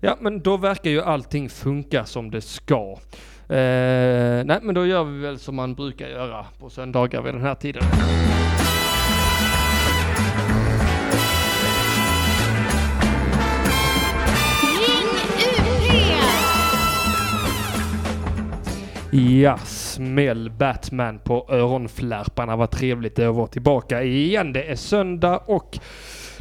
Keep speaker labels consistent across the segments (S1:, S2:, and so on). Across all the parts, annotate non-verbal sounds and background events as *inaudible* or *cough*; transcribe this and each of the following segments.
S1: Ja, men då verkar ju allting funka som det ska. Eh, nej, men då gör vi väl som man brukar göra på söndagar vid den här tiden.
S2: Ring UP!
S1: Ja, smäll Batman på öronflärparna. Vad trevligt det är att vara tillbaka igen. Det är söndag och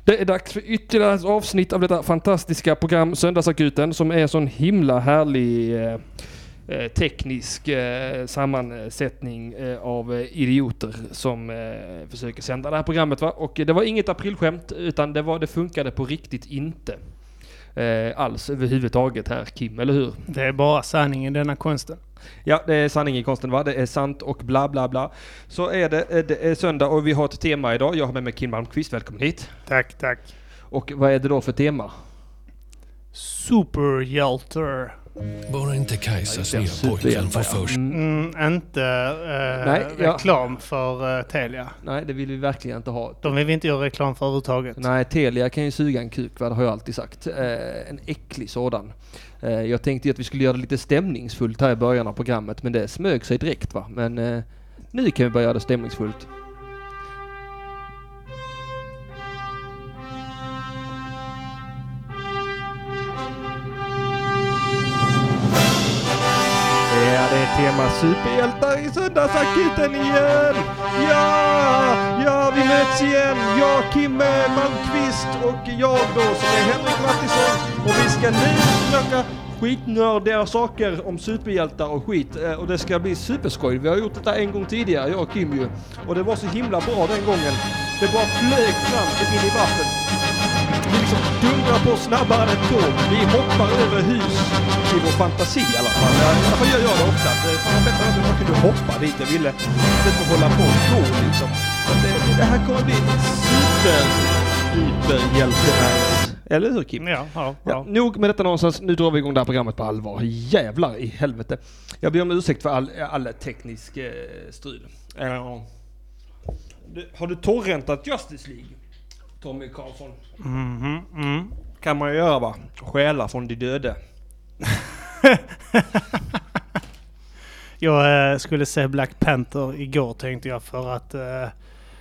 S1: det är dags för ytterligare ett avsnitt av detta fantastiska program Söndagsakuten som är en sån himla härlig eh, eh, teknisk eh, sammansättning eh, av eh, idioter som eh, försöker sända det här programmet. Va? Och eh, det var inget aprilskämt utan det, var, det funkade på riktigt inte eh, alls överhuvudtaget här Kim, eller hur?
S3: Det är bara sanningen i denna konsten.
S1: Ja, det är sanning i konsten va? Det är sant och bla bla bla. Så är det, eh, det är söndag och vi har ett tema idag. Jag har med mig Kim Malmqvist, välkommen hit.
S3: Tack, tack.
S1: Och vad är det då för tema?
S3: Superhjältar.
S4: Bara inte Kajsas
S1: Ja,
S4: nya
S1: just det.
S4: pojkvän
S1: Superhjältar,
S4: får
S1: ja.
S4: för sig.
S1: Mm,
S3: Mm, inte eh,
S1: Nej, ja.
S3: reklam för eh, Telia.
S1: nej, det vill vi verkligen inte ha.
S3: De vill vi inte göra reklam för överhuvudtaget.
S1: Nej, Telia kan ju suga en kuk, va? det har jag alltid sagt. Eh, en äcklig sådan. Eh, jag tänkte ju att vi skulle göra det lite stämningsfullt här i början av programmet, men det smög sig direkt va. Men eh, nu kan vi börja göra det stämningsfullt. Ja, det är tema superhjältar i Söndagsakuten igen! Ja, ja, vi möts igen! Jag, Kimme Malmqvist och jag då som är Henrik Mattisson. Och vi ska nu snacka skitnördiga saker om superhjältar och skit. Eh, Och det ska bli superskoj. Vi har gjort detta en gång tidigare, jag och Kim ju. Och det var så himla bra den gången. Det bara flög fram in i vattnet. Vi liksom dundrar på snabbare än ett tåg. Vi hoppar över hus i vår fantasi i alla fall. I alla fall gör jag det ofta. Det- Fan, jag fattar inte hur man kunde hoppa dit jag ville. Istället för att hålla på och gå liksom. Så att det, det här kommer bli super, superhjälte Eller hur Kim?
S3: Ja, ja,
S1: Ja,
S3: ja.
S1: nog med detta nonsens. Nu drar vi igång det här programmet på allvar. Jävlar i helvete. Jag ber om ursäkt för all, all teknisk eh, strul. Eh, du- har du torrentat Justice League? Tommy Karlsson.
S3: Mhm, mm.
S1: Kan man göra va? Stjäla från de döde.
S3: Jag eh, skulle se Black Panther igår tänkte jag för att eh,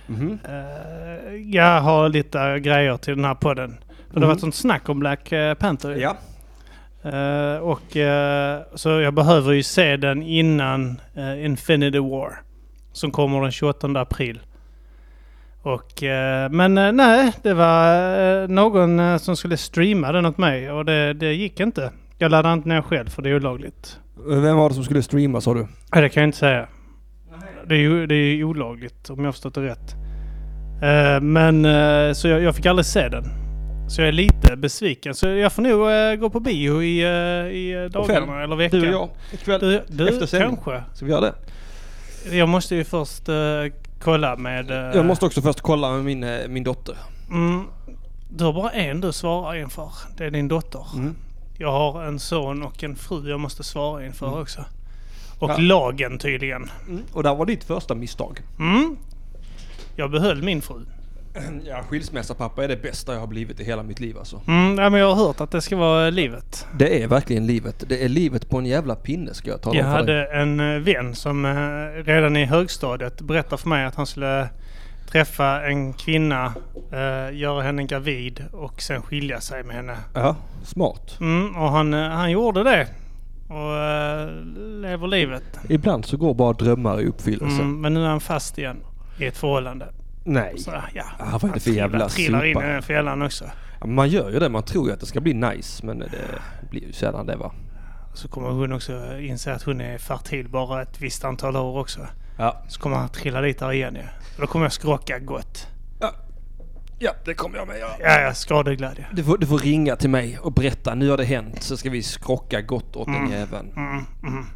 S1: Mhm.
S3: eh, jag har lite grejer till den här podden. Men det har varit
S1: Mhm.
S3: sånt snack om Black eh, Panther. ju.
S1: Ja.
S3: Eh, och, eh, så jag behöver ju se den innan eh, Infinity War. Som kommer den 28 april. Och, eh, men eh, nej, det var eh, någon eh, som skulle streama den åt mig och det, det gick inte. Jag laddade inte ner själv för det är olagligt.
S1: Vem var det som skulle streama sa du?
S3: Nej, det kan jag inte säga. Det är ju det är ju olagligt om jag har förstått det rätt. Eh, men eh, så jag, jag fick aldrig se den. Så jag är lite besviken. Så jag får nog eh, gå på bio i, eh, i eh, dagarna
S1: kväll.
S3: eller veckan.
S1: Du och jag. Ikväll.
S3: Du,
S1: Efter
S3: du
S1: sändning.
S3: kanske.
S1: Ska vi göra det?
S3: Jag måste ju först eh, kolla med... eh,
S1: Jag måste också först kolla med min, eh, min dotter.
S3: Mm, du har bara en du svarar inför. Det är din dotter.
S1: Mm.
S3: Jag har en son och en fru jag måste svara inför också. Och
S1: Mm. Ja.
S3: lagen tydligen.
S1: Och där var ditt första misstag. *clears throat*
S3: Mm. Jag behöll min fru.
S1: Ja, skilsmässa pappa är det bästa jag har blivit i hela mitt liv alltså.
S3: Mm, ja, men jag har hört att det ska vara livet.
S1: Det är verkligen livet. Det är livet på en jävla pinne ska jag tala
S3: Jag
S1: om för dig.
S3: hade en eh, vän som eh, redan i högstadiet berättade för mig att han skulle träffa en kvinna, eh, göra henne gravid och sen skilja sig med henne.
S1: Ja, smart.
S3: Mm, och han, eh, han gjorde det. Och eh, lever livet.
S1: Ibland så går bara drömmar i uppfyllelse.
S3: Mm, men nu är han fast igen i ett förhållande.
S1: Nej.
S3: Så, ja.
S1: Ah, vad är det för jävla
S3: Han trillar in i
S1: supa?
S3: den fällan också.
S1: Ja, Man gör ju det. Man tror ju att det ska bli nice. Men det blir ju sällan det va.
S3: Så kommer hon också inse att hon är fertil bara ett visst antal år också.
S1: Ja.
S3: Så kommer han trilla dit där igen ju. Då kommer jag skrocka gott.
S1: Ja, ja det kommer jag med göra.
S3: Ja, ja, skadeglädje.
S1: Du får, du får ringa till mig och berätta, nu har det hänt, så ska vi skrocka gott åt den jäveln.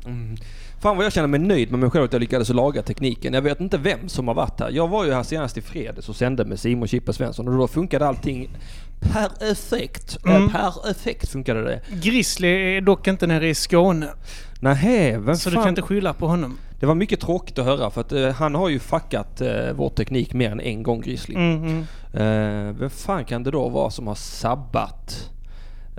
S1: Mm. Fan vad jag känner mig nöjd med mig själv att jag lyckades laga tekniken. Jag vet inte vem som har varit här. Jag var ju här senast i fredags och sände med Simon Chippe Svensson och då funkade allting perfekt. Mm. Perfekt funkade det.
S3: Grizzly är dock inte nere i Skåne.
S1: Nähä, vem
S3: Så
S1: fan?
S3: du kan inte skylla på honom.
S1: Det var mycket tråkigt att höra för att eh, han har ju fuckat eh, vår teknik mer än en gång Grizzly.
S3: Mm, mm.
S1: Eh, vem fan kan det då vara som har sabbat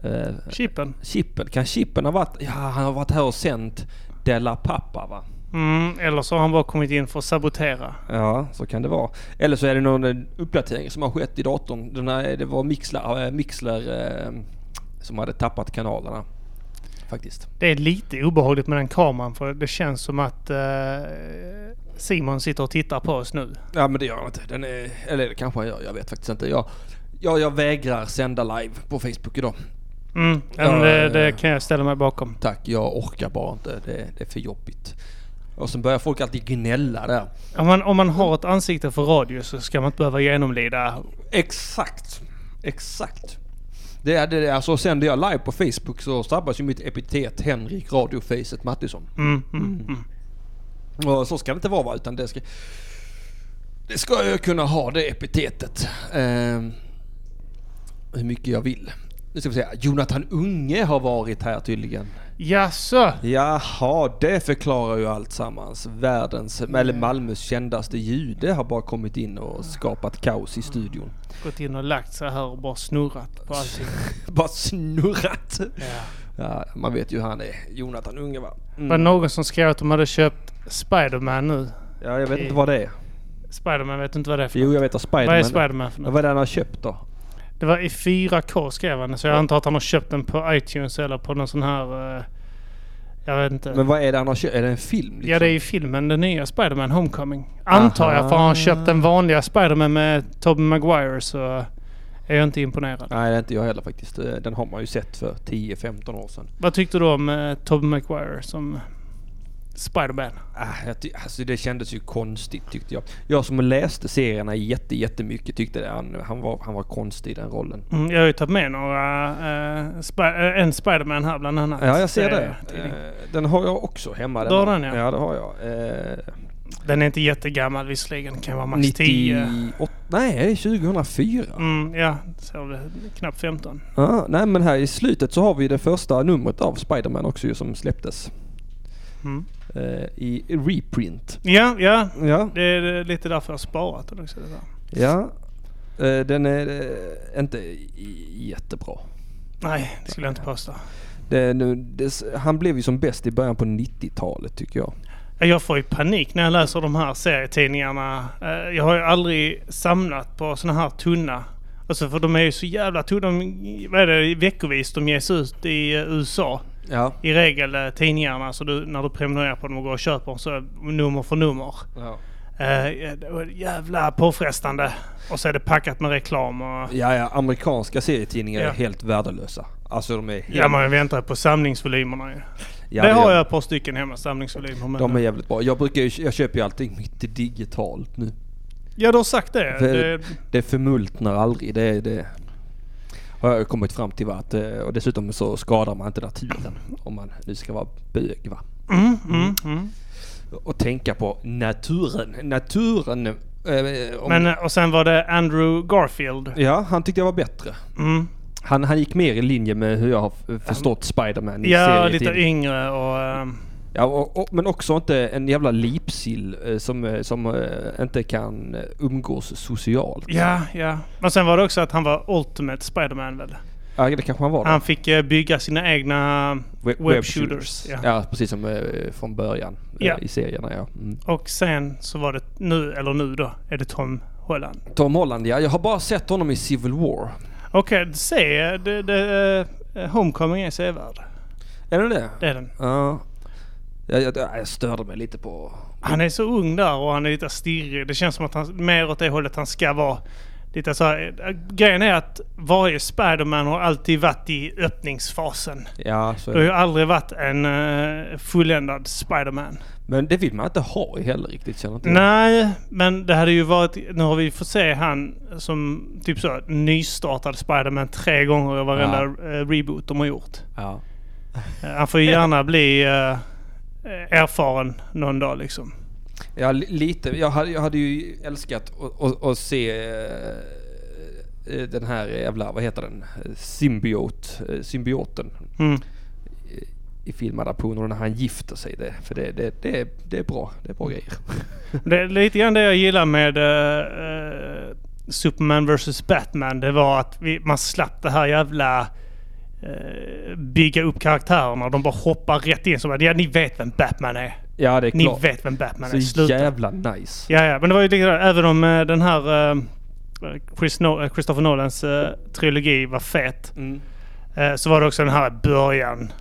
S1: eh,
S3: Chippen.
S1: chippen. Kan chippen ha varit... Ja, han har varit här och sänt Della Pappa va?
S3: Mm, eller så har han bara kommit in för att sabotera.
S1: Ja, så kan det vara. Eller så är det någon eh, uppdatering som har skett i datorn. Den här, det var Mixler, eh, Mixler eh, som hade tappat kanalerna. Faktiskt.
S3: Det är lite obehagligt med den kameran för det känns som att eh, Simon sitter och tittar på oss nu.
S1: Ja, men det gör han inte. Den är, eller det kanske han gör. Jag vet faktiskt inte. Jag, jag, jag vägrar sända live på Facebook idag.
S3: Mm,
S1: Ja,
S3: men det, det
S1: ja.
S3: kan jag ställa mig bakom.
S1: Tack, jag orkar bara inte. Det, det är för jobbigt. Och sen börjar folk alltid gnälla där.
S3: Om man, om man har ett ansikte för radio så ska man inte behöva genomlida...
S1: Exakt. Exakt. Det är det, alltså sände jag live på Facebook så sabbas ju mitt epitet Henrik Radiofacet Mattisson.
S3: Mm, mm, mm.
S1: Och så ska det inte vara va? utan det ska... Det ska jag kunna ha det epitetet. Ehm, hur mycket jag vill. Nu ska vi säga, Jonathan Unge har varit här tydligen.
S3: Jaså?
S1: Jaha, det förklarar ju allt sammans. Världens, eller Malmös kändaste jude har bara kommit in och skapat kaos i studion.
S3: Gått in och lagt sig här och bara snurrat på allting.
S1: bara snurrat.
S3: Ja.
S1: Ja, man vet ju hur han är. Jonathan Unge va? Mm.
S3: Var det någon som skrev att de hade köpt Spiderman nu?
S1: Ja, jag vet inte vad det är.
S3: Spiderman vet du inte vad det är för
S1: Jo, jag vet att
S3: Vad är
S1: Spiderman...
S3: Spiderman för något?
S1: Vad är det han har köpt då?
S3: Det var i 4K skrev han, så jag antar att han har köpt den på iTunes eller på någon sån här... eh, Jag vet inte.
S1: Men vad är det han har köpt? Är det en film? Liksom?
S3: Ja, det är ju filmen, den nya Spider-Man Homecoming. Antar jag, för har han köpt den vanliga Spider-Man med Tobey Maguire så är jag inte imponerad.
S1: Nej, det är inte jag heller faktiskt. Eh, Den har man ju sett för 10-15 år sedan.
S3: Vad tyckte du om eh, Tobey Maguire som Spider-Man?
S1: Ah, jag ty- alltså det kändes ju konstigt tyckte jag. Jag som läste serierna jätte, jättemycket tyckte det. Han, han, var, han var konstig i den rollen.
S3: Mm, jag har ju tagit med några, eh, spi- eh, en Spider-Man här bland annat.
S1: Ja, jag ser
S3: Eh,
S1: det.
S3: tidning.
S1: Eh, Den har jag också hemma.
S3: Du har
S1: här.
S3: den, ja.
S1: Ja, det har jag. Eh,
S3: Den är inte jättegammal visserligen, kan vara max 10.
S1: 98... Nej, 2004.
S3: Mm, ja, så är det knappt 15.
S1: Ja, nej men här i slutet så har vi det första numret av Spiderman också ju som släpptes.
S3: Mm.
S1: Eh, I reprint.
S3: Ja, ja.
S1: Ja,
S3: Det är eh, lite därför jag har sparat den också. Det där.
S1: ja. Eh, den är eh, inte i- jättebra.
S3: Nej, det skulle jag inte påstå.
S1: Det, nu, det, han blev ju som bäst i början på 90-talet tycker jag.
S3: Ja, Jag får ju panik när jag läser de här serietidningarna. Eh, Jag har ju aldrig samlat på såna här tunna. Alltså för de är ju så jävla tunna. De, vad är det, veckovis de ges ut i eh, USA.
S1: Ja.
S3: I regel eh, tidningarna, så du, när du prenumererar på dem och går och köper dem så är det nummer för nummer.
S1: Ja,
S3: Eh, det var jävla påfrestande. Och så är det packat med reklam och...
S1: ja, amerikanska serietidningar
S3: Ja.
S1: är helt värdelösa. Alltså de är helt...
S3: Ja, man väntar på samlingsvolymerna ju.
S1: Ja,
S3: det har
S1: är-
S3: jag ett par stycken hemma, samlingsvolymer. Men
S1: De är jävligt bra. Jag brukar ju, jag köper ju allting mitt digitalt nu.
S3: Ja, du har sagt det.
S1: För-
S3: det...
S1: Det förmultnar aldrig. Det, det har jag kommit fram till. Va? Att, eh, och dessutom så skadar man inte naturen. Om man nu ska vara bög. Va?
S3: Mm, mm, mm.
S1: Och tänka på naturen. Naturen. Eh, om,
S3: Men, eh, och sen var det Andrew Garfield.
S1: ja, han tyckte jag var bättre.
S3: Mm.
S1: Han, han gick mer i linje med hur jag har f- förstått Spiderman i
S3: Ja,
S1: serietid-
S3: lite yngre och... ehm,
S1: ja, och, och, Men också inte en jävla lipsill eh, som, eh, som eh, inte kan eh, umgås socialt.
S3: ja, ja. Men sen var det också att han var Ultimate Spider-Man väl?
S1: Ja, det kanske han var. då.
S3: Han fick eh, bygga sina egna...
S1: We-
S3: Web shooters, ja.
S1: Ja. precis som eh, från början eh,
S3: Ja.
S1: i serierna. Ja. Mm.
S3: Och sen så var det nu, eller nu då, är det Tom Holland.
S1: Tom Holland, ja. Jag har bara sett honom i Civil War.
S3: Okej, se. Det, det, eh, Homecoming är sevärd.
S1: Är det det?
S3: Det är den.
S1: Ja. Jag, jag, jag störde mig lite på...
S3: Han är så ung där och han är lite stirrig. Det känns som att han mer åt det hållet han ska vara. Lite så här, eh, grejen är att varje Spider-Man har alltid varit i öppningsfasen.
S1: Ja, så är
S3: Du har
S1: det.
S3: ju aldrig varit en eh, fulländad Spider-Man.
S1: Men det vill man inte ha i heller riktigt, känner inte jag.
S3: Nej, men det hade ju varit... Nu har vi fått se han som typ så nystartad Spider-Man tre gånger i varenda eh, reboot de har gjort.
S1: Ja.
S3: Eh, han får ju gärna bli eh, erfaren någon dag liksom.
S1: ja, li- lite. Jag hade, jag hade ju älskat att- att att se eh, eh, den här jävla, vad heter den? Eh, Symbiot, eh, symbioten
S3: Mm.
S1: i filmadaptionen när han gifter sig. Det, för det, det, det, är- det är bra. Det är bra grejer.
S3: Det är lite grann det jag gillar med eh, eh, Superman vs Batman. Det var att vi, man slapp det här jävla eh, bygga upp karaktärerna. De bara hoppar rätt in. Så bara, ja, ni vet vem Batman är.
S1: Ja, det är
S3: Ni
S1: klart.
S3: vet vem Batman är.
S1: Så
S3: Sluta.
S1: jävla nice.
S3: Ja, ja, men det var ju likadant. Även om eh, den här eh, Chris no- eh, Christopher Nolans eh, trilogi var fet.
S1: Mm.
S3: eh, så var det också den här början.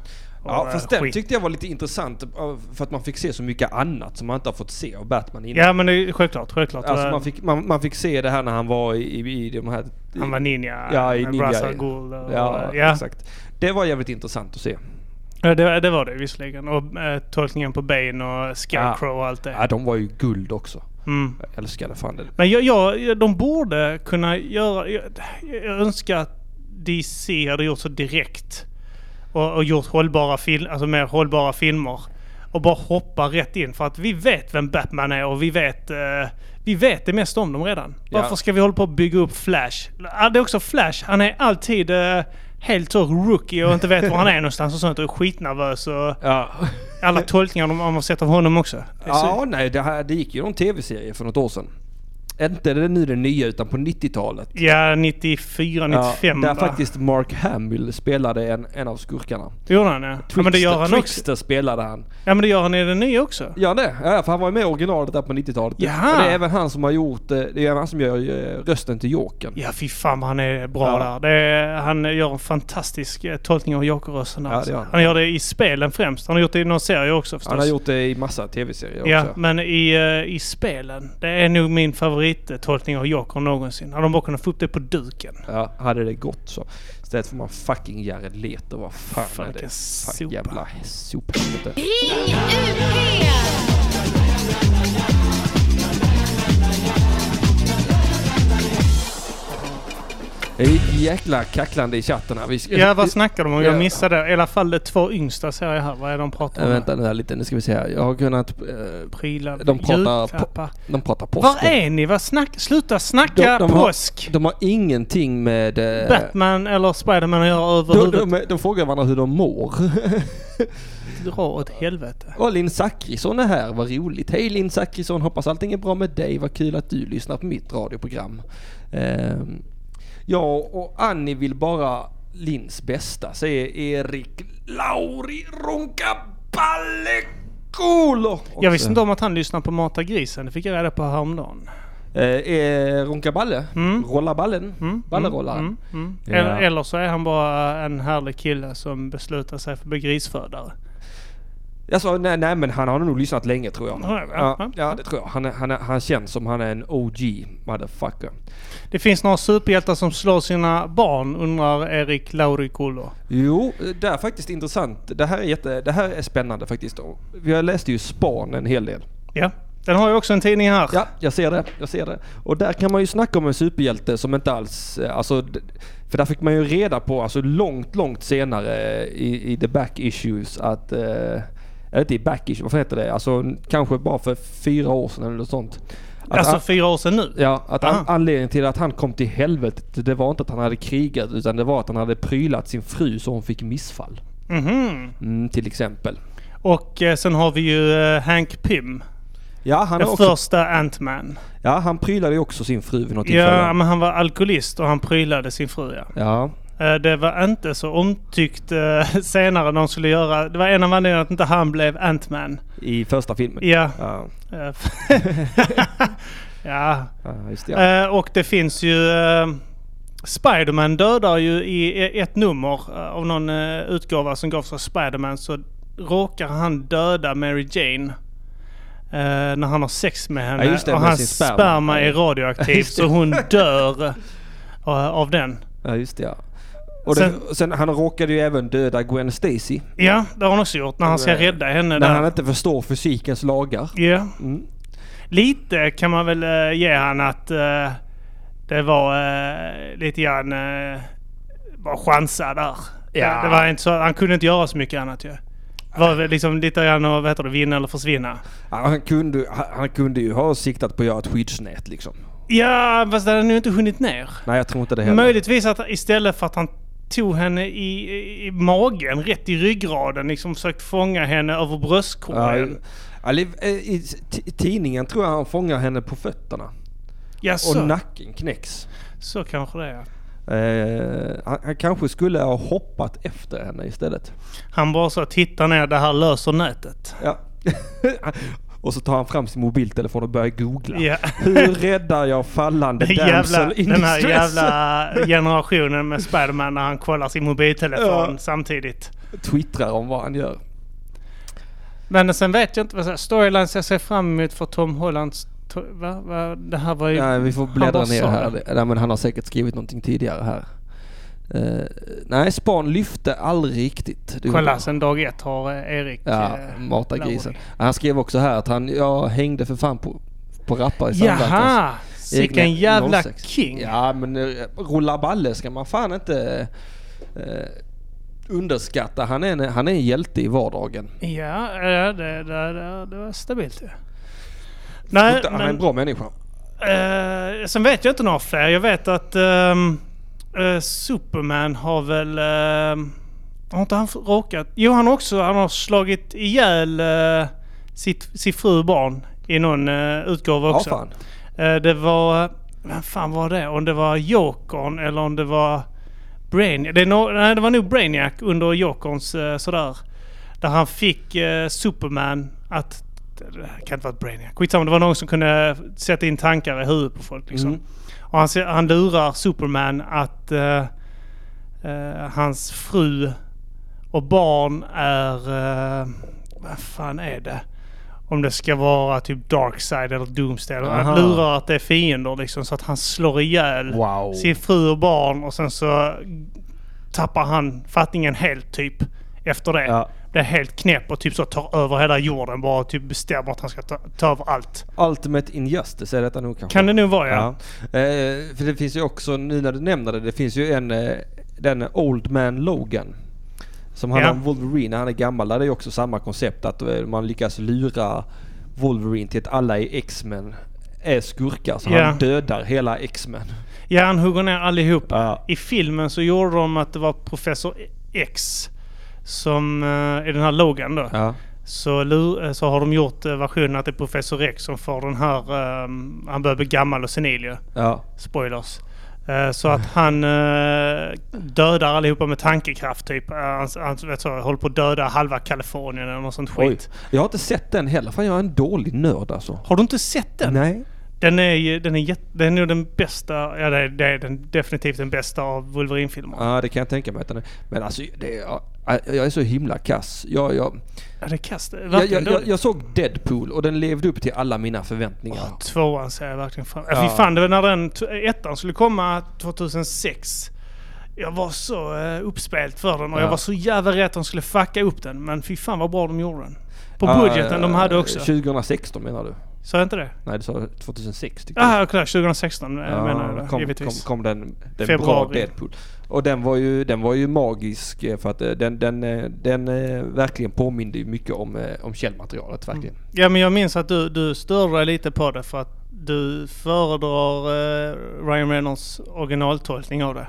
S1: Ja,
S3: av,
S1: fast
S3: eh,
S1: den
S3: skit.
S1: tyckte jag var lite intressant av- för att man fick se så mycket annat som man inte har fått se av Batman innan.
S3: Ja, men det är självklart. Självklart.
S1: Alltså
S3: Eh,
S1: man fick, man, man fick se det här när han var i, i, i de här...
S3: Han var ninja.
S1: Ja, i
S3: eh,
S1: ninja,
S3: Ra's al
S1: ja.
S3: Ghul, eh, och,
S1: ja,
S3: eh, ja.
S1: exakt. Det var jävligt intressant att se.
S3: Ja, det, det var det visserligen. Och eh, tolkningen på Bane och Scarecrow och allt
S1: Ja,
S3: det.
S1: de var ju guld också.
S3: Mm.
S1: Jag älskade fan det.
S3: Men jag, jag, de borde kunna göra... Jag, jag önskar att DC hade gjort så direkt. Och, och gjort hållbara film, alltså mer hållbara filmer. Och bara hoppa rätt in. För att vi vet vem Batman är och vi vet, eh, vi vet det mesta om dem redan.
S1: Ja.
S3: Varför ska vi hålla på att bygga upp Flash? Ja, Det är också Flash. Han är alltid eh, helt så rookie och inte vet var han är *laughs* någonstans och sånt. Och är skitnervös. Och
S1: Ja,
S3: *laughs* alla tolkningar de man har sett av honom också. Det är så-
S1: ja nej, det, här, det gick ju någon tv-serie för något år sedan. Inte det nu den nya, utan på 90-talet.
S3: Ja, 94, 95
S1: där
S3: va?
S1: faktiskt Mark Hamill spelade en, en av skurkarna.
S3: Det gjorde han ja. ja men det gör han också.
S1: Trickster spelade han.
S3: Ja men det gör han i den nya också.
S1: Ja det, ja, för han var ju med i originalet där på 90-talet.
S3: Jaha.
S1: Och det är även han som har gjort, eh, det är även han som gör eh, rösten till Jokern.
S3: Ja fy fan vad han är bra
S1: Ja.
S3: där. Det är, han gör en fantastisk eh, tolkning av Joker-rösten där.
S1: Ja, det
S3: alltså.
S1: gör han.
S3: han gör det i spelen främst. Han har gjort det i någon serie också förstås.
S1: Han har gjort det i massa tv-serier
S3: Ja,
S1: också.
S3: men i, eh, i spelen. Det är nog min favorittolkning av Joker någonsin. Hade de bara kunnat få upp det på duken.
S1: Ja, hade det gått så. Istället får man fucking Jared Leto. Vad fan,
S3: Fan,
S1: är det?
S3: vilken
S1: Fuck,
S3: sopa.
S1: jävla sophelvete.
S5: Ring UP!
S1: Det är jäkla kacklande i chatten här. Vi ska,
S3: Ja, vad snackar de om? Jag
S1: Ja.
S3: missade i alla fall de två yngsta ser jag här. Vad är de pratar
S1: Äh,
S3: om?
S1: vänta nu här lite, nu ska vi se här. Jag har kunnat... eh,
S3: Prylar,
S1: De pratar
S3: julklappar.
S1: de pratar påsk.
S3: Var är ni? Vad snack... Sluta snacka
S1: De- de har-
S3: påsk!
S1: De har ingenting med... eh,
S3: Batman eller Spiderman och jag
S1: de,
S3: överhuvudtaget.
S1: de, de frågar varandra hur de mår. *laughs*
S3: Dra åt helvete.
S1: Och Linn Zachrisson är här, vad roligt. Hej Linn Zachrisson, hoppas allting är bra med dig. Vad kul att du lyssnar på mitt radioprogram. Ehm, ja, och Annie vill bara Linns bästa, säger Erik Lauri Runkabalekulo.
S3: Jag visste inte om att han lyssnar på Mata Grisen. Det fick jag reda på häromdagen.
S1: Eh, eh, Runkaballe?
S3: Mm.
S1: Rolla ballen?
S3: Mm,
S1: Ballerollaren?
S3: Mm, mm.
S1: Ja.
S3: Eller, eller så är han bara eh, en härlig kille som beslutar sig för att bli grisfödare.
S1: Alltså, nej, nej, men han har nog lyssnat länge tror jag.
S3: Ja, ja,
S1: Ja, ja,
S3: ja.
S1: det tror jag. Han, är- han, är- han känns som han är en OG motherfucker.
S3: Det finns några superhjältar som slår sina barn, undrar Erik Laurikulo.
S1: Jo, eh, det är faktiskt intressant. Det här är, jätte, det här är spännande faktiskt. Vi har läst ju Span en hel del.
S3: Ja, den har ju också en tidning här.
S1: Ja, jag ser det. Jag ser det. Och där kan man ju snacka om en superhjälte som inte alls... eh, Alltså, d- för där fick man ju reda på, alltså långt, långt senare eh, i, i the back issues att... eh, Eller inte i back issues, vad fan heter det? Alltså kanske bara för fyra år sedan eller något sånt. Att
S3: alltså
S1: han-
S3: fyra år sedan nu.
S1: Ja, att an-
S3: Aha.
S1: anledningen till att han kom till helvetet, det var inte att han hade krigat utan det var att han hade prylat sin fru så hon fick missfall.
S3: Mhm.
S1: Mm, till exempel.
S3: Och eh, sen har vi ju eh, Hank Pym.
S1: Ja, han, är
S3: Den
S1: också,
S3: första Ant-Man.
S1: ja, han prylade ju också sin fru vid något
S3: Ja,
S1: tillfälle.
S3: men han var alkoholist och han prylade sin fru ja.
S1: Ja,
S3: Eh, Det var inte så omtyckt eh, *laughs* senare när de skulle göra... Det var en av anledningarna att inte han blev Ant-Man.
S1: i första filmen.
S3: Ja.
S1: Ja,
S3: eh, *laughs* ja.
S1: ja, just det. Ja.
S3: Eh, Och det finns ju... eh, Spiderman dödar ju i i ett nummer eh, av någon eh, utgåva som gavs av Spiderman så råkar han döda Mary Jane. eh, när han har sex med henne
S1: Ja, just det,
S3: och
S1: med
S3: hans
S1: sin sperma.
S3: sperma. är radioaktiv
S1: *laughs* Just det.
S3: så hon dör eh, av den.
S1: ja, just det. Ja. Och sen, det, sen han råkade ju även döda Gwen Stacy.
S3: Ja, det har han också gjort när han ska
S1: Eh,
S3: rädda henne
S1: När
S3: där.
S1: han inte förstår fysikens lagar.
S3: Ja.
S1: Mm.
S3: Lite kan man väl eh, ge han att eh, det var eh, lite grann uh, var chansad där.
S1: Ja.
S3: Det, det var inte så, han kunde inte göra så mycket annat ju. Det var väl liksom lite grann att vad heter det, vinna eller försvinna.
S1: Ja, Han kunde, han han kunde ju ha siktat på att göra ett skyddsnät liksom.
S3: Ja, fast det hade han ju inte hunnit ner.
S1: Nej, jag tror inte det heller.
S3: Möjligtvis att istället för att han tog henne i, i, i magen, rätt i ryggraden, liksom försökt fånga henne över
S1: Ja,
S3: bröstkorgen.
S1: eller, eh, I t- i tidningen tror jag han fångar henne på fötterna.
S3: Ja,
S1: Och
S3: så,
S1: nacken knäcks.
S3: så kanske det är.
S1: Eh, han, han kanske skulle ha hoppat efter henne istället.
S3: Han bara så titta ner, det här löser nätet.
S1: Ja. *laughs* och så tar han fram sin mobiltelefon och börjar googla.
S3: Ja.
S1: Hur räddar jag
S3: *laughs*
S1: fallande
S3: Den, jävla,
S1: damsel in
S3: den här
S1: distress?
S3: jävla generationen med Spiderman när han kollar sin mobiltelefon
S1: Ja.
S3: samtidigt.
S1: *laughs* Twittrar om vad han gör.
S3: Men sen vet jag inte vad så här, storylines jag ser fram emot för Tom Hollands... to- Va? Va? Det här var ju...
S1: Nej, vi får
S3: Han
S1: bläddra
S3: bara
S1: ner
S3: sa
S1: här.
S3: det.
S1: Nej, men han har säkert skrivit någonting tidigare här. Eh, nej, Span lyfte aldrig riktigt. Det gjorde
S3: Kolla,
S1: han.
S3: sen dag ett har eh, Erik...
S1: Ja,
S3: eh,
S1: mata
S3: Lauri.
S1: grisen. Han skrev också här att han, jag hängde för fan på, på rappare i samverkan.
S3: Jaha! Sicken
S1: Egna
S3: jävla
S1: 06.
S3: king.
S1: Ja, men eh, rulla balle ska man fan inte eh, underskatta. Han är, en, han är en hjälte i vardagen.
S3: Ja, ja det, det, det, det var stabilt ju. Nej,
S1: han är en
S3: men,
S1: bra människa.
S3: eh, sen vet jag inte några fler. Jag vet att ehm, eh, Superman har väl... ehm, har inte han råkat... Jo, han också. Han har slagit ihjäl eh, sitt, sitt fru och barn i någon eh, utgåva
S1: Ja,
S3: också.
S1: fan.
S3: Eh, det var... Vem fan var det? Om det var Jokern eller om det var... Brainiac. Det, är nå- nej, det var nog Brainiac under Jokerns eh, sådär. Där han fick eh, Superman att... Det kan inte vara Brainiac. Skitsamma, det var någon som kunde sätta in tankar i huvudet på folk liksom.
S1: Mm.
S3: Och han, se- han lurar Superman att eh, eh, hans fru och barn är... Eh, vad fan är det? Om det ska vara typ Darkseid eller Doomsday. Eller
S1: Aha.
S3: han lurar att det är fiender liksom så att han slår ihjäl
S1: Wow.
S3: sin fru och barn och sen så tappar han fattningen helt typ efter det.
S1: Ja.
S3: Blir helt knäpp och typ så tar över hela jorden bara och typ bestämmer att han ska ta, ta över allt.
S1: Ultimate Injustice är detta nog kanske.
S3: Kan det nu vara ja.
S1: Eh, för det finns ju också, nu när du nämner det, det finns ju en, eh, den Old Man Logan. Som handlar
S3: Ja.
S1: om Wolverine när han är gammal. Där det är också samma koncept att eh, man lyckas lura Wolverine till att alla i X-Men är skurkar. Så
S3: Ja.
S1: han dödar hela X-Men.
S3: Ja, han hugger ner allihop.
S1: Ja.
S3: I filmen så gjorde de att det var Professor X som eh, i den här Logan då.
S1: Ja.
S3: Så, lu- eh, så har de gjort eh, versionen att det är Professor X som får den här... eh, han börjar bli gammal och senil ju.
S1: Ja.
S3: Spoilers. Eh, Så att han eh, dödar allihopa med tankekraft typ. Eh, Han, han vet så, håller på att döda halva Kalifornien eller något sånt
S1: Oj.
S3: skit.
S1: Jag har inte sett den heller. Fan jag är en dålig nörd alltså.
S3: Har du inte sett den?
S1: Nej.
S3: Den är ju, den är, jätte, den är nog den bästa, ja det är, det är den, definitivt den bästa av Wolverine-filmerna.
S1: Ja det kan jag tänka mig att den är. Men alltså det, jag, jag är så himla kass. Jag, jag,
S3: Ja, det är kast.
S1: jag,
S3: Verkligen
S1: jag, jag,
S3: dåligt.
S1: jag såg Deadpool och den levde upp till alla mina förväntningar.
S3: Tvåan ser jag verkligen fram ja.
S1: Ja.
S3: Fy fan, det var när den t- ettan skulle komma 2006. Jag var så uh, uppspelt för den och
S1: Ja.
S3: jag var så jävla rädd att de skulle fucka upp den. Men fy fan vad bra de gjorde den. På
S1: Ja, eh,
S3: budgeten de hade också.
S1: 2016 Ah, menar du?
S3: Sa jag inte det?
S1: Nej, du sa 2006 tyckte
S3: Ah, kolla 2016 eh,
S1: Ja,
S3: menar jag då,
S1: kom, kom,
S3: givetvis.
S1: kom den, den bra
S3: Februari.
S1: Deadpool. Och den var ju, den var ju magisk eh, för att eh, den, den, eh, den eh, verkligen påminde ju mycket om, eh, om källmaterialet verkligen.
S3: Ja men jag minns att du, du störde dig lite på det för att du föredrar eh, Ryan Reynolds originaltolkning av det.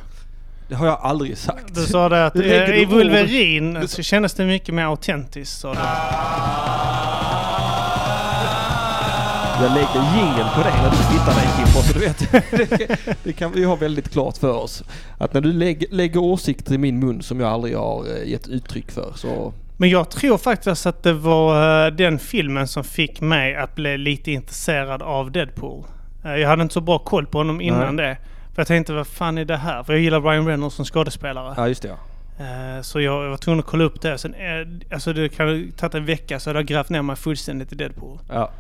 S1: Det har jag aldrig sagt.
S3: Du sa
S1: *laughs*
S3: det att
S1: Du lägger
S3: eh, i
S1: ord-
S3: Wolverine så kändes det mycket mer autentiskt sa du.
S1: Jag lägger jingeln på dig när du tittar dig Kimbo, så du vet. *laughs* det, det kan vi ju ha väldigt klart för oss. Att när du lägg, lägger åsikter i min mun som jag aldrig har eh, gett uttryck för så...
S3: Men jag tror faktiskt att det var eh, den filmen som fick mig att bli lite intresserad av Deadpool. Eh, jag hade inte så bra koll på honom innan det. För jag tänkte vad fan är det här? För jag gillar Ryan Reynolds som skådespelare.
S1: Ja, just det ja.
S3: Eh, Så jag jag var tvungen att kolla upp det. Sen, eh, alltså det kan ha tagit en vecka så hade jag grävt ner mig fullständigt i Deadpool.
S1: ja.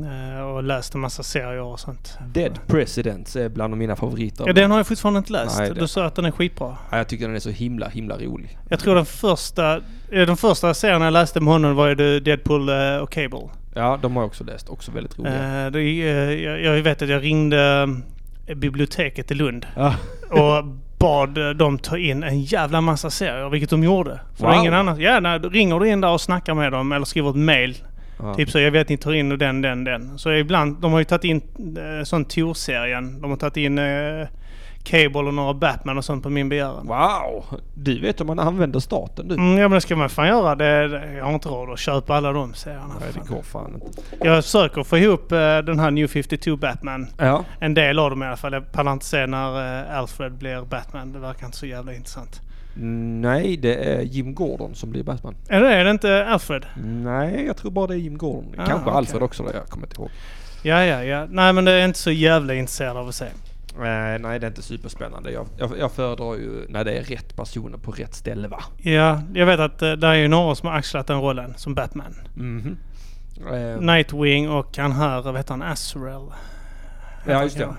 S3: Eh, Och läst en massa serier och sånt.
S1: Dead Presidents är bland mina favoriter.
S3: Ja, den har jag fortfarande inte läst.
S1: Nej, det-
S3: Du sa att den är skitbra.
S1: Ja, jag tycker den är så himla, himla rolig.
S3: Jag tror den första, eh, den första serien jag läste med honom var ju The Deadpool eh, och Cable.
S1: Ja, de har jag också läst. Också väldigt roliga.
S3: Eh, det, är, eh, jag- jag vet att jag ringde eh, biblioteket i Lund
S1: Ja.
S3: och bad eh, dem ta in en jävla massa serier, vilket de gjorde. För det är
S1: Wow.
S3: ingen annan, ja, nej, då ringer du in där och snackar med dem eller skriver ett mail.
S1: Ja.
S3: Typ så, jag vet ni tar in den, den, den. Så ibland, de har ju tagit in eh, sån Tor-serien. De har tagit in eh, Cable och några Batman och sånt på min begäran.
S1: Wow! Du vet hur man använder staten du.
S3: Mm, ja men det ska man fan göra. Det, det, jag har inte råd att köpa alla de serierna.
S1: Nej, det
S3: Fan.
S1: går fan inte.
S3: Jag försöker få ihop eh, den här New 52 Batman.
S1: Ja.
S3: En del av dem i alla fall. Jag pallar inte se när eh, Alfred blir Batman. Det verkar inte så jävla intressant.
S1: Mm, Nej, det är Jim Gordon som blir Batman.
S3: Eller är det inte Alfred?
S1: Nej, jag tror bara det är Jim Gordon.
S3: Ah,
S1: Kanske
S3: okej.
S1: Alfred också, det jag kommer inte ihåg.
S3: Ja, ja, ja. Nej men det är jag inte så jävla intresserad av att se.
S1: Nej, Eh, nej, det är inte superspännande. Jag, jag, jag föredrar ju när det är rätt personer på rätt ställe va?
S3: Ja, jag vet att eh, det är ju några som har axlat den rollen som Batman.
S1: Mhm. Eh,
S3: Nightwing och han här, vad heter han? Azrael.
S1: ja, just det.
S3: Ja.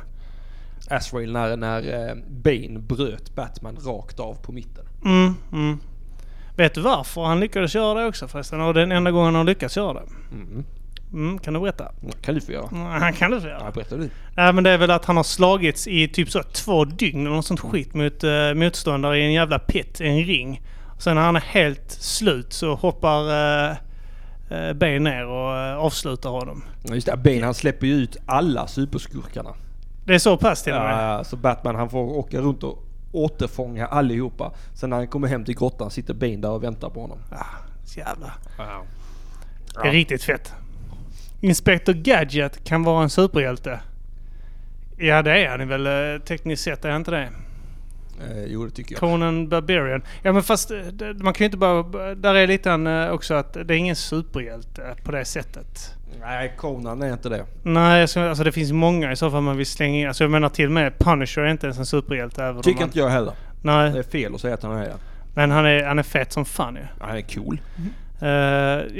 S1: Azrael när, när eh, Bane bröt Batman rakt av på mitten.
S3: Mm, mm. Vet du varför han lyckades göra det också förresten? Och den enda gången han har lyckats göra det.
S1: Mm.
S3: Mm, kan du berätta?
S1: kan du få göra.
S3: Mm, Han kan du få
S1: Ja,
S3: göra.
S1: berätta du.
S3: Nej men det är väl att han har slagits i typ så två dygn eller något sånt skit mot eh, motståndare i en jävla pit, en ring. Sen när han är helt slut så hoppar eh, eh, Ben ner och eh, avslutar honom.
S1: Ja, Just det, Bane han släpper ju ut alla superskurkarna.
S3: Det är så pass till och med?
S1: Ja, så Batman han får åka runt och återfånga allihopa. Sen när han kommer hem till grottan sitter Bane där och väntar på honom.
S3: Ah, Så jävla. Det är riktigt fett. Inspector Gadget kan vara en superhjälte. Ja det är han väl eh, tekniskt sett, är han inte det?
S1: Eh, jo, det tycker jag.
S3: Conan Barbarian. Ja men fast eh, det- man kan ju inte bara... Där är lite en, eh, också att det är ingen superhjälte eh, på det sättet.
S1: Nej, Conan är inte det.
S3: Nej, alltså, alltså det finns många i så fall man vill slänga in. Alltså jag menar till och med Punisher är inte ens en superhjälte. Även om
S1: Tycker
S3: man,
S1: inte jag heller. Det
S3: Nej,
S1: är fel att säga att han är det.
S3: men han är, han är fet som fan ju.
S1: Han är cool.
S3: Eh,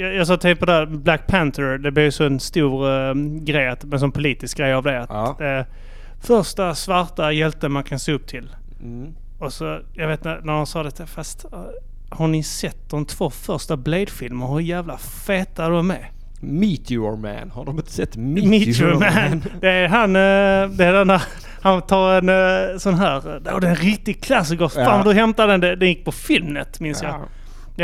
S3: jag, jag satt och tänkte på det här, Black Panther, det blev ju så en stor eh, grej, att, men som politisk grej av det. Att,
S1: Ja.
S3: eh, första svarta hjälten man kan se upp till.
S1: Mm.
S3: Och så, jag vet när, när de sa det, fast eh, har ni sett de två första Blade-filmerna? Hur jävla feta de är?
S1: Meteor Man. Har de inte sett Meteor,
S3: Meteor Man. *laughs* Det är han, eh, det är den där, han tar en eh, sån här, eh, det är en riktig klassiker. Fan
S1: Ja.
S3: vad du hämtade den, det- den gick på Filmnet minns jag.
S1: *laughs* Ja.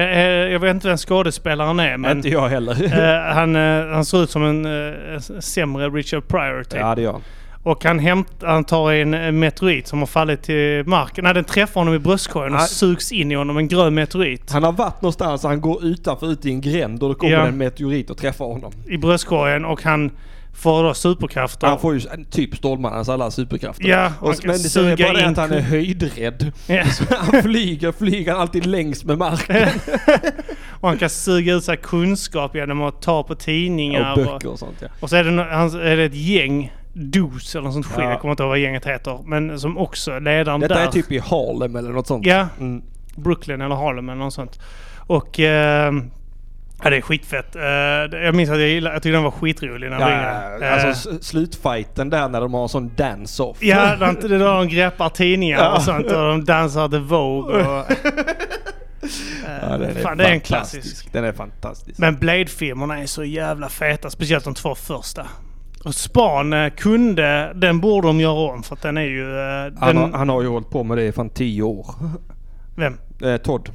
S3: Jag, eh, jag vet inte vem skådespelaren är men
S1: Inte jag heller.
S3: eh, han, eh, han ser ut som en eh, s- sämre Richard Pryor typ.
S1: ja, det gör han.
S3: Och han, hämt, han tar en eh, meteorit som har fallit till marken. Nej den träffar honom i bröstkorgen och
S1: Ja.
S3: sugs in i honom, en grön meteorit.
S1: Han har varit någonstans, han går utanför ut i en gränd och då kommer
S3: Ja.
S1: en meteorit och träffar honom.
S3: I bröstkorgen och han får då superkrafter.
S1: Han får ju en typ Stålmannens alla superkrafter.
S3: Ja, han
S1: och,
S3: kan
S1: men det är
S3: suga
S1: bara det
S3: in
S1: att han är
S3: kul.
S1: höjdrädd.
S3: *laughs*
S1: *laughs*
S3: Ja.
S1: Han flyger, flyger han alltid längs med marken.
S3: Och han kan suga ut sig kunskap genom att ta på tidningar.
S1: Och böcker och sånt ja.
S3: Och så är det, nå- han, är det ett gäng, DOS eller något sånt skit,
S1: Ja.
S3: jag kommer inte ihåg vad gänget heter. Men som också, ledaren
S1: Detta
S3: där.
S1: är typ i Harlem eller något sånt.
S3: Ja,
S1: Mm.
S3: Brooklyn eller Harlem eller något sånt. Och... Eh, ja, det är skitfett. Eh, det- jag minns att jag gillade, jag tyckte den var skitrolig när jag var
S1: Ja,
S3: yngre.
S1: alltså
S3: Eh,
S1: s- slutfighten där när de har en sån dance-off.
S3: Ja, det är inte- det är då de greppar tidningar
S1: Ja.
S3: och sånt och de dansar The Vogue och...
S1: Ja, den
S3: Fan, det är en
S1: fantastisk.
S3: klassisk.
S1: Den är fantastisk.
S3: Men Blade-filmerna är så jävla feta, speciellt de två första. Och Span eh, kunde, den borde de göra om för att den är ju... eh, Den,
S1: han, har, han har ju hållit på med det i fan tio år.
S3: Vem?
S1: Eh, Todd.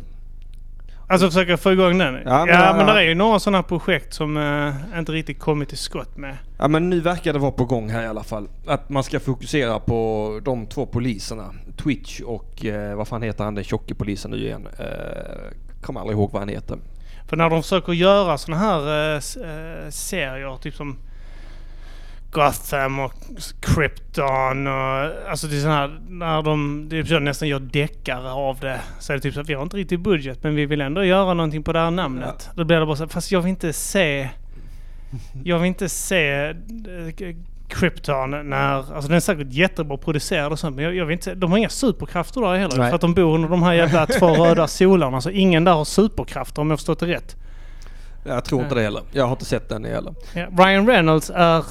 S3: Alltså försöka få igång den? Ja,
S1: men-
S3: men,
S1: ja, ja.
S3: det är ju några sådana projekt som eh, inte riktigt kommit till skott med.
S1: Ja men nu verkar det vara på gång här i alla fall. Att man ska fokusera på de två poliserna. Twitch och eh, vad fan heter han den tjocke polisen nu igen? Eh, kommer aldrig ihåg vad han heter.
S3: För när de försöker göra sådana här eh, s- eh, serier, typ som Gotham och Krypton och... Alltså det är sådana här, när de det är typ så nästan gör deckare av det. Så är det typ så att vi har inte riktigt budget men vi vill ändå göra någonting på det här namnet. Då blir det bara så här, fast jag vill inte se... Jag vill inte se eh, k- Krypton när... Alltså den är säkert jättebra producerad och sånt men jag, jag vill inte se, De har inga superkrafter där heller.
S1: Nej.
S3: För att de bor under de här jävla två röda solarna. Så ingen där har superkrafter om jag förstått det rätt.
S1: Jag tror inte det heller. Jag har inte sett den heller.
S3: Ja, Ryan Reynolds är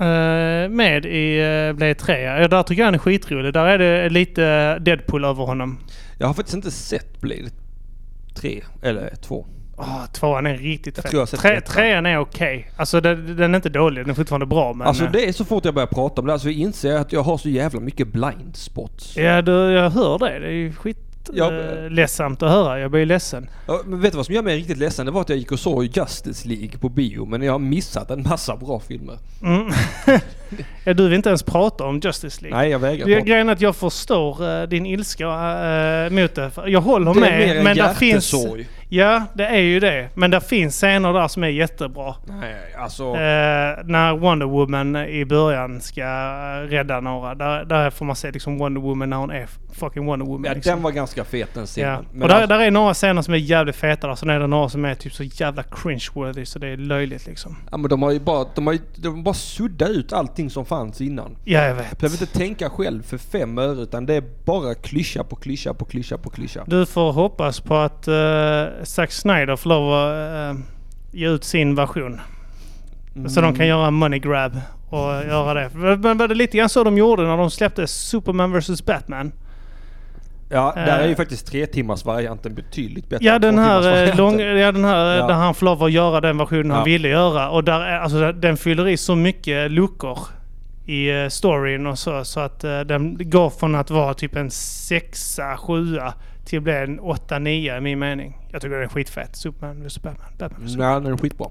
S3: eh, med i uh, Blade 3. Ja, där tycker jag han är skitrolig. Där är det lite Deadpool över honom.
S1: Jag har faktiskt inte sett Blade 3 eller 2.
S3: Åh, tvåan är riktigt
S1: Jag
S3: fet.
S1: tror jag har sett
S3: Tre,
S1: ettan.
S3: trean är okej. Alltså den, den är inte dålig. Den är fortfarande bra men...
S1: Alltså
S3: eh,
S1: det är så fort jag börjar prata om det här så inser jag att jag har så jävla mycket blind spots.
S3: Ja, du, jag hör det. Det är ju skit...
S1: Ja,
S3: eh, ledsamt att höra. Jag blir ju ledsen.
S1: Ja, Men vet du vad som gör mig riktigt ledsen? Det var att jag gick och såg Justice League på bio men jag har missat en massa bra filmer.
S3: Mm. Ja, du vill inte ens prata om Justice League.
S1: Nej, jag vägrar.
S3: Det är
S1: prata.
S3: grejen att jag förstår eh, din ilska eh, mot det. För Jag håller
S1: Det
S3: med.
S1: är mer en
S3: men där finns,
S1: hjärtesorg.
S3: Ja, det är ju det. Men där finns scener där som är jättebra.
S1: Nej, alltså...
S3: Eh, när Wonder Woman i början ska eh, rädda några. Där, där får man se liksom Wonder Woman när hon är fucking Wonder Woman.
S1: ja,
S3: liksom.
S1: den var ganska fet den scenen.
S3: Ja.
S1: Men
S3: Och där,
S1: alltså-
S3: där är några scener som är jävligt feta där. Sen är det några som är typ så jävla cringe-worthy så det är löjligt liksom.
S1: Ja men de har ju bara, de har ju, de har bara suddat ut allting som fanns innan.
S3: Ja, jag vet.
S1: Behöver inte tänka själv för fem öre utan det är bara klyscha på klyscha på klyscha på klyscha.
S3: Du får hoppas på att eh, Zack Snyder får lov att eh, ge ut sin version.
S1: Mm.
S3: Så de kan göra en money grab och göra det. Men men det är lite grann så de gjorde när de släppte Superman vs Batman.
S1: Ja, där är ju
S3: Eh.
S1: faktiskt tre timmars varianten betydligt bättre
S3: Ja
S1: än
S3: den
S1: två timmars
S3: här, eh,
S1: varianten.
S3: lång, ja, den här eh,
S1: Ja.
S3: där han får lov att göra den versionen han
S1: Ja.
S3: ville göra. Och där, är- alltså, den fyller i så mycket luckor i eh, storyn och så. Så att eh, den går från att vara typ en sexa, sjua till att bli en åtta, nia i min mening. Jag tycker den är skitfett. Superman vs Batman. Batman vs.
S1: Ja, den är skitbra.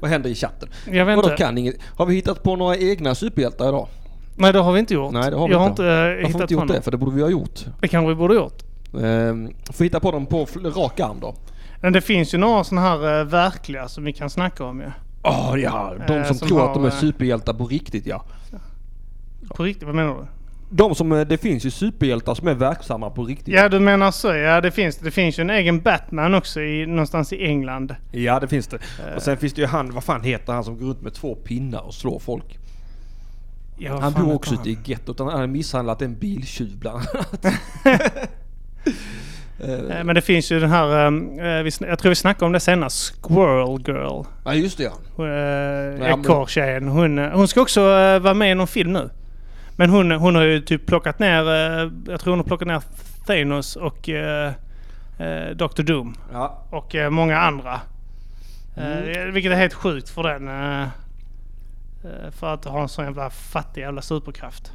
S1: Vad händer i chatten?
S3: Jag vet
S1: Vadå
S3: inte.
S1: kan inget? Har vi hittat på några egna superhjältar idag?
S3: Nej det har vi inte gjort.
S1: Nej, det har vi
S3: jag har
S1: inte.
S3: inte eh,
S1: Varför har vi
S3: hittat
S1: inte
S3: på
S1: gjort det?
S3: något.
S1: För det borde vi ha gjort.
S3: Det kanske vi borde gjort.
S1: Ehm, får hitta på dem på fl- rak arm då.
S3: Men det finns ju några sådana här eh, verkliga som vi kan snacka om ju.
S1: Åh ja, de
S3: Eh,
S1: som,
S3: som
S1: tror
S3: har,
S1: att de är
S3: eh,
S1: superhjältar på riktigt ja.
S3: På riktigt, vad menar du?
S1: De som, eh, det finns ju superhjältar som är verksamma på riktigt.
S3: Ja, du menar så. Ja, det finns, det finns ju en egen Batman också i, någonstans i England.
S1: Ja det finns det. Och sen finns det ju han, vad fan heter han som går runt med två pinnar och slår folk?
S3: Ja, vad
S1: Han
S3: fan
S1: bor
S3: heter
S1: också
S3: han?
S1: ute i gettot. Han har misshandlat en biltjuv bland annat. Eh,
S3: Eh, Men det finns ju den här, ehm, eh, vi, sn- jag tror vi snackade om det senast, Squirrel Girl.
S1: *laughs* Ja just det ja.
S3: Hon,
S1: Ja,
S3: eh,
S1: men-
S3: Ekorrtjejen. Hon, eh, hon ska också eh, vara med i någon film nu. Men hon, hon har ju typ plockat ner, eh, jag tror hon har plockat ner Thanos och eh, eh, Dr. Doom.
S1: ja.
S3: och eh, många andra. Eh, vilket är helt sjukt för den. Eh, eh, för att ha en sån jävla fattig jävla superkraft.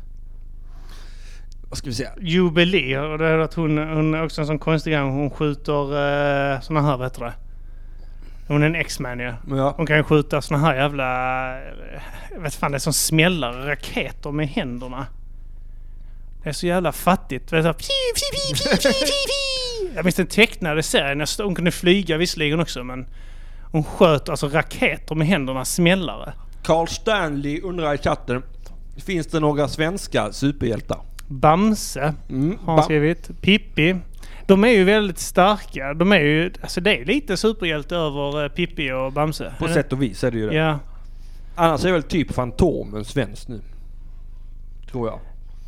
S1: Vad ska vi säga?
S3: Jubilee, och det är att hon, hon är också en sån konstig grej. Hon skjuter eh, såna här, vet du det? Hon är en X-Man ju.
S1: Ja.
S3: Hon kan ju skjuta såna här jävla... eh, Jag vet fan, det är som smällare raketer med händerna. Det är så jävla fattigt. Vet du, så här, pju, pju, pju, pju, pju, pju, pju. jag minns den tecknade serien. Jag stod- Hon kunde flyga visserligen också men... Hon sköt alltså raketer med händerna, smällare.
S1: Carl Stanley undrar i chatten. Finns det några svenska superhjältar?
S3: Bamse
S1: Mm.
S3: har han
S1: Ba-
S3: skrivit. Pippi. De är ju väldigt starka. De är ju... Alltså det är lite superhjälte över eh, Pippi och Bamse.
S1: på sätt och vis är det ju det.
S3: Ja.
S1: Annars är väl typ Fantomen svensk nu. Tror jag.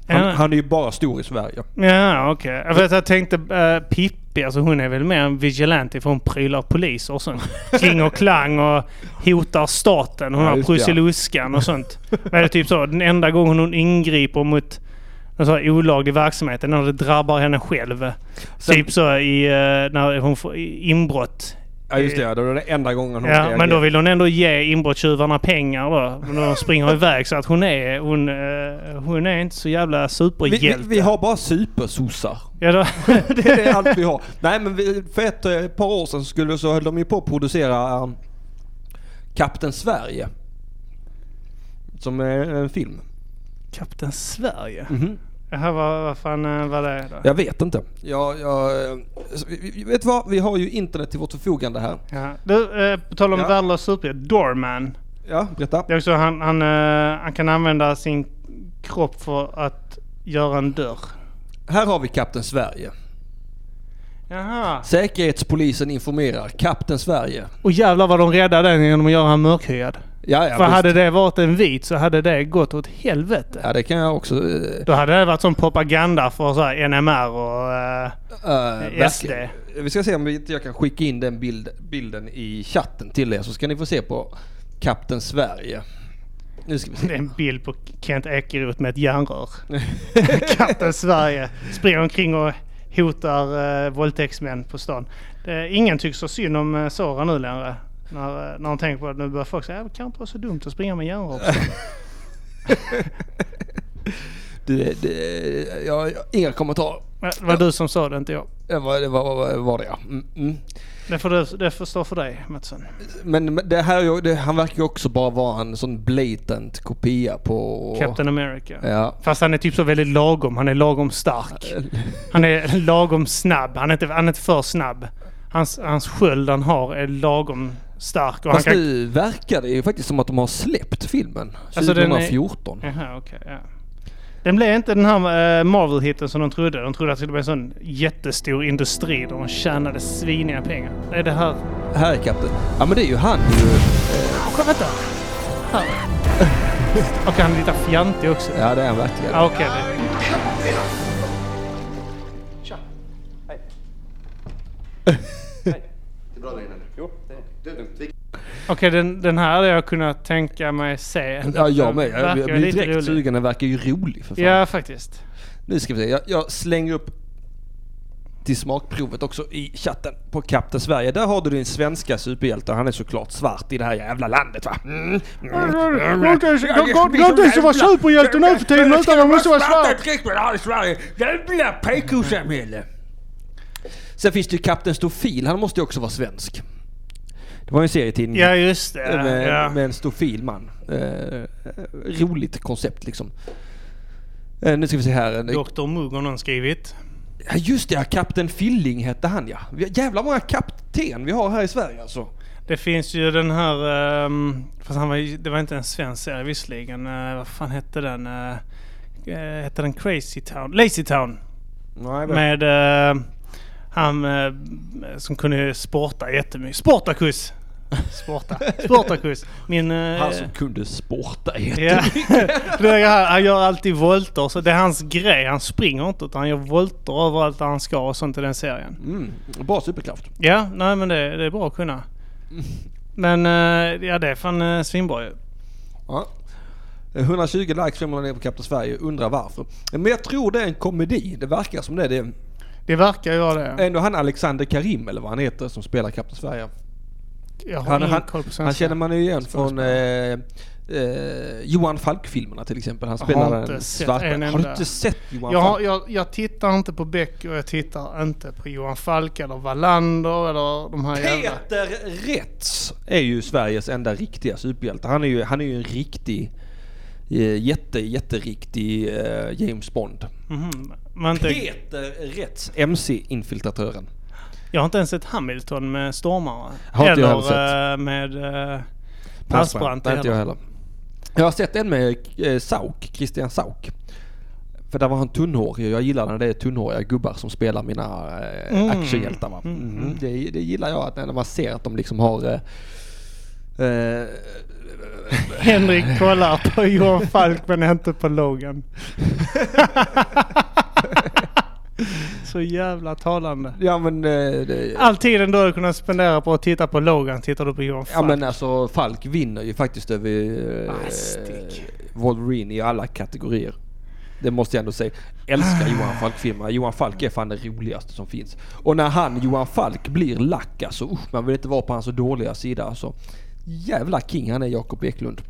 S3: Ja.
S1: Han, han är ju bara stor i Sverige.
S3: Ja, okej. Jag, vet, jag tänkte eh, Pippi, alltså hon är väl mer en vigilante för hon prylar poliser och sånt. Kling och klang och hotar staten. Hon
S1: Ja,
S3: har
S1: just det, ja.
S3: Prussiluskan och sånt. Men det är typ så, den enda gången hon ingriper mot en sån här olaglig verksamhet är när det drabbar henne själv.
S1: Sen-
S3: typ så i, eh, när hon får i- inbrott.
S1: Ja just det, ja. det är den enda gången hon
S3: Ja, men då
S1: agera.
S3: vill hon ändå ge inbrottstjuvarna pengar då. Men de
S1: *laughs*
S3: springer iväg så att hon är, hon, eh, hon är inte så jävla
S1: vi, vi,
S3: superhjälte.
S1: vi har bara supersossar.
S3: Ja, då,
S1: *laughs* Det är allt vi har. Nej men vi, för ett eh, par år sedan skulle, så höll de ju på att producera um, Kapten Sverige. Som är en film.
S3: *laughs* Kapten Sverige?
S1: Mhm.
S3: Jaha, vad, vad fan eh, var det då?
S1: Jag vet inte. Jag, jag, eh, så vi- vi- vet du vad? Vi har ju internet till vårt förfogande här.
S3: Ja. Du, eh, på tal om
S1: Ja.
S3: värdelös superhjälte, Doorman.
S1: Ja, berätta.
S3: Det är också, han, han, eh, han kan använda sin kropp för att göra en dörr.
S1: Här har vi Kapten Sverige.
S3: Jaha.
S1: Säkerhetspolisen informerar Kapten Sverige.
S3: Och jävlar vad de räddade den genom att göra han mörkhyad.
S1: Ja, ja,
S3: För
S1: visst.
S3: hade det varit en vit så hade det gått åt helvete.
S1: ja det kan jag också... eh,
S3: Då hade det varit som propaganda för så här NMR och... eh,
S1: Uh,
S3: SD.
S1: Vi ska se om inte jag kan skicka in den bild, bilden i chatten till er så ska ni få se på Kapten Sverige. Nu ska vi
S3: det
S1: se.
S3: är en bild på Kent Ekeroth med ett järnrör. Katten Sverige springer omkring och hotar eh, våldtäktsmän på stan. Det, ingen tycks så synd om eh, Sara nu längre. När, eh, när hon tänker på att nu börjar folk säga att det kan inte vara så dumt att springa med järnrör. på stan."
S1: Du, eh, det- jag, jag, inga kommentarer.
S3: Men Det var du som sa det, inte jag.
S1: Det var, det var, var, var det ja. Mm, mm.
S3: Det får, du- det får stå för dig Mattsson.
S1: Men men det här, är ju- det, han verkar ju också bara vara en sån blatant kopia på...
S3: Captain America.
S1: Ja.
S3: Fast han är typ så väldigt lagom. Han är lagom stark. Han är lagom snabb. Han är inte, han är inte för snabb. Hans, hans sköld han har är lagom stark. Och han
S1: Fast
S3: kan...
S1: nu verkar det ju faktiskt som att de har släppt filmen.
S3: Alltså, den är-
S1: 2014.
S3: Jaha, okej. ja. Den blev inte den här eh, Marvel-hitten som de trodde. De trodde att det skulle bli en sån jättestor industri där de tjänade sviniga pengar. Nej, det här...
S1: Här är Captain. Ja men det är ju han ju.
S3: Åh, kolla, vänta! Här. Och han är lite fjantig också.
S1: Ja det är han verkligen.
S3: Ja, okej. det- Okej, den, den här hade jag kunnat tänka mig se.
S1: Ja, jag med.
S3: Verkar
S1: Jag, jag blir
S3: lite
S1: direkt
S3: rolig.
S1: sugen. Den verkar ju rolig för fan.
S3: Ja, faktiskt.
S1: Nu ska vi se. Jag, jag slänger upp till smakprovet också i chatten på Kapten Sverige. Där har du din svenska superhjälte. Han är såklart svart i det här jävla landet va? Mm. Mm. Jävla PK-samhälle! Sen finns det ju Kapten Stofil. Han måste ju också vara svensk. Det var ju en serietidning
S3: Ja, just det.
S1: med,
S3: ja.
S1: med en stofil man. Eh, roligt koncept liksom. Eh, nu ska vi se här. Eh,
S3: Dr Mugg har någon skrivit.
S1: Ja, just det, ja, Kapten Filling hette han ja. Vi har Jävla många kapten vi har här i Sverige alltså.
S3: Det finns ju den här... ehm, fast han var, ju- det var inte en svensk serie visserligen. Eh, vad fan hette den? Uh, hette den Crazy Town? Lazy Town!
S1: Nej,
S3: Med eh, han eh, som kunde sporta jättemycket. Sportakus!
S1: *laughs*
S3: Sporta. Sportakus. Min... eh,
S1: Han som kunde
S3: *laughs*
S1: sporta
S3: Ja. *laughs* det är han, han gör alltid volter. Så det är hans grej. Han springer inte utan han gör volter överallt där han ska och sånt i den serien.
S1: mm, Bra superkraft.
S3: Ja, nej men det, det är bra att kunna. Men eh, ja, det är fan eh, svinbra ju.
S1: Ja. 120 likes ramlar ner på Kapten Sverige, undrar varför. Men jag tror det är en komedi, det verkar som det. Det är
S3: Det verkar ju vara det.
S1: ändå han Alexander Karim eller vad han heter som spelar Kapten Sverige.
S3: Jag har
S1: Han,
S3: ingen
S1: han,
S3: koll på svenska.
S1: han känner man ju igen från eh, eh, Johan Falk-filmerna till exempel. Han
S3: Jag har
S1: spelar
S3: inte
S1: den
S3: sett
S1: svarta.
S3: en
S1: har du
S3: enda.
S1: inte sett Johan
S3: jag, har-
S1: Falk?
S3: jag, jag tittar inte på Beck och jag tittar inte på Johan Falk eller Wallander eller de här jävla...
S1: Peter Retz är ju Sveriges enda riktiga superhjälte. Han är ju, han är ju en riktig, eh, jätte, jätteriktig eh, James Bond.
S3: Mhm. Men inte,
S1: Peter Retz, MC-infiltratören.
S3: jag har inte ens sett Hamilton med stormare.
S1: Har inte jag
S3: eller
S1: heller sett.
S3: eh, med eh, Persbrandt
S1: Nej, inte jag heller. Jag har sett en med eh, Sauk, Christian Sauk. För där var han tunnhårig och jag gillar när det är tunnhåriga gubbar som spelar mina eh,
S3: Mm.
S1: actionhjältar. Va? Mm. Det, det gillar jag, att när man ser att de liksom har... Eh, eh,
S3: Henrik kollar på Johan Falk men inte på
S1: *laughs*
S3: Logan. Så jävla talande.
S1: ja men... Eh, det,
S3: All tiden du hade kunnat spendera på att titta på Logan tittar du på Johan Falk.
S1: Ja men alltså Falk vinner ju faktiskt över eh,
S3: Ah, stick.
S1: Wolverine i alla kategorier. Det måste jag ändå säga. Älskar Johan Falk-filmerna. Johan Falk är fan det roligaste som finns. Och när han, Johan Falk, blir lack alltså. Usch, man vill inte vara på hans dåliga sida alltså. Jävla king han är, Jakob Eklund.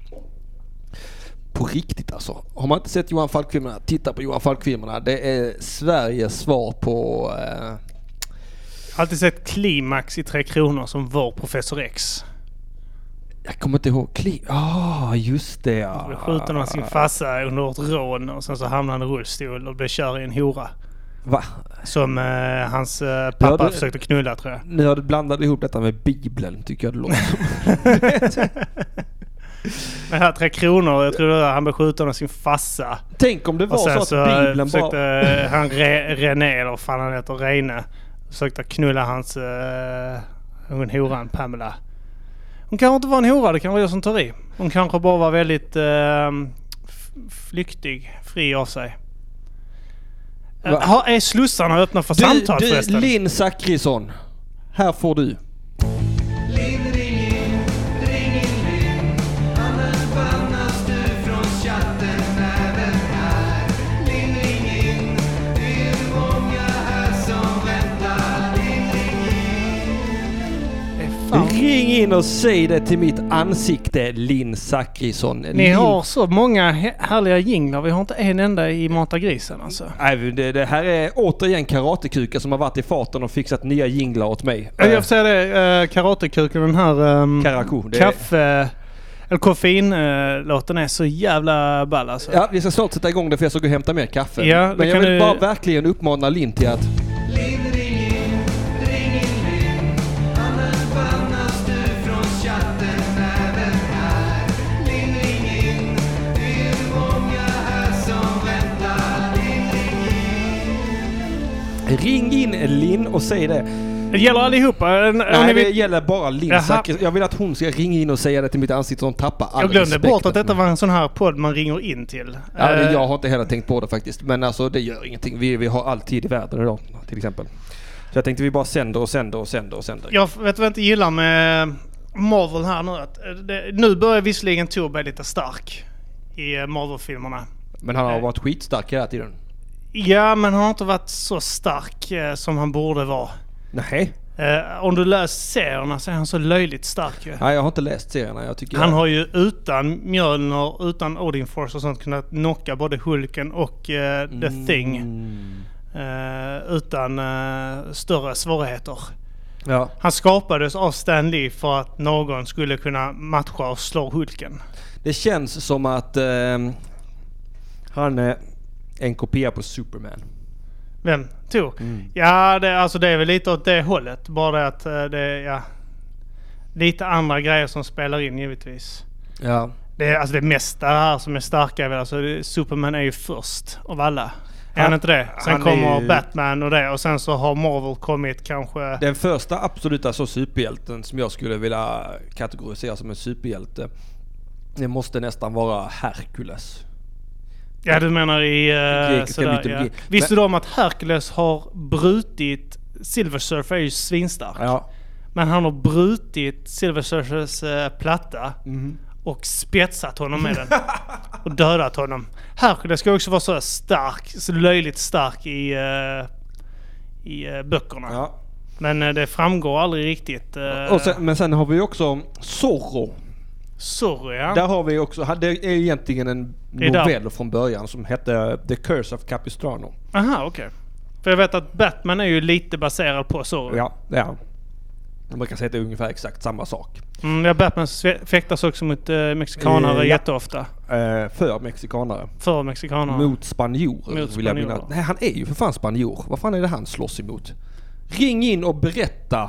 S1: På riktigt alltså. Har man inte sett Johan Falk-filmerna, titta på Johan Falk-filmerna. Det är Sveriges svar på... Eh,
S3: Jag har alltid sett Klimax i Tre Kronor som var Professor X.
S1: jag kommer inte ihåg... Kli- Ah, just det ja.
S3: Då skjuter man sin farsa under ett rån och sen så hamnar han i rullstol och blir kär i en hora.
S1: Va?
S3: Som eh, hans eh, pappa
S1: Ja, det-
S3: försökte knulla tror jag.
S1: Ni har blandat ihop detta med Bibeln tycker jag det låter som.
S3: *laughs* Men här Tre Kronor, jag tror det var han blev skjuten av sin farsa.
S1: Tänk om det var
S3: Och sen
S1: så,
S3: så,
S1: att
S3: eh,
S1: Bibeln
S3: försökte
S1: bara...
S3: eh, han Re, René, eller vad fan han heter, Reine. Försökte knulla hans... Uh, hon horan Pamela. Hon kanske inte var en hora, det kan vara jag som tar i. Hon kanske bara var väldigt eh, f- flyktig, fri av sig. Eh,
S1: Va?
S3: har- är slussarna öppna för samtal
S1: du, du
S3: förresten?
S1: Linn Zachrisson. Här får du.
S3: Det är fan.
S1: Ring in och säg det till mitt ansikte, Linn Zachrisson.
S3: Ni
S1: Linn-
S3: har så många hä- härliga jinglar. Vi har inte en enda i Mata Grisen alltså.
S1: Nej, det, det här är återigen karatekuka som har varit i farten och fixat nya jinglar åt mig.
S3: Jag
S1: Eh,
S3: får säga det, eh, Karatekuken, den här ehm,
S1: Karako. Det är,
S3: kaffe... Eller koffein-låten är så jävla ball alltså.
S1: ja, vi ska snart sätta igång det för jag ska gå och hämta mer kaffe.
S3: Ja, det
S1: Men jag
S3: kan
S1: vill
S3: du-
S1: bara verkligen uppmana Linn till att... Ring in Linn och säg det.
S3: Det gäller allihopa. En- om ni
S1: Nej,
S3: vill-
S1: det gäller bara Linn
S3: Jaha.
S1: Zachrisson. Jag vill att hon ska ringa in och säga det till mitt ansikte så hon tappar all
S3: Jag glömde
S1: respekt
S3: bort att
S1: för
S3: detta
S1: mig.
S3: var en sån här podd man ringer in till.
S1: Ja, det,
S3: Eh,
S1: jag har inte heller tänkt på det faktiskt. Men alltså det gör ingenting. Vi, vi har all tid i världen idag till exempel. Så jag tänkte vi bara sänder och sänder och sänder och sänder.
S3: Jag vet vad jag inte gillar med Marvel här nu. Att eh, det, nu börjar visserligen Thor bli lite stark i eh, Marvel-filmerna.
S1: Men han har varit skitstark hela tiden.
S3: Ja, men han har inte varit så stark eh, som han borde vara.
S1: Nej.
S3: Eh, om du läser serierna så är han så löjligt stark ju.
S1: Nej, jag har inte läst serierna. Jag tycker
S3: Han har ju utan Mjölner, utan Odin Force och sånt kunnat knocka både Hulken och eh, The Thing. Eh, utan eh, större svårigheter.
S1: Ja.
S3: Han skapades av Stan Lee för att någon skulle kunna matcha och slå Hulken.
S1: Det känns som att ehm, han är en kopia på Superman.
S3: Vem? Tor? Ja, det, alltså det är väl lite åt det hållet. Bara det att eh, det är ja, lite andra grejer som spelar in givetvis.
S1: Ja.
S3: Det, är, alltså det mesta här som är starka är väl alltså det- Superman är ju först av alla. Är han
S1: Han-
S3: inte det? Sen
S1: han
S3: kommer
S1: är ju-
S3: Batman och det och sen så har Marvel kommit kanske...
S1: Den första absoluta så superhjälten som jag skulle vilja kategorisera som en superhjälte. Det måste nästan vara Hercules.
S3: Ja, du menar i... eh,
S1: grekiska
S3: sådär,
S1: mytologi.
S3: ja. Visste du om att Hercules har brutit... Silver Surfer är ju svinstark.
S1: Ja.
S3: Men han har brutit Silver Surfers eh, platta
S1: Mhm.
S3: och spetsat honom med den. Och dödat honom. Hercules ska också vara så stark, så löjligt stark i, eh, i eh, böckerna.
S1: ja.
S3: Men eh, det framgår aldrig riktigt. Eh,
S1: Och sen, men sen har vi också Zorro.
S3: Sorry ja.
S1: Där har vi också, det är egentligen en
S3: Det är där.
S1: novell från början som hette The Curse of Capistrano.
S3: Aha, okej. För jag vet att Batman är ju lite baserad på Zorro.
S1: Ja, det är han. Man kan säga att det är ungefär exakt samma sak.
S3: Mm, ja, Batman sve- fäktas också mot eh, mexikanare
S1: Eh, ja.
S3: jätteofta.
S1: Eh, för mexikanare.
S3: För mexikanare.
S1: Mot spanjorer
S3: Mot
S1: vill jag
S3: spanjorer.
S1: minnas. Nej, han är ju för fan spanjor. Vad fan är det han slåss emot? Ring in
S3: *laughs*
S1: och berätta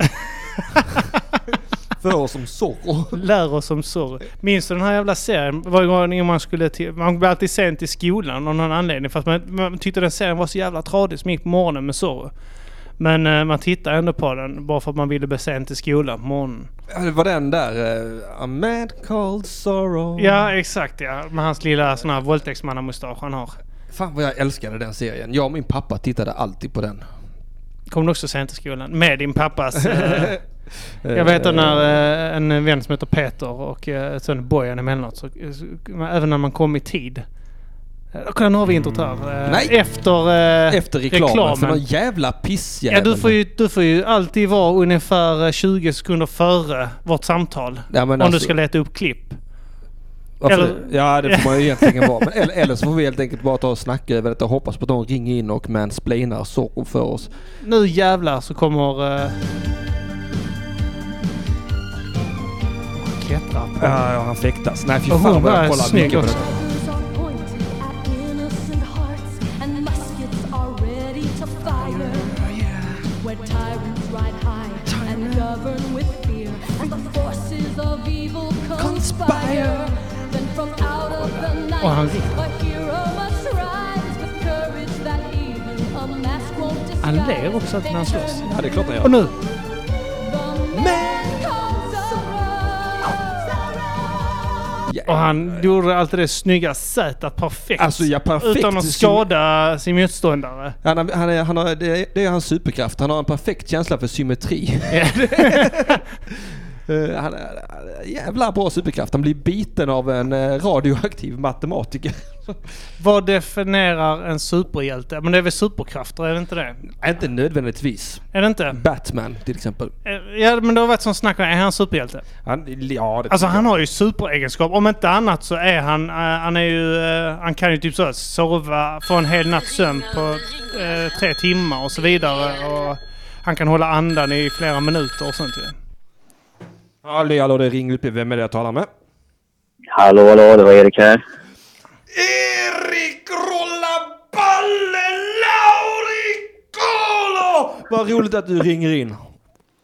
S1: för oss om Zorro.
S3: Lär oss om sorg. Minns du den här jävla serien? Varje gång man skulle till... Man blev alltid sent i skolan av någon anledning. För att man, man tyckte den serien var så jävla tradig som gick på morgonen med sorg. Men eh, man tittade ändå på den bara för att man ville bli sent i skolan på morgonen.
S1: Ja, Det var den där... Eh, A man called Zorro.
S3: Ja, exakt ja. Med hans lilla sån här våldtäktsmannamustasch han har.
S1: Fan vad jag älskade den serien. Jag och min pappa tittade alltid på den.
S3: Kom du också sent till skolan? Med din pappas...
S1: *laughs*
S3: Eh, jag vet att när eh, en vän som heter Peter och eh, sen Bojan emellanåt, så, så, även när man kom i tid. Eh, Kolla, nu har vi introt här. Eh,
S1: Mm. Nej.
S3: Efter, eh,
S1: Efter reklamen, för någon jävla
S3: Ja,
S1: pissjävel.
S3: du får, ju, du får ju alltid vara ungefär eh, 20 sekunder före vårt samtal.
S1: Ja, men
S3: om
S1: alltså-
S3: du ska leta upp klipp.
S1: Varför
S3: eller-
S1: det? Ja, det får man ju
S3: *laughs*
S1: egentligen vara. Men, eller, eller så får vi helt enkelt bara ta och snacka över detta och hoppas på att de ringer in och mansplainar Zorro för oss.
S3: Nu jävlar så kommer... Eh... Klättra på.
S1: Ja, ja, han fäktas. Nej, fy
S3: Och hon
S1: fan vad
S3: var
S1: jag kollar
S3: snygg
S1: mycket på
S3: också.
S1: det.
S2: Guns are pointed at innocent hearts, and muskets are ready to fire. Where tyrants ride high and govern with fear, and the forces of evil conspire. Then from out of the night,
S3: han-
S2: a hero must rise with courage that even a mask won't disguise.
S3: Han ler också alltid när han slåss.
S1: Ja, det är klart han
S3: Och
S1: gör.
S3: nu!
S2: The man called Zorro.
S3: Och
S1: Ja.
S3: han gjorde alltid det snygga sätet perfekt.
S1: Alltså, ja, perfekt.
S3: Utan att skada sin motståndare.
S1: Han, har- han, är, han har, *laughs* det, är, det är hans superkraft. Han har en perfekt känsla för symmetri. Eh, han, han- jävla bra superkraft. Han blir biten av en eh, radioaktiv matematiker.
S3: Vad definierar en superhjälte? Men det är väl superkrafter, är det inte det?
S1: *laughs* Inte nödvändigtvis.
S3: Är det inte?
S1: Batman till exempel.
S3: Eh, Ja, men det har varit som snack om, är han superhjälte?
S1: Han, ja, det
S3: Alltså han har ju superegenskap. Om inte annat så är han, eh, han är ju, eh, han kan ju typ så här sova, få en hel natts sömn på eh, tre timmar och så vidare. Och han kan hålla andan i flera minuter och sånt ju.
S1: Hallå, hallå, det ringer upp. Vem är det jag talar med?
S6: Hallå, hallå, det var Erik här.
S1: Erik Rollaballe Laurikolo! Vad roligt att du ringer in.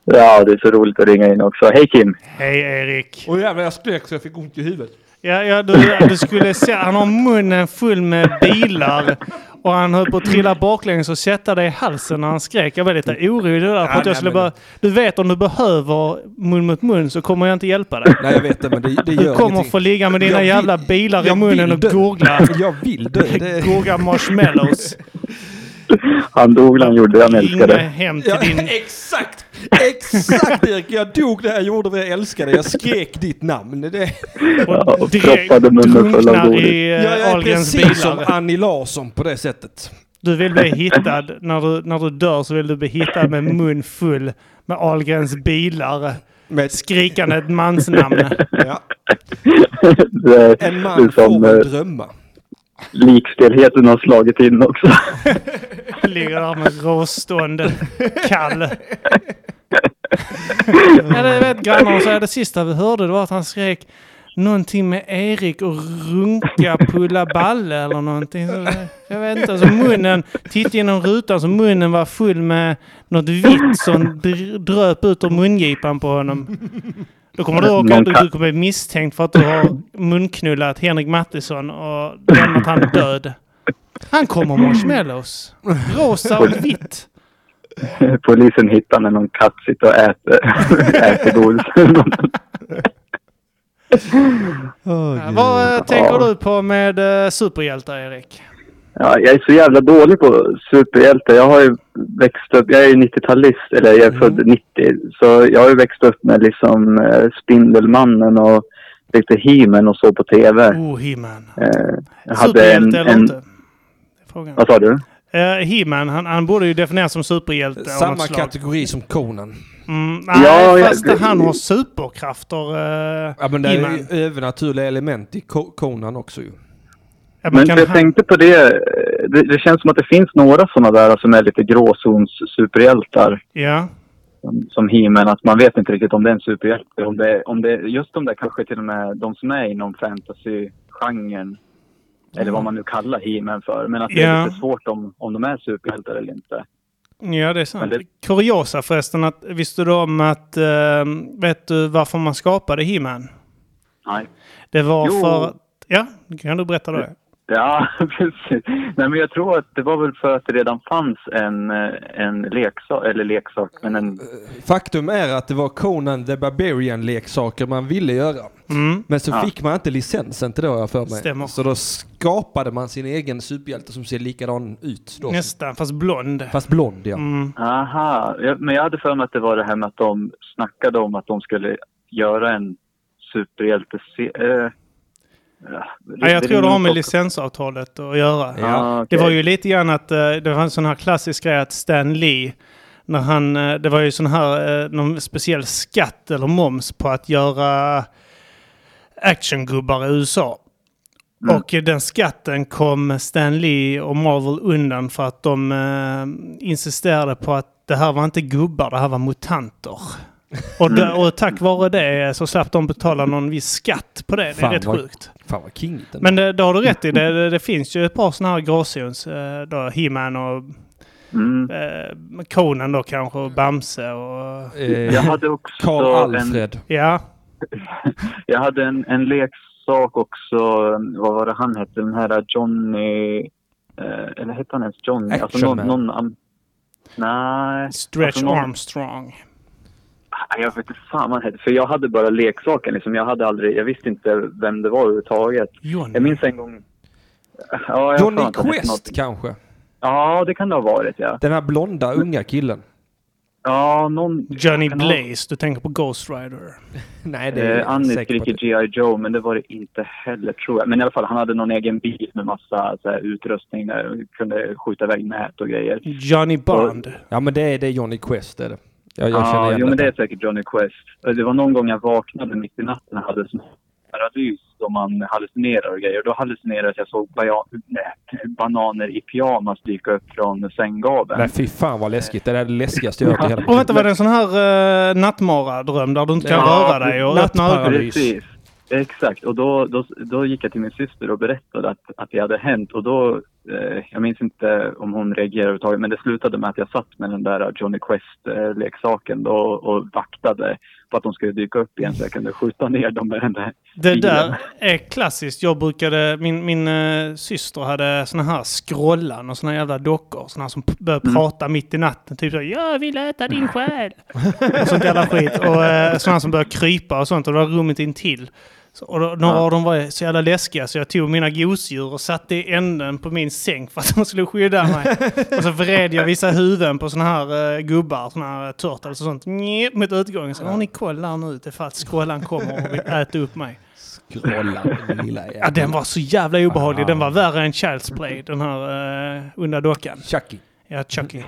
S6: Ja, det är så roligt att ringa in också. Hej Kim!
S3: Hej Erik!
S1: Och jävlar, jag skrek så jag fick ont i huvudet.
S3: Ja, ja du, du skulle se, han har munnen full med bilar. Och han höll på att trilla baklänges och sätta dig i halsen när han skrek. Jag var lite orolig där. För att
S1: nej,
S3: jag skulle
S1: men-
S3: bara, du vet om du behöver mun mot mun så kommer jag inte hjälpa dig.
S1: Nej, jag vet det, men det, det
S3: Du
S1: gör
S3: kommer
S1: ingenting.
S3: få ligga med dina
S1: Jag vill-
S3: jävla bilar i
S1: jag
S3: munnen
S1: vill
S3: och
S1: dö.
S3: googla.
S1: *laughs* Jag vill dö. Det...
S3: Googla marshmallows.
S6: Han dog när han gjorde det, han *laughs* älskar
S3: Ringa
S6: det.
S3: hem till
S1: Ja,
S3: din...
S1: exakt! Exakt Erik! Jag dog när jag gjorde det jag älskade. Jag skrek ditt namn. Det...
S3: Och
S6: och
S3: direkt
S6: proppade munnen full av
S3: drunknar
S6: godis.
S3: i eh,
S1: Jag är
S3: Ahlgrens
S1: precis som
S3: bilar.
S1: Annie Larsson på det sättet.
S3: Du vill bli hittad. När du, när du dör så vill du bli hittad med mun full med Ahlgrens bilar.
S1: Med
S3: Skrikande ett mansnamn.
S1: ja.
S6: *laughs* det är,
S1: En
S6: det
S1: man
S6: är som
S1: får
S6: eh,
S1: en drömma.
S6: likstelheten har slagit in också. *laughs*
S3: Ligger där med råstånd. Kall. Ja, det vet grannarna så det sista vi hörde det var att han skrek någonting med Erik och runka pulla balle eller någonting. Så, det- jag vet inte. Så munnen, titta genom rutan så munnen var full med något vitt som dr- dröp ut ur mungipan på honom. Då kommer du ihåg att
S6: Någon
S3: du,
S6: kan-
S3: du kommer bli misstänkt för att du har munknullat Henrik Mattisson och lämnat han död. Han kommer marshmallows. Rosa och vitt.
S6: Polisen hittar när någon katt sitter och äter, *laughs* äter godis. *laughs*
S3: Ja, Vad eh, tänker du på med eh, superhjältar, Erik?
S6: ja, jag är så jävla dålig på superhjältar. Jag har ju växt upp, jag är ju 90-talist, eller jag är född 90. Så jag har ju växt upp med liksom eh, Spindelmannen och lite He-Man och så på TV.
S3: Oh, He-Man.
S6: Eh, jag hade en,
S3: Superhjälte eller
S6: en,
S3: inte?
S6: Alltså-
S3: Det är Frågan.
S6: vad sa du?
S3: Eh, He-Man, han, han borde ju definieras som superhjälte av något
S1: Samma
S3: slag.
S1: kategori som Conan.
S3: Mm, nej,
S6: Ja, ja,
S3: fast
S6: det-
S3: han har superkrafter, eh,
S1: Ja men det är
S3: He-Man.
S1: ju övernaturliga element i Co- Conan också ju.
S3: Ja,
S6: Men
S3: kan
S6: för jag
S3: han-
S6: tänkte på det, eh, det, det känns som att det finns några sådana där alltså, som är lite gråzons-superhjältar.
S3: Ja.
S6: som- Som He-Man, att man vet inte riktigt om det är en superhjälte. Om det, om det, just de där kanske till och med de som är inom fantasy-genren. Eller vad man nu kallar He-Man för. Men att det
S3: Ja.
S6: är lite svårt om, om de är superhjältar eller inte.
S3: Ja, det är sant.
S6: Men
S3: Kuriosa förresten, att, visste du om att... eh, vet du varför man skapade He-Man?
S6: Nej.
S3: Det var
S6: Jo.
S3: för att... Ja, kan du berätta det?
S6: Ja, *laughs* precis. Nej, men jag tror att det var väl för att det redan fanns en, eh, en leksak, eller leksak, men en...
S1: Faktum är att det var Conan the Barbarian-leksaker man ville göra.
S3: Mm.
S1: Men så
S6: Ja.
S1: fick man inte licensen till det har jag för mig.
S3: Stämmer.
S1: Så då skapade man sin egen superhjälte som ser likadan ut. Då.
S3: Nästan, fast blond.
S1: Fast blond ja.
S3: Mm.
S6: Aha, ja, men jag hade för mig att det var det här med att de snackade om att de skulle göra en superhjälte... Äh,
S3: Ja, jag tror det har med licensavtalet att göra.
S1: Ja.
S3: Det var ju lite grann att eh, det var en sån här klassisk grej att Stan Lee, när han, eh, det var ju sån här, eh, någon speciell skatt eller moms på att göra actiongubbar i USA. Och eh, den skatten kom Stan Lee och Marvel undan för att de eh, insisterade på att det här var inte gubbar, det här var mutanter. *laughs* Och, d- och tack vare det så slapp de betala någon viss skatt på det. Det är
S1: Fan,
S3: rätt
S1: vad-
S3: sjukt.
S1: Fan vad kingigt den
S3: Men det, det har du rätt i. Det, det, det finns ju ett par sådana här gråzons. eh, Då, He-Man och
S6: Mm.
S3: eh, Conan då kanske och Bamse och...
S6: Jag
S1: eh,
S6: hade också
S1: Karl
S6: en,
S1: Alfred.
S3: Ja,
S6: jag hade en, en leksak också, vad var det han hette, den här Johnny... Eh, eller hette han ens Johnny? Alltså,
S1: Action Man.
S6: någon, am- Nej.
S3: Stretch
S6: alltså någon-
S3: Armstrong.
S6: Nej, Jag vet inte fan vad han hette. För jag hade bara leksaken liksom. Jag hade aldrig... Jag visste inte vem det var överhuvudtaget. Jag
S3: Johnny.
S6: minns en gång... Ja, jag har
S1: Mm. Johnny
S6: för mig att han hette
S1: Quest
S6: något.
S1: kanske?
S6: Ja, det kan det ha varit ja.
S1: Den här blonda unga killen.
S6: Ja, någon...
S3: Johnny
S6: Kan ha-
S3: Blaze, du tänker på Ghost Rider.
S1: Nej, det är
S6: Eh,
S1: jag
S6: Annie
S1: inte säker på.
S6: skriker
S1: att det-
S6: G.I. Joe, men det var det inte heller tror jag. Men i alla fall, han hade någon egen bil med massa så här, utrustning där han kunde skjuta iväg nät och grejer.
S1: Mm,
S3: Johnny Bond.
S1: Ja, men det är, det är Johnny Quest är det. Jag, jag känner
S6: Ja,
S1: igen
S6: jo, men det är
S1: detta.
S6: säkert Johnny Quest. Det var någon gång jag vaknade mitt i natten och hade sån här paralys då man hallucinerar och grejer. Då hallucinerade jag att jag såg baja- nej, bananer i pyjamas dyka upp från sänggaveln.
S1: Nej, fy fan vad läskigt. Det där är det läskigaste jag har hört i hela
S3: Och vänta, var det en sån här uh, nattmaradröm där du inte kan
S6: Ja,
S3: röra dig och öppna
S1: nattparalys.
S3: ögonen?
S6: Precis. Exakt. Och då, då, då gick jag till min syster och berättade att, att det hade hänt. Och då, eh, jag minns inte om hon reagerade överhuvudtaget, men det slutade med att jag satt med den där Johnny Quest-leksaken då och vaktade på att de skulle dyka upp igen så jag kunde skjuta ner dem med den där
S3: Det där
S6: bilen.
S3: är klassiskt. Jag brukade, min, min eh, syster hade såna här skrollan och såna jävla dockor. Såna här som p- började prata mitt i natten. Typ så jag vill äta din själ. och sånt jävla skit. Och eh, såna här som började krypa och sånt. Och det var rummet intill. Så, och då, några av dem var så jävla läskiga så jag tog mina gosedjur och satte i änden på min säng för att de skulle skydda mig. och så vred jag vissa huvuden på såna här eh, gubbar, såna här turtles och sånt. Njet, Mot utgången. Så har ni koll här nu ifall skrollan kommer och vill äta upp mig.
S1: Scrolla, lilla jävel.
S3: Ja, den var så jävla obehaglig. Den var värre än Child's Play, den här uh, onda dockan.
S1: Chucky.
S3: Ja, Chucky.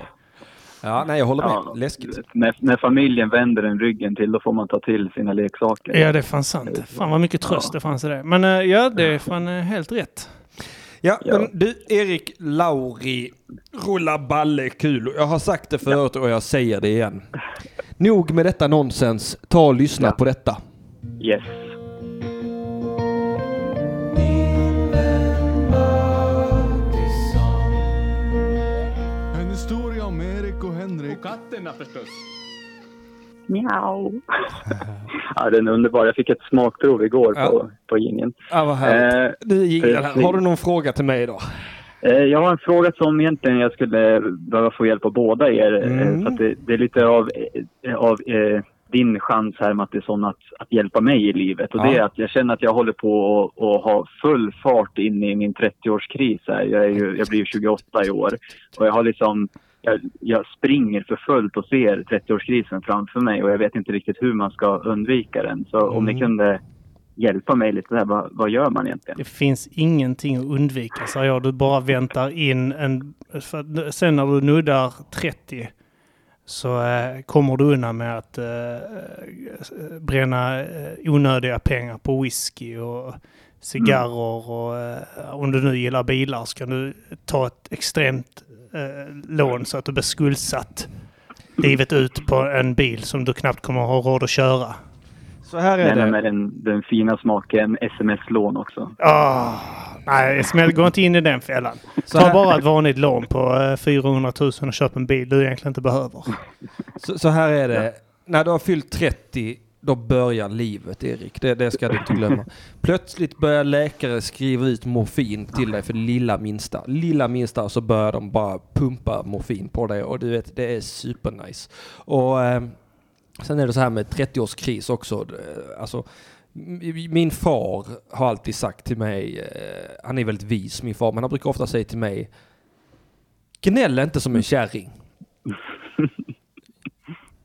S1: Ja, nej, jag håller med.
S6: Ja,
S1: Läskigt.
S6: När, när familjen vänder en ryggen till, då får man ta till sina leksaker.
S3: Ja, det är fan sant. Fan vad mycket tröst det fanns i det. Men eh, ja, det är fan eh, helt rätt.
S1: Ja,
S6: Ja.
S1: men du Erik Lauri, rulla balle kul. Jag har sagt det förut och jag säger det igen. Nog med detta nonsens. Ta och lyssna
S6: Ja.
S1: på detta.
S6: Yes.
S7: En historia om Erik och Henrik. *laughs*
S6: Miau. ja, den är underbar. Jag fick ett smakprov igår
S1: Ja.
S6: på, på gingen.
S1: Ja, vad härligt.
S6: Eh,
S1: Du jinglar här.
S6: precis.
S1: Har du någon fråga till mig idag?
S6: Eh, Jag har en fråga som egentligen jag skulle behöva få hjälp av båda er. eh,
S1: Mm.
S6: Så att det, det är lite av, eh, av eh, din chans här Mattisson att, att hjälpa mig i livet. Och det är
S1: Ja.
S6: att jag känner att jag håller på att- att ha full fart in i min 30-årskris. här. Jag, är ju, jag blir ju 28 i år och jag har liksom jag, jag springer för fullt och ser 30-årskrisen framför mig och jag vet inte riktigt hur man ska undvika den. Så om
S1: Mm.
S6: ni kunde hjälpa mig lite där, vad, vad gör man egentligen?
S3: Det finns ingenting att undvika, säger jag. Du bara väntar in en... För att sen när du nuddar 30 så eh, kommer du undan med att eh, bränna eh, onödiga pengar på whisky och cigarrer och eh, om du nu gillar bilar så kan du ta ett extremt eh, lån så att du blir skuldsatt livet ut på en bil som du knappt kommer att ha råd att köra.
S1: Så här är
S6: Nej, men
S1: det.
S6: med den, den fina smaken sms-lån också.
S3: Ah, nej, smäll, gå inte in i den fällan.
S1: Så
S3: Ta
S1: här-
S3: bara ett vanligt lån på eh, 400 000 och köp en bil du egentligen inte behöver.
S1: Så, så här är det. När du har fyllt 30, då börjar livet Erik. Det, det ska du inte glömma. Plötsligt börjar läkare skriva ut morfin till dig för lilla minsta. Lilla minsta så börjar de bara pumpa morfin på dig och du vet, det är supernice. Och eh, sen är det så här med 30-årskris också. Eh, Alltså, m- min far har alltid sagt till mig, eh, han är väldigt vis min far, men han brukar ofta säga till mig, gnäll inte som en kärring.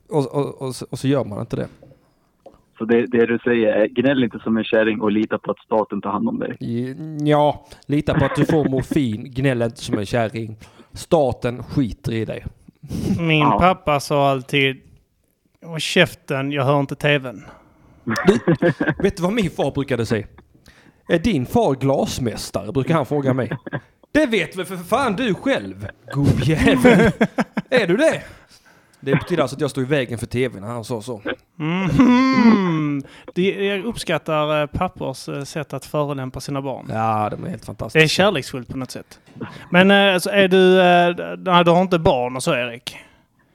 S1: Och, och, och, så- och så gör man inte det.
S6: Så det, det du säger är gnäll inte som en kärring och lita på att staten tar hand om dig.
S1: Ja, lita på att du får morfin, gnäll inte som en kärring. Staten skiter i dig.
S3: Min
S6: Ja.
S3: pappa sa alltid Håll käften, jag hör inte tvn.
S1: Vet du vad min far brukade säga? Är din far glasmästare? Brukar han fråga mig. Det vet väl för fan du själv, gubbjävel. Är du det? Det betyder alltså att jag står i vägen för tvn när han sa så.
S3: Mhm. Det, jag uppskattar eh, pappors eh, sätt att förolämpa sina barn.
S1: Ja, det är helt
S3: Det är
S1: fantastiskt.
S3: kärleksfullt på något sätt. Men eh, alltså, är du... eh, Nej, du har inte barn och så, Erik?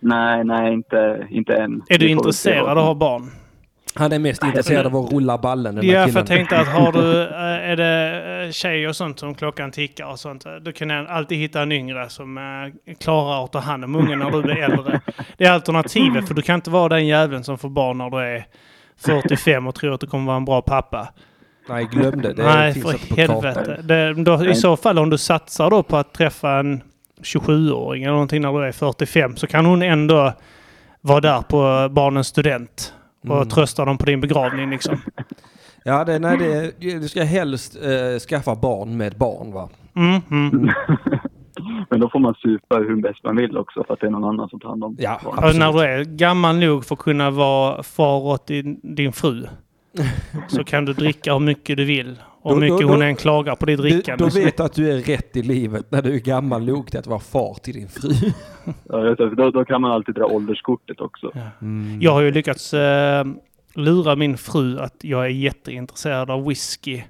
S6: Nej, nej, inte, inte än.
S3: Är du
S6: Vi får väl se
S3: intresserad av
S6: vad-
S3: att ha barn?
S1: Han är mest intresserad av att rulla ballen den
S3: Ja,
S1: där
S3: för jag
S1: killen.
S3: tänkte att har
S1: *laughs*
S3: du, eh, är det eh, tjej och sånt som klockan tickar och sånt, eh, då kan jag alltid hitta en yngre som eh, klarar att ta hand om ungen när du blir äldre. Det är alternativet, för du kan inte vara den jäveln som får barn när du är 45 och tror att du kommer vara en bra pappa.
S1: Nej, glöm det. Det
S3: Nej,
S1: finns inte
S3: för
S1: på kartan.
S3: helvete. Det, då, I så fall om du satsar då på att träffa en 27-åring eller någonting när du är 45 så kan hon ändå var där på barnens student och
S1: Mm.
S3: trösta dem på din begravning liksom.
S1: Ja, det, nej, det, du ska helst eh, skaffa barn med barn va?
S3: Mm, mm.
S6: Men då får man supa hur bäst man vill också för att det är någon annan som tar hand om
S1: Ja,
S6: barnen.
S3: Och
S1: absolut.
S3: när du är gammal nog för att kunna vara far åt din, din
S1: *laughs*
S3: fru så kan du dricka hur mycket du vill. Och
S1: Då-
S3: hur mycket
S1: då-
S3: hon
S1: då-
S3: än klagar på ditt
S1: Du,
S3: drickande.
S1: då vet du att du är rätt i livet när du är gammal nog till att vara far till din fru.
S6: Ja, just det. För Då, då kan man alltid dra ålderskortet också.
S3: Jag har ju lyckats eh, lura min fru att jag är jätteintresserad av whisky.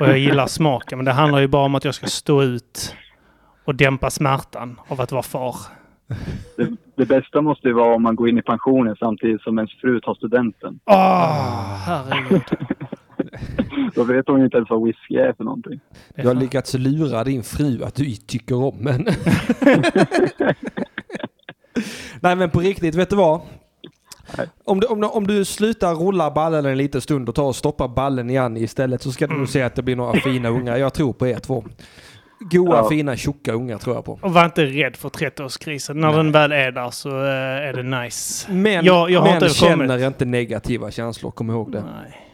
S3: Och jag gillar smaken. Men det handlar ju bara om att jag ska stå ut och dämpa smärtan av att vara far.
S6: Det, det bästa måste ju vara om man går in i pensionen samtidigt som ens fru tar studenten.
S3: Åh, herregud.
S6: Då vet hon ju inte ens vad whisky är för någonting.
S1: Du har lyckats lura din fru att du tycker
S3: *laughs*
S1: om henne. Nej men på riktigt, vet du vad? Om du, om, du, om du slutar rulla ballen en liten stund och tar och stoppar ballen i Annie istället så ska
S3: Mm.
S1: du nog se att det blir några fina ungar. Jag tror på er två. Goa,
S6: Ja.
S1: fina, tjocka ungar tror jag på.
S3: Och var inte rädd för 30-årskrisen. När den väl är där så eh, är det nice.
S1: Men,
S3: Jag- jag har
S1: men
S3: inte överkommit.
S1: känner inte negativa känslor, kom ihåg det.
S3: Nej.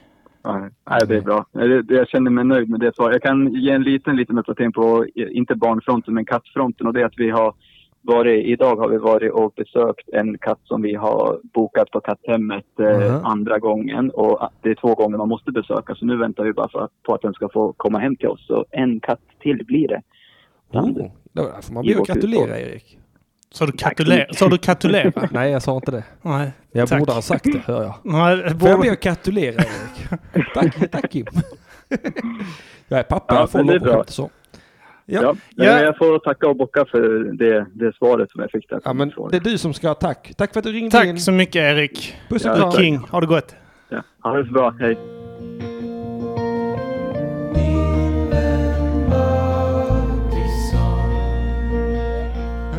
S6: Nej, nej, det är bra. Det- det- Jag känner mig nöjd med det svaret. Jag kan ge en liten, liten uppdatering på, eh, inte barnfronten, men kattfronten. Och det är att vi har varit, idag har vi varit och besökt en katt som vi har bokat på katthemmet eh,
S1: Mhm.
S6: andra gången. Och att det är två gånger man måste besöka, så nu väntar vi bara för, på att den ska få komma hem till oss. Så en katt till blir det.
S1: Oh, då får man bli och gratulera Erik.
S3: Så du katulerar? Så du katulerar?
S1: *laughs* Nej, jag sa inte det.
S3: Nej.
S1: Men Jag
S3: Tack.
S1: borde ha sagt det, hör jag.
S3: Nej,
S1: Får jag
S3: borde...
S1: be och gratulera Erik? *laughs* tack, tack *laughs* Kim. jag är pappa,
S6: Ja,
S1: jag får
S6: men det är
S1: lov att
S6: bra.
S1: skämta så. Ja.
S6: Ja,
S3: Ja.
S6: Jag får tacka och bocka för det, det svaret som jag fick. Där.
S1: Ja, men
S6: Från-
S1: det är du som ska ha tack. Tack för att du ringde in.
S3: Tack så mycket Erik.
S1: Puss
S6: Ja,
S1: och
S3: Du
S1: kram.
S3: är king. Ha det gott.
S6: ja. Ha det så bra, hej.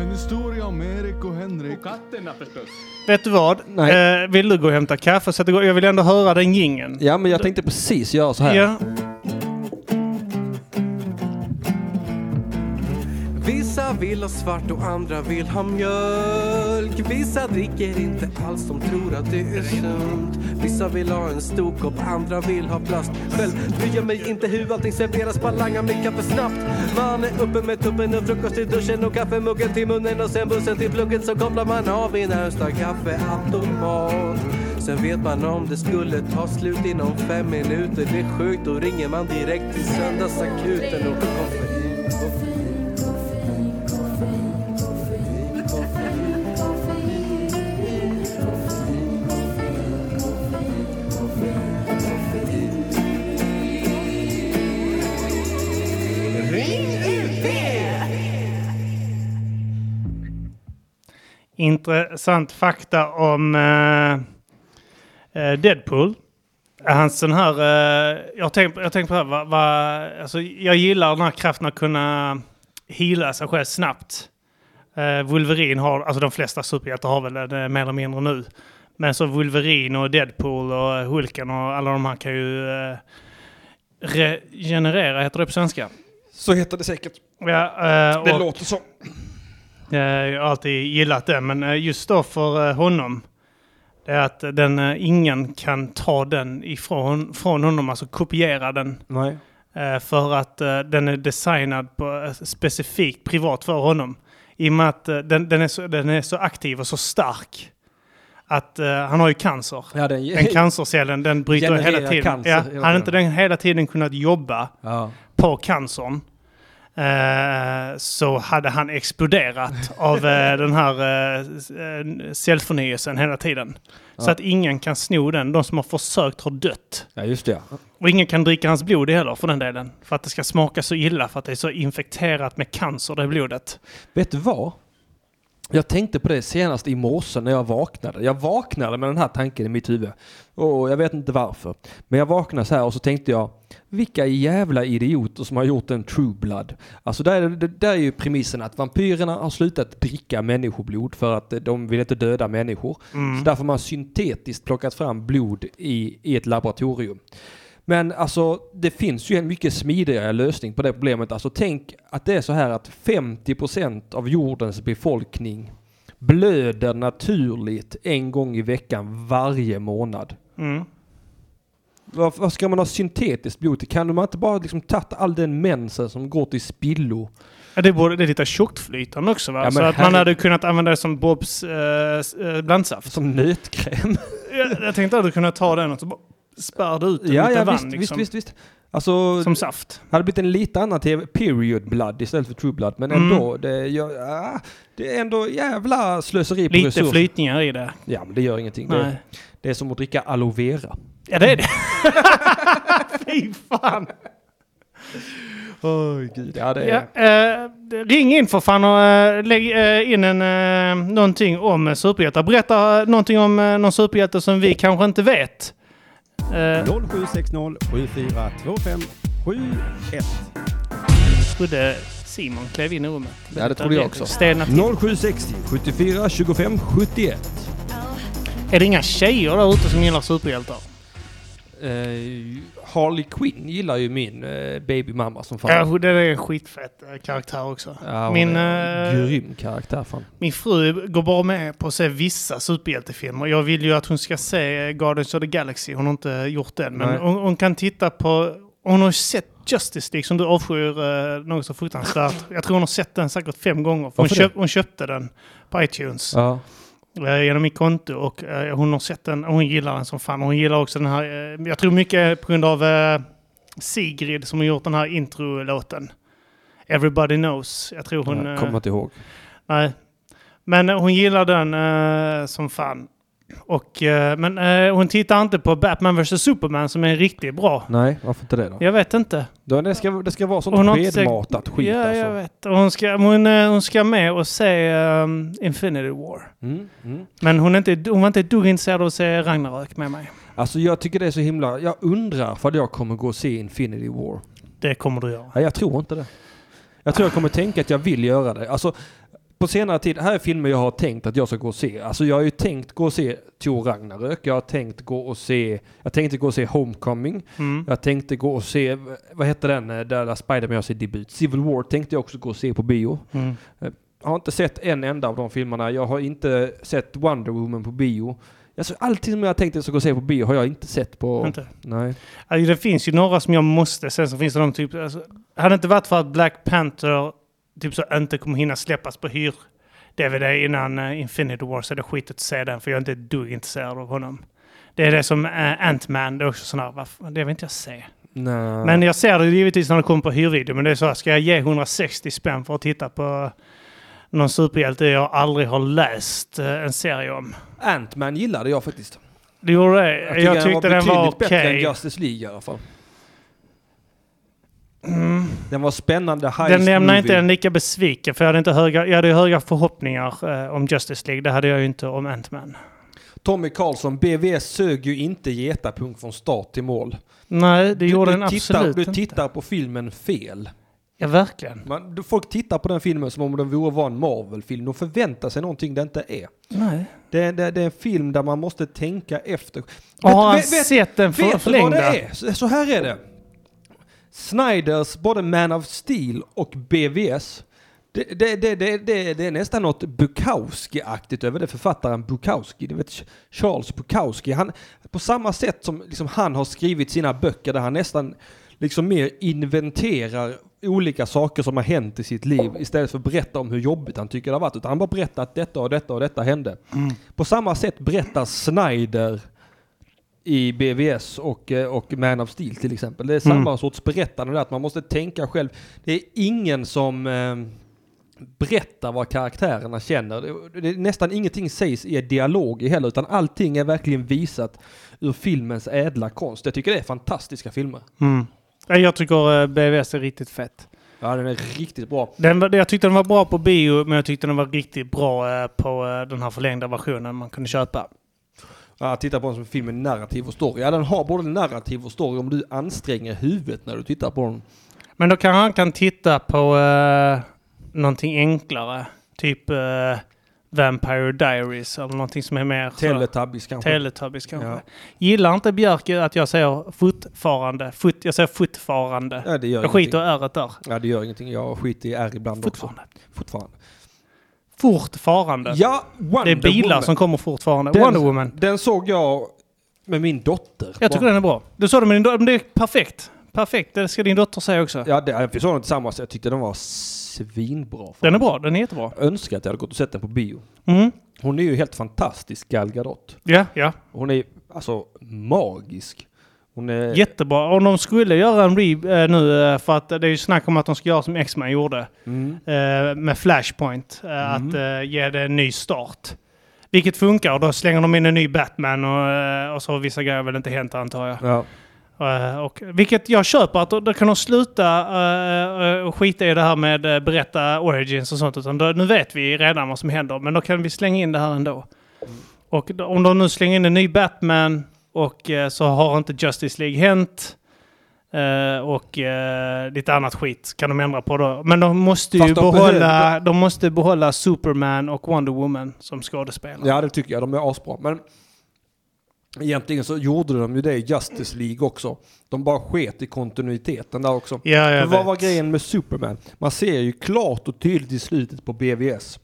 S7: En historia om Erik och Henrik.
S3: Vet du vad?
S1: Nej.
S3: Eh, vill du gå och hämta kaffe? Så att det går... Jag vill ändå höra den gingen.
S1: Ja, men jag tänkte precis göra så här.
S3: Ja.
S8: Vissa vill ha svart och andra vill ha mjölk Vissa dricker inte alls, de tror att det är sunt Vissa vill ha en stor kopp, andra vill ha plast Själv bryr jag mig inte hur allting serveras, bara langar mitt kaffe snabbt Man är uppe med tuppen och frukost i duschen och kaffemuggen till munnen och sen bussen till plugget så kopplar man av i närmsta kaffeautomat Sen vet man om det skulle ta slut inom fem minuter Det är sjukt, då ringer man direkt till söndagsakuten och koffein, koffein, koffein, koffein, koffein, koffein, koffein, koffein, koffein, koffein, koffein, koffein.
S3: Intressant fakta om eh, eh, Deadpool. Hans den här, eh, jag har tänkt, jag har tänkt på det här, va, va, alltså, jag gillar den här kraften att kunna heala sig själv snabbt. Eh, Wolverine har, alltså de flesta superhjältar har väl det eh, mer eller mindre nu. Men så Wolverine och Deadpool och eh, Hulken och alla de här kan ju eh, regenerera, heter det på svenska?
S1: Så heter det säkert.
S3: Ja, eh,
S1: Det
S3: och-
S1: låter så.
S3: Eh, Jag har alltid gillat det, men eh, just då för eh, honom. Det är att den, eh, ingen kan ta den ifrån från honom, alltså kopiera den.
S1: Nej.
S3: eh, För att eh, den är designad på, eh, specifikt privat för honom. I och med att eh, den, den, är så, den är så aktiv och så stark. Att eh, han har ju cancer.
S1: Ja, den,
S3: Den cancercellen den bryter
S1: Genererar
S3: hela tiden.
S1: cancer
S3: ja,
S1: hela
S3: han har
S1: tiden.
S3: inte den hela tiden kunnat jobba
S1: ja.
S3: på cancern eh, så hade han exploderat av
S1: *laughs*
S3: eh, den här eh, s- eh, cellförnyelsen hela tiden. Så att ingen kan sno den. De som har försökt har dött.
S1: ja, just det. ja.
S3: Och ingen kan dricka hans blod heller för den delen. För att det ska smaka så illa för att det är så infekterat med cancer det blodet.
S1: Vet du vad? Jag tänkte på det senast i morse när jag vaknade. Jag vaknade med den här tanken i mitt huvud. Och jag vet inte varför. Men jag vaknade så här och så tänkte jag, vilka jävla idioter som har gjort en true blood. Alltså där, är det- där är ju premissen att vampyrerna har slutat dricka människoblod för att eh, de vill inte döda människor. Så därför har man syntetiskt plockat fram blod i, i ett laboratorium. Men alltså, det finns ju en mycket smidigare lösning på det problemet. Alltså tänk att det är så här att 50% av jordens befolkning blöder naturligt en gång i veckan varje månad.
S3: Mm.
S1: Var- Varför ska man ha syntetiskt blod till? Kan man inte bara liksom tagit all den mensen som går till spillo?
S3: Ja, det, borde, det är lite tjockflytande också va?
S1: Ja, men
S3: så att
S1: herre-
S3: man hade kunnat använda det som Bobs eh, s- eh, blandsaft.
S1: Som nötkräm?
S3: Jag, jag tänkte att du kunde ta den och så bara spärrade ut den
S1: ja,
S3: lite
S1: ja
S3: vann
S1: visst, visst,
S3: liksom.
S1: visst, visst. Alltså,
S3: Som saft.
S1: hade blivit en lite annan tv. Period blood istället för true blood. Men
S3: Mm.
S1: ändå, det, gör, ah, det är ändå jävla slöseri på
S3: Lite
S1: resurser.
S3: flytningar i det.
S1: Ja, men det gör ingenting. Det,
S3: Nej.
S1: det är som att dricka aloe vera.
S3: Ja, det är det.
S1: Mm.
S3: *laughs*
S1: *laughs*
S3: Fy fan.
S1: Oj, gud. Ja, det är...
S3: Ja, eh, ring in för fan och eh, lägg eh, in en, eh, någonting om eh, superhjältar. Berätta eh, någonting om eh, någon superhjälte som vi kanske inte vet. Eh,
S9: 0760 7425 71.
S3: trodde Simon klev in i rummet.
S1: Ja, det trodde jag också.
S3: Stelna till.
S1: 0760 74 25 71.
S3: Är det inga tjejer där ute som gillar superhjältar?
S1: Eh, Harley Quinn gillar ju min eh, babymamma som fan.
S3: Ja, hon- det är en skitfett eh, karaktär också.
S1: Ja, hon
S3: min,
S1: är en
S3: eh,
S1: grym karaktär fan.
S3: min fru går bara med på att se vissa superhjältefilmer. Jag vill ju att hon ska se eh, Guardians of the Galaxy. Hon har inte gjort den. Men
S1: Nej.
S3: hon, hon kan titta på... Hon har ju sett Justice League som du avskyr eh, något så
S1: *laughs*
S3: fruktansvärt. Jag tror hon har sett den säkert fem gånger. För hon,
S1: Varför
S3: köp, hon köpte den på iTunes.
S1: Ja.
S3: eh, genom mitt konto och eh, hon har sett den och hon gillar den som fan. Hon gillar också den här, eh, jag tror mycket på grund av eh, Sigrid som har gjort den här introlåten. Everybody knows. Jag tror hon...
S1: jag
S3: eh,
S1: kommer inte ihåg.
S3: nej. Men eh, hon gillar den eh, som fan. Och, eh, men eh, hon tittar inte på Batman vs Superman som är riktigt bra.
S1: Nej, varför inte det då?
S3: Jag vet inte.
S1: Då, det, ska, det ska vara
S3: Hon har
S1: sånt
S3: inte
S1: skedmatat skit
S3: ja,
S1: alltså.
S3: jag vet. Och Hon ska, hon, eh, hon ska med och se eh, Infinity War.
S1: Mm, mm.
S3: Men hon, är inte, hon var inte ett dugg intresserad av att se Ragnarök med mig.
S1: Alltså jag tycker det är så himla... Jag undrar för jag kommer gå och se Infinity War.
S3: Det kommer du göra.
S1: Nej, jag tror inte det. Jag tror jag kommer tänka att jag vill göra det. Alltså, på senare tid, här är filmer jag har tänkt att jag ska gå och se. Alltså jag har ju tänkt gå och se Thor Ragnarök. Jag har tänkt gå och se... Jag tänkte gå och se Homecoming.
S3: Mm.
S1: Jag tänkte gå och se... Vad hette den eh, där där Spider-Man gör sin debut? Civil War tänkte jag också gå och se på bio.
S3: Mm.
S1: Jag har inte sett en enda av de filmerna. Jag har inte sett Wonder Woman på bio. Alltså, allting som jag tänkte att jag ska gå och se på bio har jag inte sett på...
S3: Inte.
S1: Nej.
S3: Alltså, det finns ju några som jag måste, sen så finns det de typ... Alltså, hade det inte varit för att Black Panther typ så inte kommer hinna släppas på hyr DVD innan eh, Infinity War så är det skit att se den för jag är inte ett dugg intresserad av honom. Det är det som uh, Ant-Man, det är också sån här, varför, det vill inte jag se.
S1: Nej.
S3: Men jag ser det givetvis när det kommer på hyrvideo, men det är så här, ska jag ge 160 spänn för att titta på någon superhjälte jag aldrig har läst eh, en serie om?
S1: Ant-Man gillade jag faktiskt.
S3: Du gjorde det? Jag,
S1: tycker
S3: tyckte den var,
S1: betydligt
S3: okej.
S1: bättre än Justice League i alla fall. Den var spännande. Heist
S3: Mm. Den lämnar
S1: movie.
S3: inte en lika besviken, för jag hade, inte höga, jag hade ju höga förhoppningar eh, om Justice League. Det hade jag ju inte om Ant-Man.
S1: Tommy Karlsson, BVS sög ju inte getapunk från start till mål.
S3: Nej, det gjorde
S1: du,
S3: den
S1: tittar,
S3: absolut
S1: du
S3: inte.
S1: tittar på filmen fel.
S3: Ja, verkligen.
S1: Man, du- folk tittar på den filmen som om den vore var en Marvel-film. De förväntar sig någonting det inte är.
S3: Nej.
S1: Det, är- det, det är en film där man måste tänka efter.
S3: Och har han
S1: Vet- vet-
S3: sett den för,
S1: Vet du vad
S3: förlängda?
S1: det är? Så- Så här är det. Snyders, både Man of Steel och BVS. Det, det, det, det, det, det är nästan något Bukowski-aktigt över det. Författaren Bukowski, du vet Charles Bukowski. Han, på samma sätt som liksom han har skrivit sina böcker där han nästan liksom mer inventerar olika saker som har hänt i sitt liv istället för att berätta om hur jobbigt han tycker det har varit. Utan han bara berättar att detta och detta och detta hände. På samma sätt berättar Snyder i BVS och, eh, och Man of Steel till exempel. Det är samma sorts berättande där, att man måste tänka själv. Det är ingen som eh, berättar vad karaktärerna känner. Det, det, är nästan ingenting sägs i dialog heller, utan allting är verkligen visat ur filmens ädla konst. Jag tycker det är fantastiska filmer.
S3: Mm. Ja, Jag tycker eh, BVS är riktigt fett.
S1: Ja, den är riktigt bra.
S3: Den, var- jag tyckte den var bra på bio, men jag tyckte den var riktigt bra eh, på eh, den här förlängda versionen man kunde köpa.
S1: Ja, titta på den som en film med narrativ och story. Ja, den har både narrativ och story om du anstränger huvudet när du tittar på den.
S3: Men då kan han kan titta på uh, någonting enklare. Typ eh, Vampire Diaries eller någonting som är mer... så-
S1: Teletubbies kanske.
S3: Teletubbies kanske.
S1: Ja.
S3: Gillar inte Björk att jag säger fortfarande? Fot, jag säger fortfarande.
S1: ja, det gör
S3: jag
S1: ingenting.
S3: skiter i r där.
S1: Ja, det gör ingenting. Jag skiter i R ibland också.
S3: Fortfarande.
S1: Fortfarande.
S3: fortfarande.
S1: Ja, Wonder
S3: det är bilar
S1: Woman.
S3: som kommer fortfarande.
S1: Den-
S3: Wonder Woman.
S1: Den såg jag med min dotter.
S3: Jag tycker den är bra. Du sa det med din dotter. Men det är perfekt. Perfekt. Det ska din dotter säga också.
S1: Ja, det, vi såg den tillsammans. Jag tyckte den var svinbra.
S3: Den är bra. Den är jättebra.
S1: Jag önskar att jag hade gått och sett den på bio.
S3: Mm.
S1: Hon är ju helt fantastisk, Gal Gadot.
S3: Ja, ja.
S1: Hon är alltså magisk. Hon är...
S3: Jättebra. Om de skulle göra en re eh, nu, eh, för att det är ju snack om att de ska göra som X-Man gjorde. Eh, med Flashpoint. Eh, Att eh, ge det en ny start. Vilket funkar. Och då slänger de in en ny Batman och, eh, och så har vissa grejer väl inte hänt antar jag.
S1: Ja.
S3: Eh, Och, vilket jag köper, att då, då kan de sluta eh, eh, och skita i det här med eh, berätta origins och sånt. Utan då, nu vet vi redan vad som händer, men då kan vi slänga in det här ändå. Och då, om de nu slänger in en ny Batman och eh, så har inte Justice League hänt eh, och eh, lite annat skit kan de ändra på då. Men de måste ju
S1: Fast de
S3: behålla,
S1: behöver-
S3: de måste behålla Superman och Wonder Woman som skådespelare.
S1: ja, det tycker jag. De är asbra. Men egentligen så gjorde de ju det i Justice League också. De bara sket i kontinuiteten där också.
S3: Ja, jag
S1: För vad
S3: vet.
S1: var grejen med Superman? Man ser ju klart och tydligt i slutet på BVS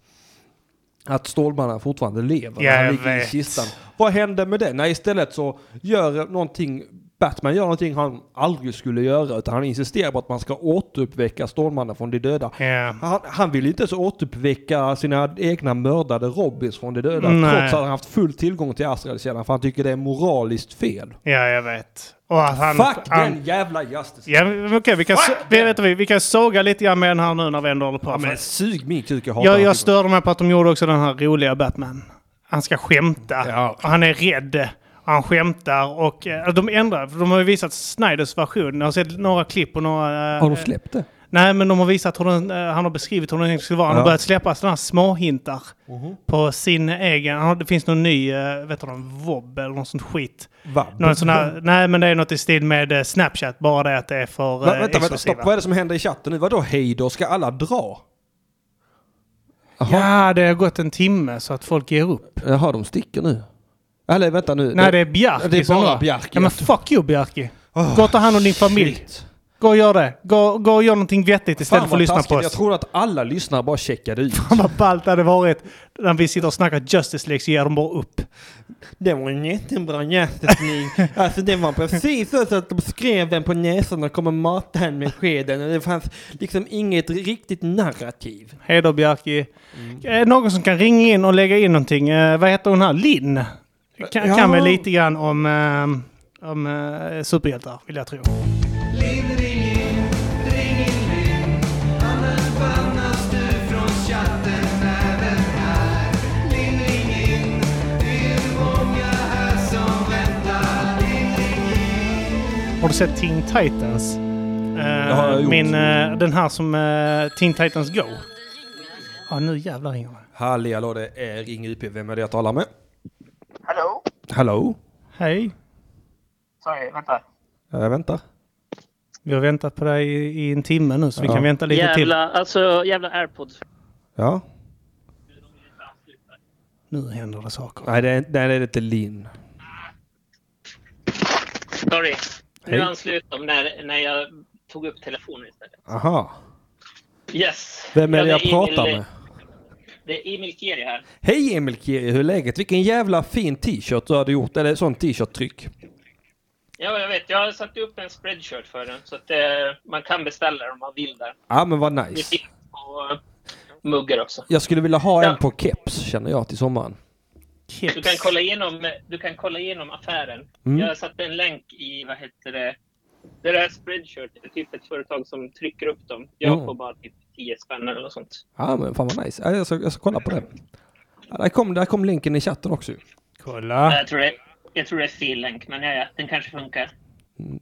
S1: att Stålmannen fortfarande lever.
S3: Ja,
S1: när han
S3: jag
S1: ligger i
S3: vet.
S1: kistan. Vad hände med det? Nej, istället så gör någonting Batman gör någonting han aldrig skulle göra utan han insisterar på att man ska återuppväcka Stålmannen från de döda.
S3: Ja.
S1: Han, han vill inte ens återuppväcka sina egna mördade Robins från de döda
S3: Nej.
S1: trots att han haft full tillgång till Azrael-källan för han tycker det är moraliskt fel.
S3: ja, jag vet. Och att han,
S1: Fuck
S3: han,
S1: den jävla Justice!
S3: Ja, men okej, vi, kan, vi, vet, vi, vi kan såga lite grann med den här nu när vi ändå håller på.
S1: Ja,
S3: För-
S1: men sug min kuk, jag hatar
S3: jag, jag
S1: den filmen.
S3: störde mig på att de gjorde också den här roliga Batman. Han ska skämta.
S1: Ja.
S3: Och han är rädd. Och han skämtar. Och eh, de ändrar. För de har ju visat Snyders version. Jag har sett några klipp och några... eh,
S1: Har de släppt det?
S3: Nej, men de har visat hur den, eh, han har beskrivit hur den egentligen skulle vara. Han har
S1: Ja. Mhm.
S3: börjat släppa sådana här små hintar på sin egen... Han har, det finns någon ny, eh, vet du, någon vobb eller något sånt skit.
S1: Va?
S3: Någon sån här, nej, men det är något i stil med eh, Snapchat. Bara det att det är för
S1: Va,
S3: eh,
S1: vänta, vänta,
S3: exklusiva.
S1: stopp. Vad är det som händer i chatten nu? Vadå hej då? Ska alla dra? Jaha,
S3: Ja, det har gått en timme så att folk ger upp.
S1: Jaha Eh, de sticker nu. Eller vänta nu. Eh,
S3: Nej, det är Bjarki
S1: det är
S3: som
S1: bara
S3: drar.
S1: Bjarki.
S3: Ja, men fuck you Bjarki.
S1: Åh,
S3: Gå och ta hand om din familj.
S1: Shit.
S3: Gå och gör det. Gå, gå och gör någonting vettigt istället
S1: Fan
S3: för att
S1: vad
S3: lyssna
S1: taskigt.
S3: på
S1: Jag
S3: oss.
S1: trodde att alla lyssnare bara checkade ut.
S3: Fan *laughs* vad ballt det hade varit när vi sitter och snackar Justice League så ger de bara upp.
S1: Det var en jättebra jättesnig. *laughs* Alltså det var precis så att de skrev den på näsan och kommer mata henne med skeden. Och det fanns liksom inget riktigt narrativ.
S3: Hej då Bjarki.
S1: Mm.
S3: Eh, Någon som kan ringa in och lägga in någonting. Eh, vad heter hon här? Linn? Kan,
S1: Ja.
S3: kan väl lite grann om, eh, om eh, superhjältar, vill jag tro. Har du sett Teen Titans? Eh,
S1: har jag gjort.
S3: min, eh, den här som eh, Teen Titans Go. Ja, nu jävlar ringer det.
S1: Halli hallå, det är Ring UP. Vem är det jag talar med? Hallå? Hallå?
S3: Hej.
S1: Jag väntar.
S3: Vi har väntat på dig i, i en timme nu så vi kan vänta lite till.
S10: Jävla, alltså jävla airpods.
S1: Ja.
S3: Nu händer det saker.
S1: Nej, det är, nej, det är inte Linn.
S10: Sorry.
S1: Hej.
S10: Nu anslöt de när, när jag tog upp telefonen istället.
S1: Aha.
S10: Yes.
S1: Vem är
S10: Ja,
S1: det jag pratar
S10: Emil,
S1: med?
S10: Det är Emil Keri här.
S1: Hej Emil Kiri, hur är läget? Vilken jävla fin t-shirt du hade gjort. Eller sån t-shirt-tryck.
S10: Ja, jag vet. Jag har satt upp en spreadshirt för den så att eh, man kan beställa om man vill där.
S1: Ja, men vad
S10: Det
S1: nice.
S10: finns på eh, muggar också.
S1: Jag skulle vilja ha
S10: Ja.
S1: en på keps, känner jag, till sommaren.
S10: Du kan kolla igenom, du kan kolla igenom affären.
S1: Mm.
S10: Jag satte en länk i, vad heter det, det där spreadshirt. Det är typ ett företag som trycker upp dem. Jag
S1: Mm.
S10: får bara typ 10 spänn eller något sånt.
S1: Ja, men fan vad nice. Ja, Jag ska, jag ska kolla på det. Ja, där, kom, där kom länken i chatten också. ju.
S3: Kolla.
S10: Jag tror det, jag tror det är fel länk, men ja, ja, den kanske funkar.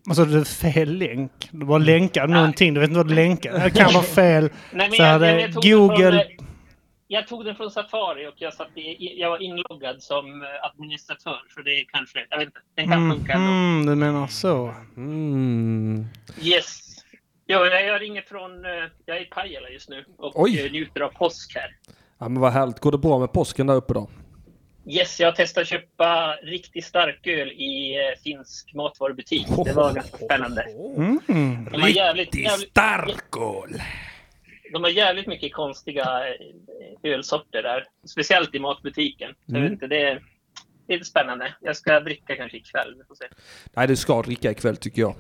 S3: Alltså det är fel länk. Du bara länkar någonting. Du vet inte vad du länkar. Det kan vara fel.
S10: Nej, men
S3: Så
S10: jag,
S3: hade
S10: jag, jag tog Den
S3: Google-
S10: från, eh, jag tog den från Safari och jag, satt i, jag var inloggad som eh, administratör. Så det är kanske, jag vet inte, den kan funka ändå.
S3: Mm, du menar så.
S1: Mm.
S10: Yes. Ja, jag, jag ringer från, eh, jag är i Pajala just nu och
S1: Oj.
S10: eh, njuter av påsk här.
S1: Ja, men vad härligt. Går det bra med påsken där uppe då?
S10: Yes, jag testade köpa riktigt stark öl i eh, finsk matvarubutik. Det var ganska spännande.
S3: Mm.
S10: De har jävligt, jävligt,
S1: starköl!
S10: de har jävligt mycket konstiga eh, ölsorter där. Speciellt i matbutiken. Så jag
S1: Mm.
S10: vet inte, det, är, det är lite spännande. Jag ska dricka kanske ikväll. Vi får se.
S1: Nej, du ska dricka ikväll tycker jag.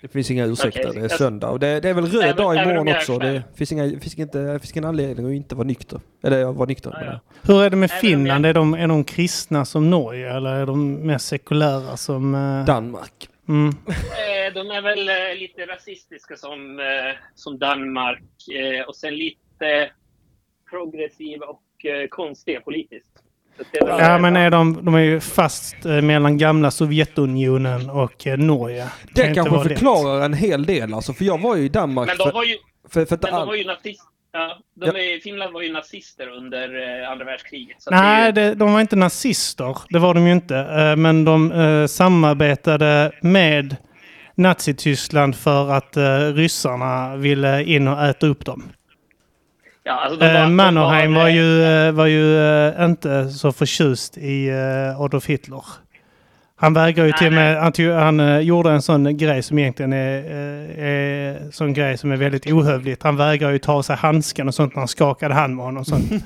S1: Det finns inga ursäkter.
S10: Okej.
S1: Det är söndag och det, det är väl röd
S10: Även-
S1: dag
S10: även om
S1: imorgon
S10: jag är
S1: också.
S10: kväll.
S1: Det finns, inga, finns, inte, finns ingen anledning att inte vara nykter. Eller jag var nykter. menar jag.
S3: Hur är det med Finland? Är de, är de kristna som Norge eller är de mer sekulära som... eh,
S1: Danmark.
S3: Mm.
S10: Eh, De är väl eh, lite rasistiska som, eh, som Danmark eh, och sen lite progressiva och eh, konstiga politiskt. Så att det är väl-
S3: Ja, men är de, de är ju fast eh, mellan gamla Sovjetunionen och eh, Norge.
S1: Det
S3: kan inte
S1: kanske
S3: vara lätt.
S1: förklarar en hel del alltså. För jag var ju i Danmark.
S10: Men de
S1: för-
S10: var ju,
S1: för, för att
S10: men de
S1: all-
S10: var ju nazister. Ja, de
S1: Ja.
S10: är, Finland var ju nazister under eh, andra världskriget. Så att
S3: Nej, det, de var inte nazister. Det var de ju inte. Eh, Men de eh, samarbetade med Nazityskland för att eh, ryssarna ville in och äta upp dem.
S10: Ja, alltså de var-
S3: Eh,
S10: de
S3: Mannerheim
S10: var-
S3: var ju, eh, var ju eh, inte så förtjust i eh, Adolf Hitler. Han vägrar ju till och med, han, tog, han eh, gjorde en sån grej som egentligen är, eh, är sån grej som är väldigt ohövligt. Han vägrar ju ta av sig handsken och sånt när han skakade hand med honom och
S10: *laughs*
S3: sånt. Eh,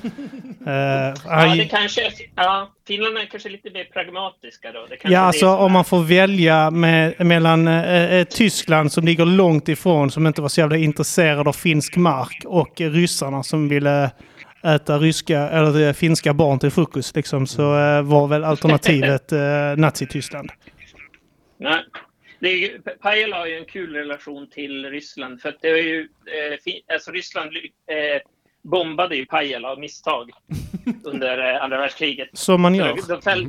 S3: han,
S10: Ja, det kanske, ja, Finland är kanske lite mer pragmatiska då. Det kanske
S3: Ja,
S10: det är
S3: alltså
S10: som-
S3: om man får välja med, mellan eh, eh, Tyskland som ligger långt ifrån, som inte var så jävla intresserad av finsk mark, och eh, ryssarna som ville eh, äta ryska, eller, eh, finska barn till frukost, liksom, så eh, var väl
S10: *laughs*
S3: alternativet eh, Nazityskland.
S10: Nej. Det är, ju- P- Pajala har ju en kul relation till Ryssland. För att det är ju, eh, fi- alltså Ryssland ly- eh, bombade ju Pajala
S3: *laughs*
S10: av misstag under eh, andra världskriget.
S3: Som man gör. Mhm.
S10: Så De fäll,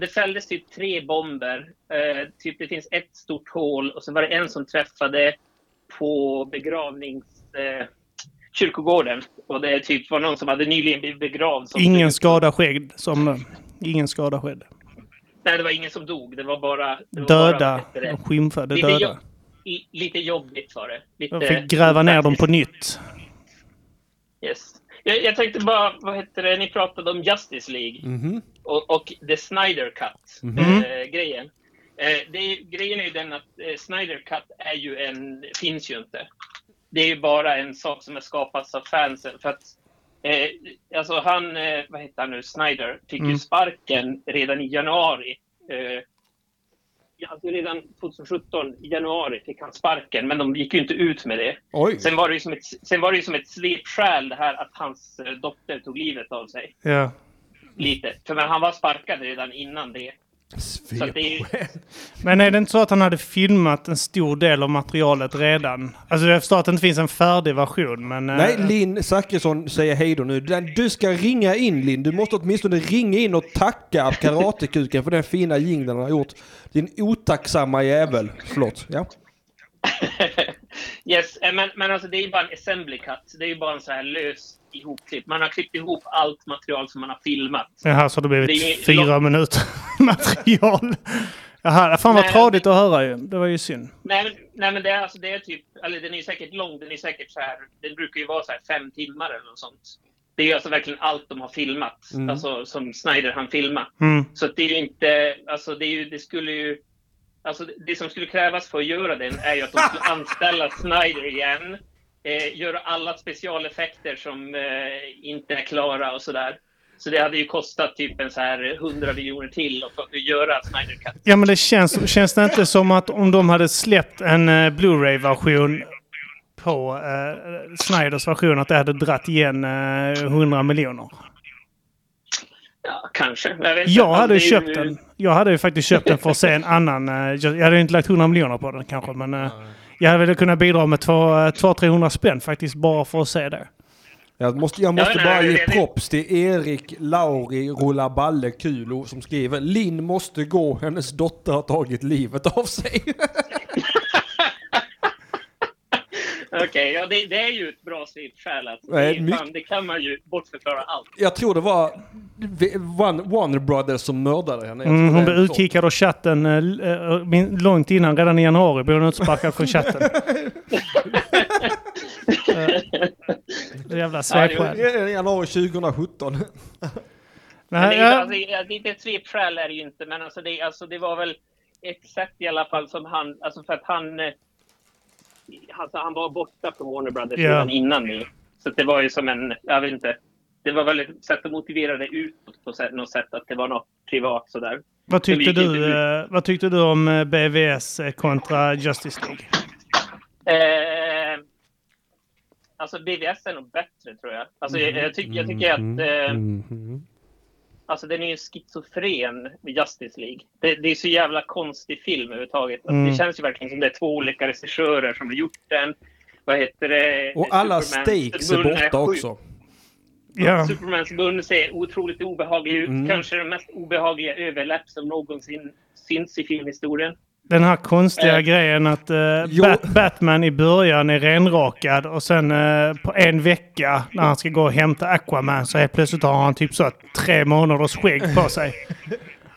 S10: Det fälldes typ tre bomber. Eh, typ det finns ett stort hål och så var det en som träffade på begravnings... Eh, kyrkogården. Och det är typ var någon som hade nyligen blivit begravd. Som
S3: Ingen skada skedd, som de. Ingen skada skedd.
S10: Nej, det var ingen som dog. Det var bara... Det var
S3: Döda.
S10: Bara, vad
S3: De
S10: heter det?
S3: skymfade
S10: Lite
S3: döda.
S10: jobb- i- Lite jobbigt var det. Lite,
S3: De fick gräva ner dem på nytt.
S10: Yes. Jag, jag tänkte bara, vad heter det, ni pratade om Justice League
S3: Mhm.
S10: och, och The Snyder Cut
S3: Mhm.
S10: eh, grejen. Eh, det, är- grejen är ju den att eh, Snyder Cut är ju en, finns ju inte. Det är ju bara en sak som har skapats av fansen för att eh, alltså han, eh, vad heter han nu, Snyder fick
S3: Mm.
S10: ju sparken redan i januari. Eh, ja, alltså redan 2017, i januari, fick han sparken, men de gick ju inte ut med det.
S1: Oj.
S10: Sen var det ju som ett, sen var det ju som ett svepskäl det här att hans eh, dotter tog livet av sig.
S3: Ja.
S10: Lite. För men han var sparkad redan innan det. Så att det är ju,
S3: Men är det inte så att han hade filmat en stor del av materialet redan? Alltså jag förstår att det inte finns en färdig version, men... eh,
S1: Nej, Linn Zachrisson säger hej då nu. Den- Du ska ringa in Linn. Du måste åtminstone ringa in och tacka karatekuken för den fina jingeln han har gjort. Din otacksamma jävel. Förlåt. Ja.
S10: *laughs* yes, eh, men, men alltså det är ju bara en assembly cut. Det är ju bara en så här lös ihopklipp. Man har klippt ihop allt material som man har filmat.
S3: Jaha, så det har
S10: Det är
S3: blivit
S10: ju
S3: fyra minuter *laughs* material. Jaha, fan vad
S10: Nej,
S3: tradigt att höra ju. Det var ju synd.
S10: Nej, men, nej, men det, är, alltså, det är typ, eller den är ju säkert lång, den är säkert så här, den brukar ju vara så här fem timmar eller något sånt. Det är ju alltså verkligen allt de har filmat,
S3: Mm.
S10: alltså som Snyder han filma.
S3: Mm.
S10: Så att det är ju inte, alltså det, är ju, det skulle ju, alltså det- det som skulle krävas för att göra den är ju att de skulle anställa Snyder igen, eh, göra alla specialeffekter som eh, inte är klara och sådär. Så det hade ju kostat typ en så här 100 miljoner till att få- att göra Snyder Cut.
S3: Ja, men det känns, känns det inte som att om de hade släppt en eh, Blu-ray-version på eh, Snyders version, att det hade dratt igen eh, 100 miljoner?
S10: Ja, kanske. Jag, vet inte.
S3: Jag hade ju
S10: Alltså, det är
S3: köpt den. Jag hade ju faktiskt köpt den för att se en annan. eh, Jag jag hade ju inte lagt 100 miljoner på den kanske, men eh, jag hade väl kunnat bidra med 200-300 spänn faktiskt bara för att se det.
S1: Jag måste, jag måste
S3: nej,
S1: bara
S3: det-
S1: ge
S3: det-
S1: props till Erik Lauri Rullaballe Kulo som skriver Linn måste gå, hennes dotter har tagit livet av sig.
S10: *laughs*
S1: *laughs*
S10: Okej, ja, det, det är ju ett bra svepskäl. Alltså. Det,
S1: Nej,
S10: är ju fan,
S1: mycket-
S10: det kan man ju bortförklara allt.
S1: Jag tror det var One- Warner Brothers som mördade henne. Jag tror
S3: Mm,
S1: det är
S3: hon blev
S1: en sån.
S3: utkickad av chatten eh, l- eh, min- långt innan, redan i januari blev hon utsparkad från chatten.
S10: *laughs*
S3: Det jävla svepskäl.
S1: Ja, det är Januari 2017.
S10: Men det, är, ju-
S3: ja.
S10: alltså, det är- det är inte ett svepskäl är det ju inte, men alltså det, alltså det var väl ett sätt i alla fall som han, alltså för att han, eh, alltså han var borta från Warner Brothers
S3: Ja.
S10: redan innan nu. Så att det var ju som en, jag vet inte. Det var väl ett sätt att motivera det utåt på sä- något sätt, att det var något privat sådär.
S3: Vad
S10: Så vi
S3: tyckte,
S10: gick inte
S3: du,
S10: ut.
S3: eh, vad tyckte du om eh, BVS eh, kontra Justice League?
S10: Eh, alltså BVS är nog bättre tror jag. Alltså, jag, jag, tycker, jag tycker att
S1: Mm-hmm.
S10: eh, alltså, den är ju schizofren med Justice League. Det, det är så jävla konstig film överhuvudtaget. Alltså,
S9: Mm.
S10: Det känns ju verkligen som det är två olika regissörer som har gjort den. Vad heter det?
S1: Och alla
S10: Supermans
S1: stakes är
S10: mun
S1: borta
S10: sjuk.
S1: också.
S3: Ja.
S10: Supermans mun ser otroligt obehaglig ut.
S3: Mm.
S10: Kanske den mest obehagliga överläpp som någonsin syns i filmhistorien.
S3: Den här konstiga grejen att eh, Bat- Batman i början är renrakad och sen eh, på en vecka när han ska gå och hämta Aquaman så helt plötsligt har han typ så här tre månaders skägg på
S10: *laughs*
S3: sig.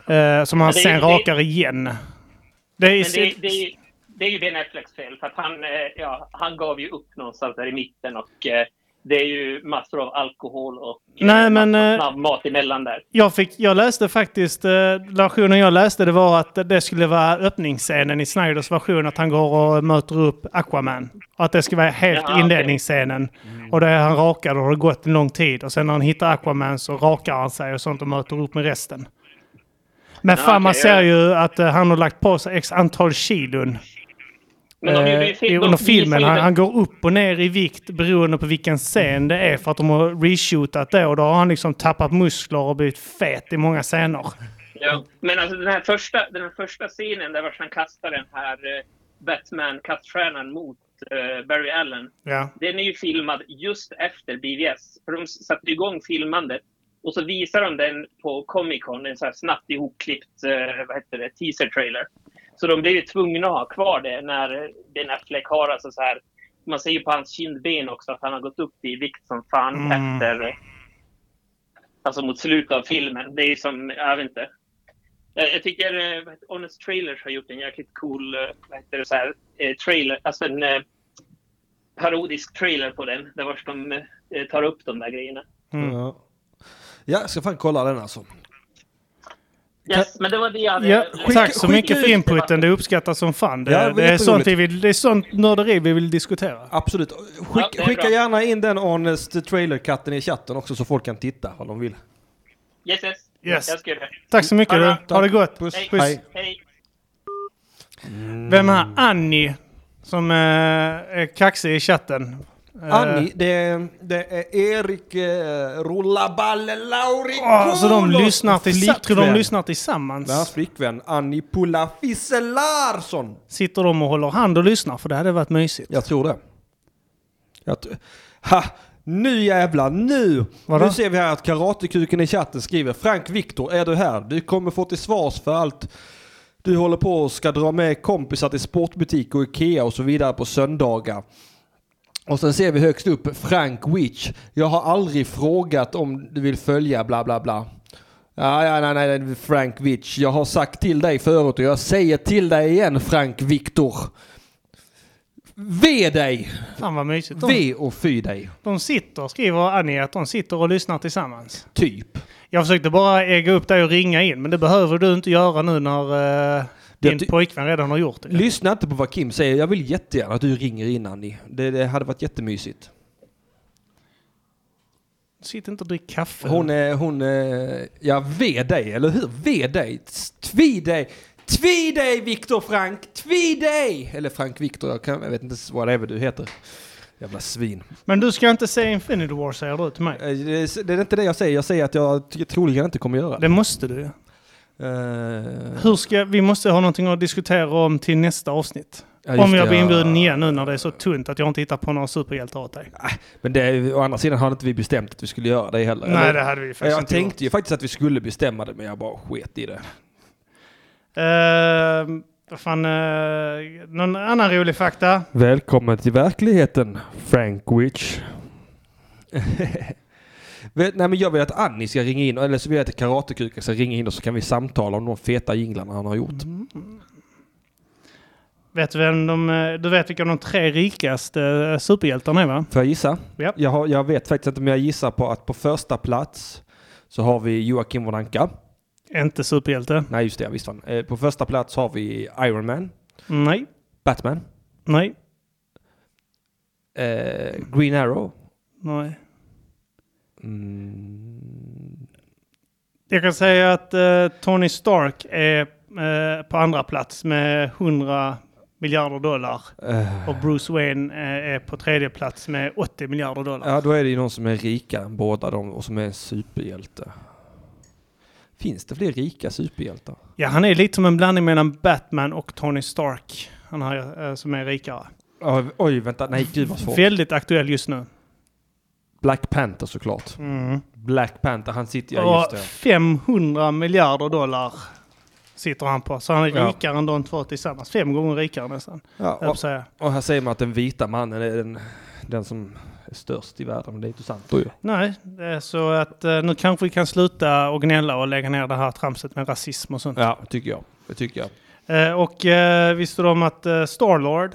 S3: eh, som han
S10: Men det är-
S3: sen
S10: det-
S3: rakar igen. Det är,
S10: Men det, det, är- det är ju Ben Afflecks fel, för att han, eh, ja, han gav ju upp någonstans där i mitten och eh, det är ju massor av alkohol och
S3: Nej men... eh,
S10: snabb mat emellan där.
S3: Jag, fick, jag läste faktiskt, eh, versionen jag läste det var att det skulle vara öppningsscenen i Snyders version, att han går och möter upp Aquaman. Och att det ska vara helt
S10: Jaha, okej. Mm.
S3: inledningsscenen. Och då är han rakad och det har gått en lång tid. Och sen när han hittar Aquaman så rakar han sig och sånt och möter upp med resten. Men
S10: Ja,
S3: fan man
S10: okej,
S3: ser
S10: ja.
S3: ju att eh, han har lagt på sig x antal kilon.
S10: Men de gjorde ju
S3: Eh,
S10: film-
S3: i-
S10: de-
S3: under
S10: de
S3: filmen.
S10: visade-
S3: Han, han går upp och ner i vikt beroende på vilken scen det är för att de har reshootat det och då har han liksom tappat muskler och blivit fet i många scener.
S10: Ja. Men alltså den här första, den här första scenen där vars han kastar den här eh, Batman-kaststjärnan mot eh, Barry Allen.
S3: Ja.
S10: Den är ju filmad just efter BVS. För de satte igång filmandet och så visar de den på Comic Con, en så här snabbt ihopklippt eh, vad heter det, teaser-trailer. Så de blev ju tvungna att ha kvar det när eh, Ben Affleck har alltså så här, man ser ju på hans kindben också att han har gått upp i vikt som fan
S3: Mm.
S10: efter, eh, alltså mot slutet av filmen. Det är ju som, jag vet inte. Jag, jag tycker eh, vad heter- Honest Trailers har gjort en jäkligt cool, eh, vad heter det, så här, eh, trailer, alltså en eh, parodisk trailer på den, där vars de eh, tar upp de där grejerna.
S1: Ja. Ja, jag ska fan kolla den alltså.
S10: Yes, men det var det jag hade.
S3: Ja,
S10: Skicka-
S3: tack så
S10: skicka
S3: mycket
S10: ut
S3: för
S10: det.
S3: inputen. Det uppskattas som fan. Det,
S1: Ja, det
S3: det,
S1: var
S3: är sånt
S1: jätteroligt.
S3: vi vill, det är sånt nörderi vi vill diskutera.
S1: Absolut. Skick,
S10: det är
S1: skicka
S10: bra.
S1: gärna in den Honest Trailer-katten i chatten också så folk kan titta vad de vill.
S10: Yes, yes.
S3: Yes.
S10: Jag ska göra det.
S3: Tack så mycket,
S10: Ha
S3: du.
S10: bra.
S3: Ha det gott.
S10: Mm. Puss.
S3: Puss.
S10: Hej. Hej.
S3: Vem är Annie som eh, är kaxig i chatten? Eh,
S1: Annie, det, det är Erik eh, Rullaballe Lauri
S3: Åh, så de lyssnar tillsammans? Tror de
S1: flickvän.
S3: lyssnar tillsammans?
S1: Det är hans flickvän Annie Pulla Fisse Larsson.
S3: Sitter de och håller hand och lyssnar? För det hade varit mysigt.
S1: Jag tror det. Jag t- ha! Nu jävlar, nu!
S3: Vadå?
S1: Nu ser vi här att Karatekuken i chatten skriver Frank Viktor, är du här? Du kommer få till svars för allt du håller på och ska dra med kompisar till sportbutik och Ikea och så vidare på söndagar. Och sen ser vi högst upp Frank Witch. Jag har aldrig frågat om du vill följa bla bla bla. Ja, ja, nej, nej, nej, Frank Witch. Jag har sagt till dig förut och jag säger till dig igen Frank Viktor. Ve dig!
S3: Fan vad mysigt.
S1: Ve och fy dig.
S3: De sitter, skriver Annie, att de sitter och lyssnar tillsammans.
S1: Typ.
S3: Jag försökte bara ägga upp dig och ringa in, men det behöver du inte göra nu när eh, din
S1: ty-
S3: pojkvän redan har gjort det.
S1: Lyssna inte på vad Kim säger. Jag vill jättegärna att du ringer in Annie. Det, det hade varit jättemysigt.
S3: Sitt inte och drick kaffe.
S1: Hon är, hon är, ja ve dig, eller hur? Ve dig. Tvi dig. Tvi dig Viktor Frank! Tvi dig! Eller Frank Viktor, jag, kan, jag vet inte vad det är du heter. Jävla svin.
S3: Men du ska inte se Infinity War säger du till mig.
S1: Eh, Det, det är inte det jag säger, jag säger att jag t- troligen inte kommer göra det.
S3: Det måste du ju.
S1: Eh,
S3: Hur ska, vi måste ha någonting att diskutera om till nästa avsnitt.
S1: Ja, just
S3: om jag
S1: det,
S3: blir
S1: ja.
S3: inbjuden igen nu när det är så tunt att jag inte hittar på några superhjältar åt dig.
S1: Men det, å andra sidan hade inte vi bestämt att vi skulle göra det heller.
S3: Nej,
S1: eller?
S3: det hade vi faktiskt
S1: Jag
S3: inte
S1: tänkte ju faktiskt att vi skulle bestämma det, men jag bara sket i det.
S3: Uh, vad fan, eh, någon annan rolig fakta?
S1: Välkommen till verkligheten, Frank *laughs* Witch. Nej men jag vill att Annie ska ringa in, eller så vill jag att Karatekuken ska ringa in och så kan vi samtala om de feta jinglarna han har gjort.
S3: Vet du, vem de, eh, du vet vilka de tre rikaste eh, superhjältarna är va?
S1: Får jag gissa?
S3: Ja.
S1: Jag, har, jag vet faktiskt inte men jag gissar på att på första plats så har vi Joakim von Anka.
S3: Inte superhjälte.
S1: Nej just det, jag visste han. Eh, På första plats har vi Iron Man,
S3: Nej,
S1: Batman,
S3: nej,
S1: eh, Green Arrow
S3: Nej.
S1: Mm,
S3: Jag kan säga att eh, Tony Stark är eh, på andra plats med 100 miljarder dollar.
S1: Eh.
S3: Och Bruce Wayne eh, är på tredje plats med 80 miljarder dollar.
S1: Ja, då är det ju någon som är rikare än båda dem och som är en superhjälte. Finns det fler rika superhjältar?
S3: Ja, han är lite som en blandning mellan Batman och Tony Stark. Han har, eh, som är rikare.
S1: Oj, oj, vänta. Nej, gud vad svårt.
S3: Väldigt aktuell just nu.
S1: Black Panther såklart.
S3: Mm.
S1: Black Panther, han sitter... Ja,
S3: Och
S1: just det.
S3: 500 miljarder dollar sitter han på. Så han är
S1: Ja.
S3: rikare än de två tillsammans. Fem gånger rikare nästan.
S1: Ja,
S3: höll jag på att säga.
S1: och, och här säger man att den vita mannen är den, den som är störst i världen. Men det är inte sant då ju.
S3: Nej, det är så att eh, nu kanske vi kan sluta och gnälla och lägga ner det här tramset med rasism och sånt.
S1: Ja, tycker jag. Det tycker jag.
S3: Eh, och eh, visste du om att eh, Starlord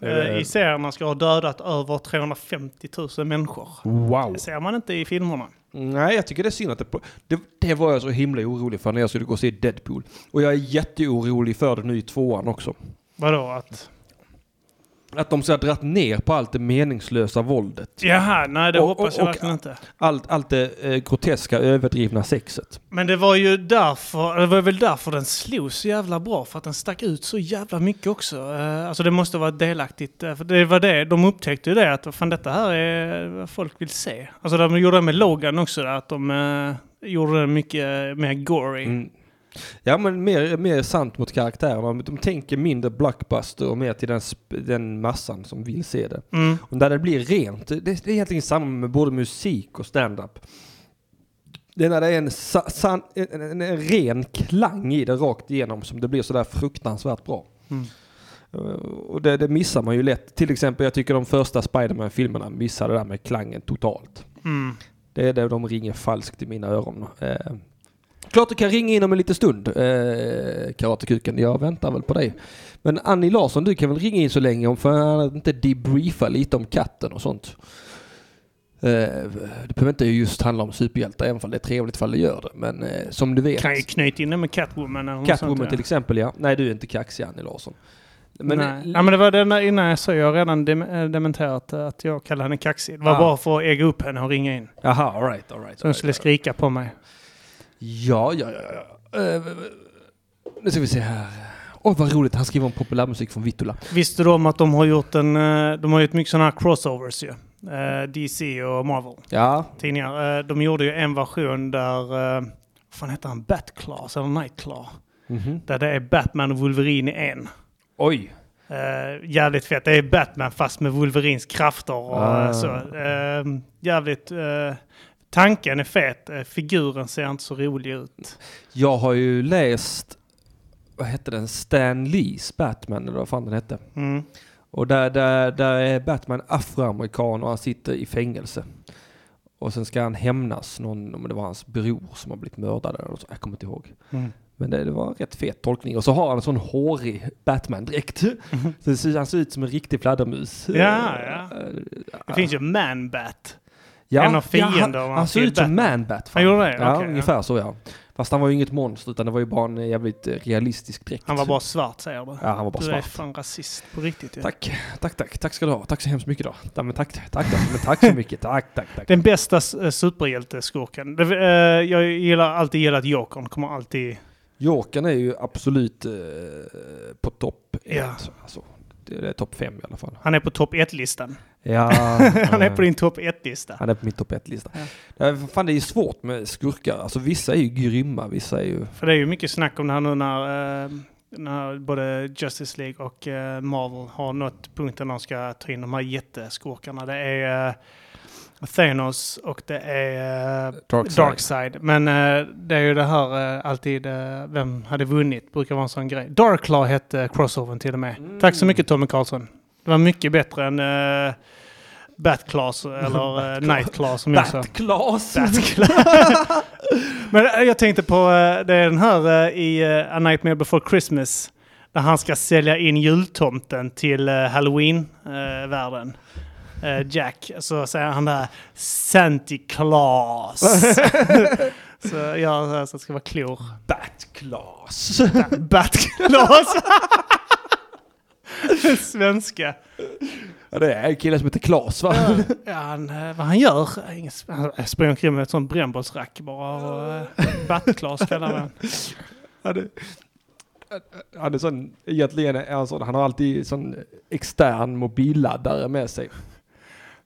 S3: eh,
S1: Eh.
S3: i serierna ska ha dödat över 350 000 människor?
S1: Wow.
S3: Det ser man inte i filmerna.
S1: Nej, jag tycker det är synd att det, det... Det var jag så himla orolig för när jag skulle gå och se Deadpool. Och jag är jätteorolig för det nu i tvåan också.
S3: Vadå att?
S1: Att de ska ha dratt ner på allt det meningslösa våldet.
S3: Jaha, nej det
S1: Och-
S3: hoppas jag
S1: och- och-
S3: verkligen inte.
S1: Allt, allt det eh, groteska, överdrivna sexet.
S3: Men det var ju därför, det var väl därför den slog så jävla bra, för att den stack ut så jävla mycket också. Eh, Alltså det måste vara delaktigt, eh, för det var det, de upptäckte ju det att vad fan detta här är vad folk vill se. Alltså de gjorde det med Logan också där, att de eh, gjorde det mycket eh, mer gory.
S1: Mm. Ja, men mer, mer sant mot karaktärerna. De tänker mindre blockbuster och mer till den, sp- den massan som vill se det.
S3: Mm.
S1: Och där det blir rent, det, det är egentligen samma med både musik och stand-up. Det är när det är en, sa, san, en, en, en ren klang i det rakt igenom som det blir sådär fruktansvärt bra.
S3: Mm.
S1: Eh, Och det, det missar man ju lätt. Till exempel, jag tycker de första Spiderman-filmerna missar det där med klangen totalt.
S3: Mm.
S1: Det är där de ringer falskt i mina öron. Eh, klart du kan ringa in om en liten stund, eh, Karatekuken. Jag väntar väl på dig. Men Annie Larsson, du kan väl ringa in så länge om för att inte debriefa lite om katten och sånt. Eh, det behöver inte just handla om superhjältar, även om det är trevligt ifall det gör det. Men eh, som du vet...
S3: Kan ju knyta in det med Catwoman eller något
S1: Catwoman
S3: sånt,
S1: till exempel, ja. Nej, du är inte kaxig Annie Larsson. eh,
S3: Men, Nej. Ja, men det var det när- innan jag sa, jag har redan dem- eh, dementerat eh, att jag kallade henne kaxig. Det var
S1: Ah.
S3: bara för att ägga upp henne och ringa in.
S1: Aha, all right, all right,
S3: Så hon skulle skrika på mig.
S1: Ja, ja, ja. ja. Eh, nu ska vi se här. Oj, vad roligt. Han skriver om populärmusik från Vittula.
S3: Visste du om att de har gjort en... eh, De har gjort mycket sådana här crossovers ju. Eh, DC och Marvel.
S1: Ja.
S3: Tidningar. Eh, De gjorde ju en version där... eh, Vad fan heter han? Batclaw eller Nightclaw?
S1: Mhm.
S3: Där det är Batman och Wolverine i en.
S1: Oj.
S3: Eh, jävligt fett. Det är Batman fast med Wolverines krafter och
S1: Ah.
S3: eh, så. Eh, jävligt... Eh, tanken är fet. Eh, figuren ser inte så rolig ut.
S1: Jag har ju läst, vad hette den, Stan Lees Batman, eller vad fan den hette.
S3: Mm.
S1: Och där, där, där är Batman afroamerikan och han sitter i fängelse. Och sen ska han hämnas någon, om det var hans bror som har blivit mördad eller så, jag kommer inte ihåg.
S3: Mm.
S1: Men det, det var en rätt fet tolkning. Och så har han en sån hårig Batman-dräkt. *laughs* Så det ser- han ser ut som en riktig fladdermus.
S3: Mm. Ja, ja.
S1: Eh,
S3: Det finns ju Man-Bat. En av fienderna
S1: han, han ser
S3: till
S1: ut som
S3: Batman.
S1: Man-Bat.
S3: Han gjorde det?
S1: Ja,
S3: Okej, ja.
S1: ungefär så ja. Fast han var ju inget monster utan det var ju bara en jävligt eh, realistisk dräkt.
S3: Han var bara svart säger du.
S1: Ja, han var bara
S3: du är
S1: svart.
S3: fan rasist på riktigt. Ja.
S1: Tack, tack, tack, tack ska du ha. Tack så hemskt mycket då. Ja, men tack, tack, tack, men
S3: *laughs*
S1: tack så mycket. Tack, tack, tack.
S3: Den bästa eh, superhjälteskurken. Det- eh, Jag gillar alltid gillat Jokern. Kommer alltid...
S1: Jokern är ju absolut eh, på topp ett.
S3: Ja.
S1: Alltså, det det är topp fem i alla fall.
S3: *laughs* Han är på topp 1-listan.
S1: Ja,
S3: *laughs* han är
S1: eh,
S3: på din topp 1-lista.
S1: Han är på min topp ett-lista. Ja. Fan, det är ju svårt med skurkar. Alltså vissa är ju grymma, vissa är ju...
S3: För det är ju mycket snack om det här nu när, eh, när både Justice League och eh, Marvel har nått punkten när de ska ta in de här jätteskurkarna. Det är eh, Thanos och det är eh,
S1: Darkseid.
S3: Darkseid. Men eh, det är ju det här eh, alltid, eh, vem hade vunnit, brukar vara en sån grej. Darklaw hette crossovern till och med. Tack så mycket Tommy Karlsson. Det var mycket bättre än eh, Batclaws eller eh, Nightclaw som jag sa.
S1: Batclaws!
S3: Men eh, jag tänkte på, eh, det är den här eh, i eh, A Nightmare Before Christmas. Där han ska sälja in jultomten till eh, Halloween-världen. Eh, Jack, så säger han där Santa Claus. så jag eh, så att det ska vara klor.
S1: Batclaws! *laughs*
S3: Ba- *laughs* Batclaus! Svenska.
S1: Ja, det är en kille som heter Klas va?
S3: Ja, han, eh, vad han gör? Inget- Han springer omkring med ett sånt brännbollsrack bara och eh, Batt-Klas kallar man
S1: Han är, han är sån, egentligen är han sån, han har alltid sån extern mobilladdare med sig.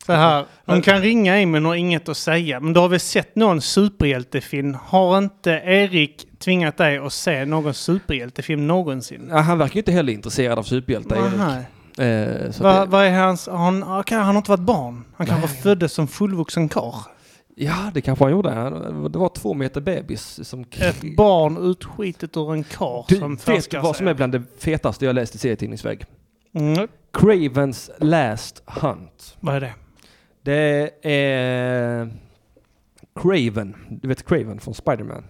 S3: Så här, de kan ringa in men har inget att säga. Men du har väl sett någon superhjältefilm? Har inte Erik tvingat dig att se någon superhjältefilm någonsin?
S1: Ja, han verkar ju inte heller intresserad av superhjältar,
S3: Nej.
S1: Erik. Eh, så
S3: Vad
S1: att
S3: vad är hans... Har han, okej, han har inte varit barn. Han kanske föddes som fullvuxen karl.
S1: det, ja, det kanske han gjorde. Han- Det var två meter bebis som...
S3: Ett barn utskitet ur en karl
S1: Du
S3: som
S1: vet
S3: förskar
S1: vad som
S3: sig.
S1: är bland det fetaste jag läst i serietidningsväg?
S3: Mm.
S1: Cravens Last Hunt.
S3: Vad är det?
S1: Det är... Craven. Du vet Craven från Spiderman?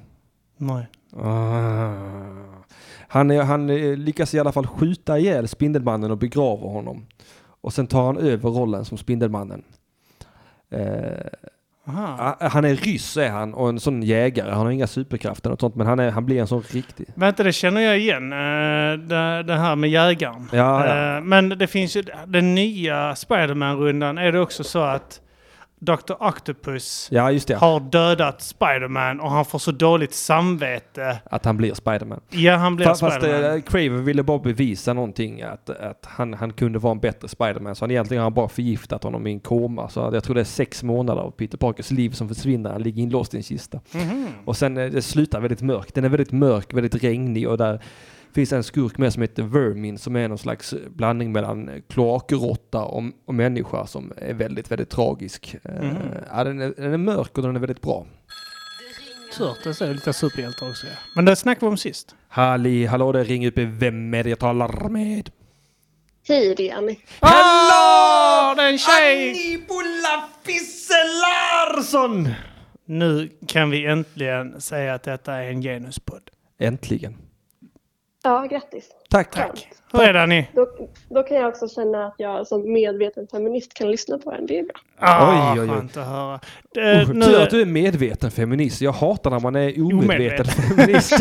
S3: Nej.
S1: Ah. Han, är, han eh, lyckas i alla fall skjuta ihjäl Spindelmannen och begraver honom. Och sen tar han över rollen som Spindelmannen. Eh,
S3: Aha.
S1: ah, han är ryss är han och en sån jägare. Han har inga superkrafter och sånt men han, är, han blir en sån riktig.
S3: Vänta, det känner jag igen. eh, Det, det här med jägaren.
S1: Ja, ja.
S3: Eh, Men det finns ju... Den nya Spiderman-rundan är det också så att Dr. Octopus
S1: Ja just det.
S3: har dödat Spiderman och han får så dåligt samvete.
S1: Att han blir Spiderman.
S3: Ja, han blir
S1: Fast, fast
S3: Spiderman.
S1: eh, Craven ville bara bevisa någonting att, att han, han kunde vara en bättre Spiderman. Så han egentligen har han bara förgiftat honom i en koma. Så jag tror det är sex månader av Peter Parkers liv som försvinner. Han ligger inlåst i en kista. Och sen eh, det slutar väldigt mörkt. Den är väldigt mörk, väldigt regnig och där finns en skurk med som heter Vermin som är någon slags blandning mellan kloakråtta och, och människa som är väldigt, väldigt tragisk. Eh, ja, den, är, den är mörk och den är väldigt bra.
S3: Turtles är lite superhjältar också. Ja. Men det snackade vi om sist.
S1: Halli, hallå det ringer upp. Vem är det jag talar med?
S11: Tyrian.
S3: Hallå! Det är en tjej!
S1: Annibola Fisse-Larsson!
S3: Nu kan vi äntligen säga att detta är en genuspodd.
S1: Äntligen.
S11: Ja, grattis.
S1: Tack.
S11: Tack.
S3: Hur är det ni?
S11: Då, då kan jag också känna att jag som medveten feminist kan lyssna på den. Det är bra.
S3: Ah,
S1: Oj, oj, oj.
S3: skönt att höra. Eh,
S1: Uh, Tur
S3: nu,
S1: att du är medveten feminist. Jag hatar när man är omedveten
S3: Omedveten. *laughs*
S1: feminist.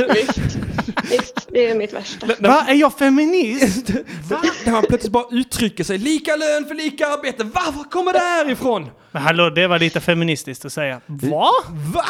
S11: Visst, det är mitt värsta.
S3: va, är jag
S1: *laughs*
S3: feminist? Va?
S1: när man plötsligt bara uttrycker sig. Lika lön för lika arbete. Va? Var kommer det här ifrån?
S3: Men hallå, det var lite feministiskt att säga. Va?
S1: Va?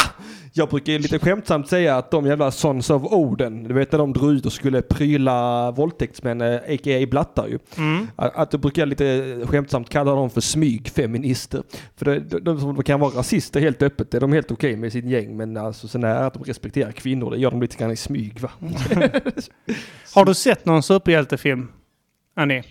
S1: Jag brukar ju lite skämtsamt säga att de jävla Sons of Oden, du vet när de drog ut och skulle pryla våldtäktsmän, eh, a.k.a. blattar ju.
S3: Mm.
S1: Att, att då brukar jag lite skämtsamt kalla dem för smygfeminister. För det, de, de som kan vara rasister helt öppet, det är de helt okej med sitt gäng. Men alltså sen är att de respekterar kvinnor, det gör de lite grann i smyg va.
S3: Har du sett någon superhjältefilm? Annie?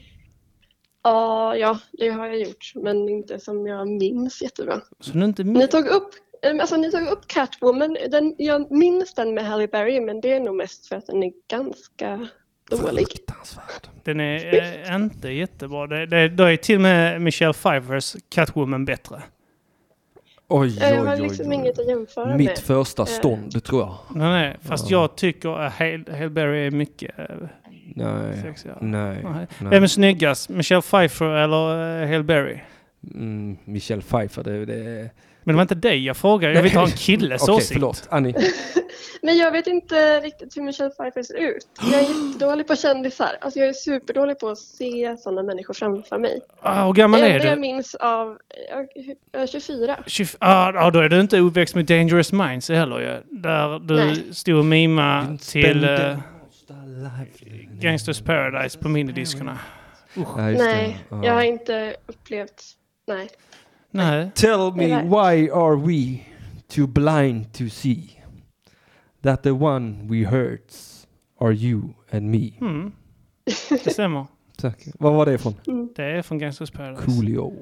S11: Ja, ja, det har jag gjort, men inte som jag minns jättebra.
S3: Så nu inte
S11: Ni tog upp, eh, alltså, ni tog upp Catwoman. Den, jag minns den med Halle Berry, men det är nog mest för att den är ganska dålig.
S1: Fruktansvärt.
S3: Den är eh, inte jättebra. Det, det, då är till och med Michelle Pfeiffers Catwoman bättre.
S1: Oj,
S11: Eh, Jag
S1: oj,
S11: har
S1: oj,
S11: liksom
S1: oj.
S11: inget att jämföra
S1: Mitt
S11: med.
S1: första
S11: Eh.
S1: stånd tror jag.
S3: Nej, nej. Fast jag tycker att Hail, Hail Berry är mycket eh,
S1: Nej.
S3: sexigare.
S1: Nej.
S3: Nej. Vem är
S1: Nej.
S3: snyggast? Michelle Pfeiffer eller eh, Hail Berry?
S1: Mm, Michelle Pfeiffer, det, det är...
S3: Men det var inte dig jag frågade. Jag vill inte ha en killes
S1: *laughs* Okej,
S3: åsikt.
S1: förlåt. Annie.
S11: Men jag vet inte riktigt hur Michelle Pfeiffer ser ut. Jag är jättedålig på kändisar. Alltså jag är superdålig på att se sådana människor framför mig.
S3: Ah, hur gammal
S11: det
S3: är
S11: enda jag
S3: du?
S11: minns av... Jag jag är 24.
S3: 20, ah, ah, då är du inte uppväxt med Dangerous Minds heller ju. Där du
S11: Nej.
S3: stod och mima till uh,
S1: Nej,
S3: Gangsters Paradise på minidiskerna.
S11: Nej, jag har inte upplevt... Nej.
S3: Nej.
S1: Tell me why are we too blind to see that the one we hurts are you and me.
S3: Mm. Det stämmer.
S1: Tack. Vad var det från?
S3: Det är från Gangsters Paradise.
S1: Coolio.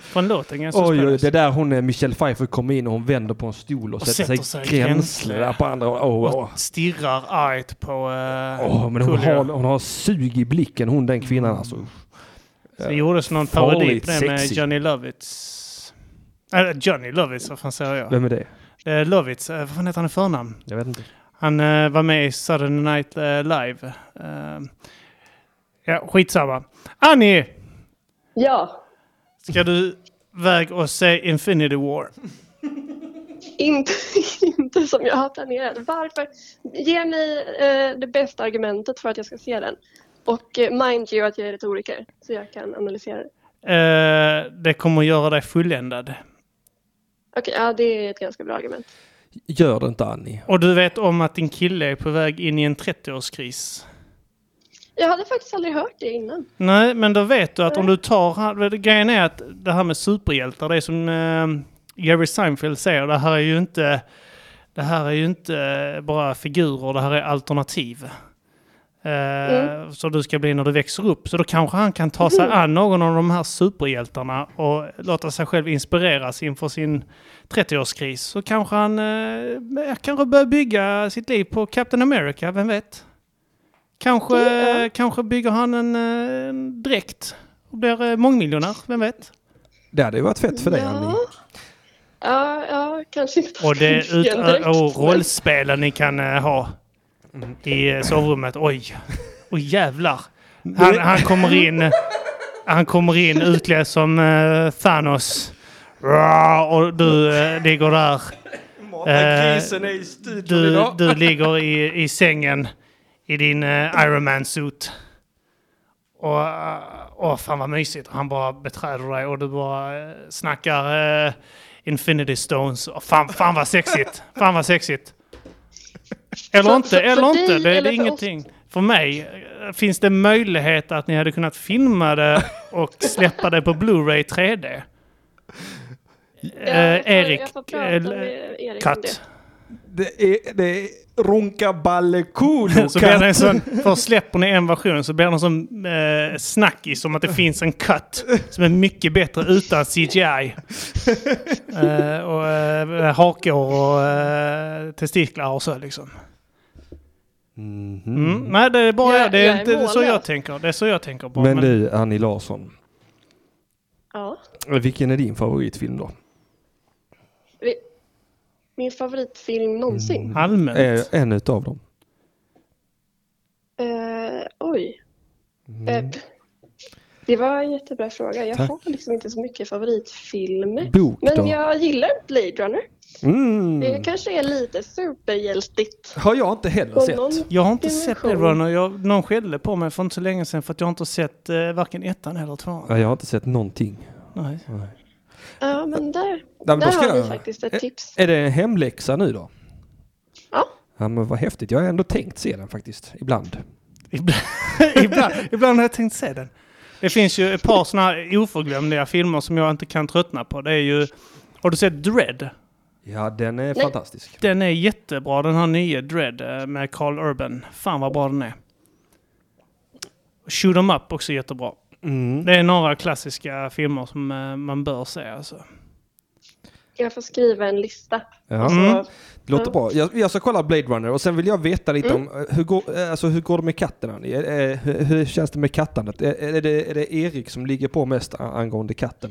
S3: Från låten Gangsters
S1: Oj, oj,
S3: Paradise.
S1: det är där hon, eh, Michelle Pfeiffer kommer in och hon vänder på en stol och, sätter, sig gränsle där på andra. Åh, åh, åh.
S3: Och stirrar argt på uh,
S1: Åh, men hon har, hon har sug i blicken hon den kvinnan alltså.
S3: Det gjordes någon parodi
S1: Farligt
S3: på det med
S1: sexy.
S3: Johnny Lovitz. Eller Johnny Lovitz, vad fan säger jag?
S1: Vem är det?
S3: Det är Lovitz, eh, vad fan heter han i förnamn?
S1: Jag vet inte.
S3: Han eh, var med i Saturday Night eh, Live. Eh, ja, skitsamma. Annie!
S11: Ja,
S3: Ska du väg och se Infinity War?
S11: inte, *laughs* inte som jag har planerat. Varför? Ge mig eh, det bästa argumentet för att jag ska se den. Och eh, mind you att jag är retoriker, så jag kan analysera det.
S3: Eh, det kommer göra dig fulländad.
S11: Okej, ja det är ett ganska bra argument.
S1: Gör det inte Annie.
S3: Och du vet om att din kille är på väg in i en 30-årskris.
S11: Jag hade faktiskt aldrig hört det innan.
S3: Nej, men då vet du att om du tar... han- Grejen är att det här med superhjältar, det är som eh, Jerry Seinfeld säger, det här är ju inte... Det här är ju inte bara figurer, det här är alternativ. Eh,
S12: Mm.
S3: Så du ska bli när du växer upp. Så då kanske han kan ta sig
S12: Mhm.
S11: Mm.
S3: an någon av de här superhjältarna och låta sig själv inspireras inför sin 30-årskris. Så kanske han eh, kanske börjar bygga sitt liv på Captain America, vem vet? Kanske, eh, kanske bygger han en, eh, en dräkt och blir eh, mångmiljonär, vem vet?
S1: Det hade ju varit fett för dig Annie.
S11: Ja, ja kanske inte.
S3: Och det är ut, eh,
S11: Igen direkt.
S3: och rollspelen ni kan eh, ha i eh, sovrummet. Oj, oj jävlar. Han, han kommer in, han kommer in utklädd som eh, Thanos. Rar, Och du eh, ligger där. Eh,
S1: grisen är i studion
S3: du,
S1: idag.
S3: du ligger i, i sängen i din eh, Iron Man-suit. Och eh, åh, fan vad mysigt. Han bara beträder dig och du bara eh, snackar eh, Infinity Stones. Och fan, fan vad sexigt. Fan vad sexigt. Eller
S12: För-
S3: inte,
S12: för- för
S3: eller
S12: dig
S3: inte. Det, är
S12: eller
S3: det
S12: för
S3: är ingenting. För mig, eh, finns det möjlighet att ni hade kunnat filma det och släppa det på Blu-ray 3D?
S11: Ja, jag får- jag får prata
S3: eh,
S11: med Erik om
S3: Cut.
S1: Det är, det är ronka balle cool
S3: *laughs* Så blir det en sån, först släpper ni en version så blir det en sån eh, snackis om att
S1: *laughs*
S3: det finns en cut som är mycket bättre utan CGI. Eh, och eh, hakor och eh, testiklar och så liksom.
S1: Mhm.
S3: Mm, nej, det är bara
S12: Jag-
S3: det är
S12: jag är
S3: inte så jag
S12: mållös.
S3: tänker. Det är så jag tänker på.
S1: Men du Annie Larsson,
S11: Ja.
S1: vilken är din favoritfilm då?
S11: Vi- Min favoritfilm någonsin.
S3: Allmänt.
S1: Är en utav dem. Mm.
S11: Eh, oj. Eh, p- det var en jättebra fråga. Jag
S1: Tack.
S11: har liksom inte så mycket favoritfilmer.
S1: Bok
S11: Men
S1: då?
S11: jag gillar Blade Runner.
S1: Mm.
S11: Det kanske är lite superhjältigt.
S1: Har jag inte heller
S11: På någon
S1: sett.
S3: Jag har inte sett
S11: dimension.
S3: Blade Runner. Jag, någon skällde på mig för inte så länge sedan för att jag inte har sett eh, varken ettan eller tvåan.
S1: Nej, Jag har inte sett någonting.
S3: Nej.
S11: Ja, men där,
S1: men då
S11: där
S1: ska
S11: har vi
S1: jag-
S11: faktiskt ett tips.
S1: Är det en hemläxa nu då?
S11: Ja.
S1: Ja men vad häftigt. Jag har ändå tänkt se den faktiskt. Ibland.
S3: *laughs* Ibland, ibland, ibland har jag tänkt se den. Det finns ju ett par sådana här oförglömliga filmer som jag inte kan tröttna på. Det är ju... Har du sett Dread?
S1: Ja den är
S3: Nej.
S1: fantastisk.
S3: Den är jättebra, den här nya Dread eh, med Carl Urban. Fan vad bra den är. Shoot 'em up också jättebra.
S1: Mm.
S3: Det är några klassiska filmer som eh, man bör se alltså.
S11: Jag får skriva en lista.
S1: Ja.
S3: Mm.
S1: Det låter
S11: Alltså- Ja.
S1: bra. Jag, jag ska kolla Blade Runner och sen vill jag veta lite
S11: Mm.
S1: om eh, hur går, eh, alltså, hur går det med katten Annie? Eh, eh, Hur, hur känns det med kattandet? Eh, Är, är, det, är det Erik som ligger på mest a- angående katten?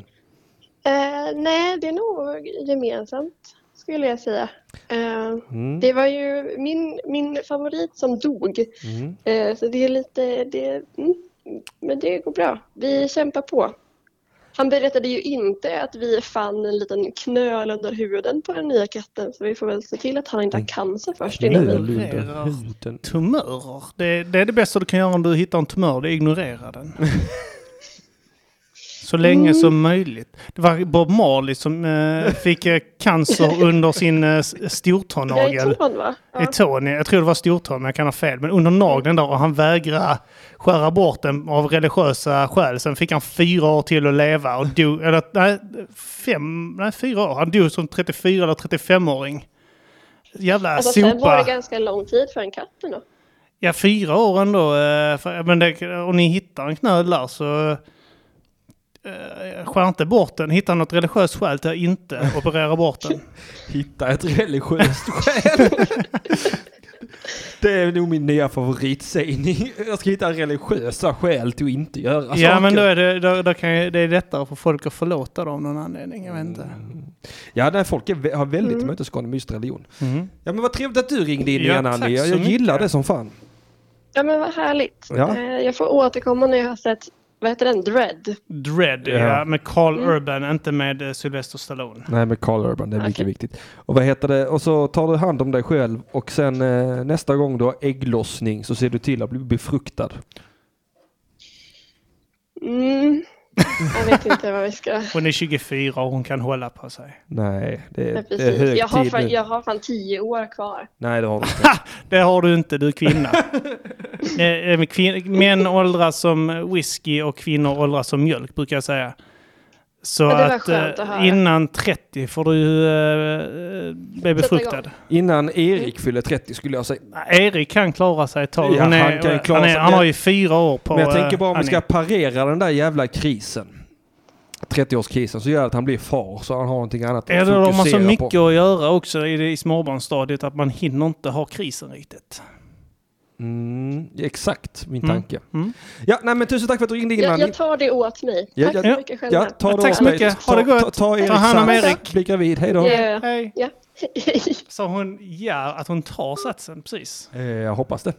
S11: Eh, nej, det är nog gemensamt skulle jag säga. Eh,
S1: Mm.
S11: Det var ju min, min favorit som dog. Eh, så det är lite, det, mm, men det går bra. Vi kämpar på. Han berättade ju inte att vi fann en liten knöl under huden på den nya katten så vi får väl se till att han inte har cancer först
S1: Mm.
S11: innan vi...
S1: huden.
S3: Tumörer. Det, det är det bästa du kan göra om du hittar en tumör, det är att ignorera den. Så länge
S12: Mm.
S3: som möjligt. Det var Bob Marley som eh, fick eh, cancer under sin eh, s- stortånagel.
S12: Ja, i tån, va? Ja.
S3: I tån, ja. jag tror det var stortån, men jag kan ha fel. Men under nageln där och han vägrade skära bort den av religiösa skäl. Sen fick han fyra år till att leva och dog, eller nej, fem, nej fyra år. Han dog som 34 eller 35-åring. Jävla
S11: Alltså,
S3: sopa.
S11: sen var det ganska lång tid för en katt ändå.
S3: Ja, fyra år ändå. eh, för- Men det, om ni hittar en knöl där så eh, skär inte bort den. Hitta något religiöst skäl till att inte operera bort den.
S1: Hitta ett religiöst skäl. Det är nog min nya favoritsägning. Jag ska hitta religiösa skäl till att inte göra
S3: ja,
S1: saker.
S3: men då är det, då, då kan, ju- det är lättare för folk att förlåta dem av någon anledning. Jag vet inte.
S1: Ja, där folk är, vä- har väldigt
S3: Mm.
S1: mötesgående med just religion.
S3: Mm.
S1: Ja, men vad trevligt att du ringde in
S3: Ja,
S1: igen
S3: tack
S1: Annie. Jag,
S3: så
S1: jag
S3: mycket. Mm.
S1: gillar det som fan.
S11: Ja men vad härligt.
S1: Ja.
S11: Eh, Jag får återkomma när jag har sett, vad heter den, Dread?
S3: Dread, ja.
S1: Ja.
S3: med Carl
S11: Mm.
S3: Urban, inte med eh, Sylvester Stallone.
S1: Nej, men Carl Urban, det är mycket viktigt. Och vad heter det? Och så tar du hand om dig själv och sen eh, nästa gång du har ägglossning så ser du till att bli befruktad.
S11: Mm. Jag vet inte vad vi ska...
S3: Hon är 24 och hon kan hålla på sig.
S1: Nej, det,
S11: Ja,
S1: det är
S11: precis.
S1: hög
S11: Jag har,
S1: tid
S11: fan,
S1: nu.
S11: jag har fan tio år kvar.
S1: Nej, det har
S3: *laughs*
S1: vi
S3: inte. det har du inte, du
S11: *laughs*
S3: är kvinna. Eh, eh, kvin- Män åldras som whisky och kvinnor åldras som mjölk, brukar jag säga. Så
S11: Ja, det var
S3: att,
S11: skönt att
S3: eh,
S11: höra.
S3: innan 30 får du eh, bli befruktad.
S1: Innan Erik fyller 30 skulle jag säga.
S3: Erik kan klara sig ett tag.
S1: Ja,
S3: Hon är,
S1: han
S3: han,
S1: kan ju klara
S3: han, är,
S1: sig.
S3: han har ju fyra år på
S1: Men jag tänker
S3: eh,
S1: bara om vi
S3: Annie.
S1: ska parera den där jävla krisen. 30-årskrisen så gör det att han blir far så han har någonting annat att
S3: Eller de har så
S1: fokusera
S3: mycket
S1: på.
S3: att göra också i, det- i småbarnsstadiet att man hinner inte ha krisen riktigt.
S1: Mm, exakt min
S3: Mm.
S1: tanke. Ja, nej men tusen tack för att du ringde in
S11: Jag,
S1: Annie.
S11: jag tar det åt mig.
S1: Ja,
S11: Tack
S1: ja,
S11: så mycket själva.
S1: Ja, ta det åt dig. Ta, ta, Erik Sats. Bli gravid, hej då.
S11: Ja,
S3: Hej.
S11: Ja. *laughs*
S3: Sa hon ja, att hon tar satsen? Precis.
S1: Eh, Jag hoppas det.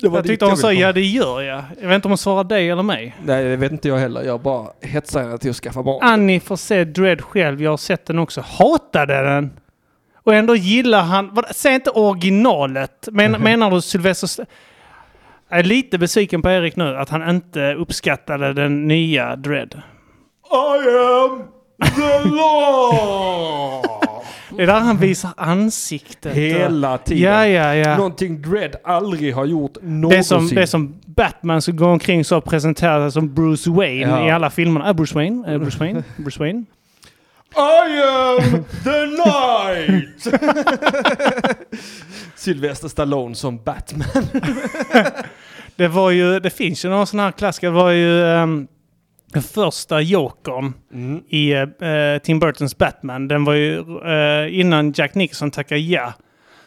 S1: Det var
S3: Jag
S1: dit
S3: tyckte hon
S1: ville
S3: sa
S1: komma.
S3: ja, det gör jag. Jag vet inte om hon svarar dig eller mig.
S1: Nej, det vet inte jag heller. Jag bara hetsar henne till att skaffa barn.
S3: Annie får se Dread själv. Jag har sett den också. Hatade den. Och ändå gillar han... vad- Säg inte originalet. Men,
S1: Mhm.
S3: menar du Sylvester... St- jag är lite besviken på Erik nu att han inte uppskattade den nya Dread.
S13: I am the law!
S3: Det är där han visar ansiktet.
S1: Hela tiden.
S3: Ja, ja, ja.
S1: Någonting Dread aldrig har gjort någonsin.
S3: Det är, som, det är som Batman som går omkring så presenterar sig som Bruce Wayne
S1: Ja.
S3: i alla filmerna. Äh, Bruce Wayne, äh, Bruce Wayne, Bruce Wayne.
S13: I am the night!
S1: *laughs* Sylvester Stallone som Batman.
S3: Det var ju, det finns ju några sådana här klassiker. Det var ju ehm, den första Jokern
S1: Mm.
S3: i eh, Tim Burtons Batman. Den var ju, eh, innan Jack Nicholson tackade ja,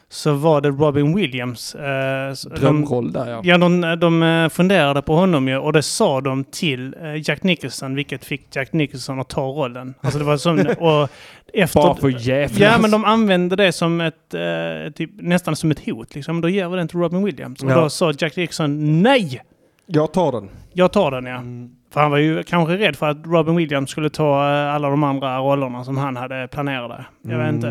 S3: så var det Robin Williams. eh, s-
S1: Drömroll där, ja.
S3: Ja, de, de eh, funderade på honom ju och det sa de till eh, Jack Nicholson, vilket fick Jack Nicholson att ta rollen. Alltså det var
S1: *laughs*
S3: som, och efter,
S1: Bara för jävlar.
S3: Ja, men de använde det som ett, eh, typ, nästan som ett hot. Liksom. Då ger vi den till Robin Williams. Och
S1: Ja.
S3: då sa Jack Nicholson nej!
S1: Jag tar den.
S3: Jag tar den ja.
S1: Mm.
S3: För han var ju kanske rädd för att Robin Williams skulle ta eh, alla de andra rollerna som han hade planerade. Jag
S1: Mm.
S3: vet inte.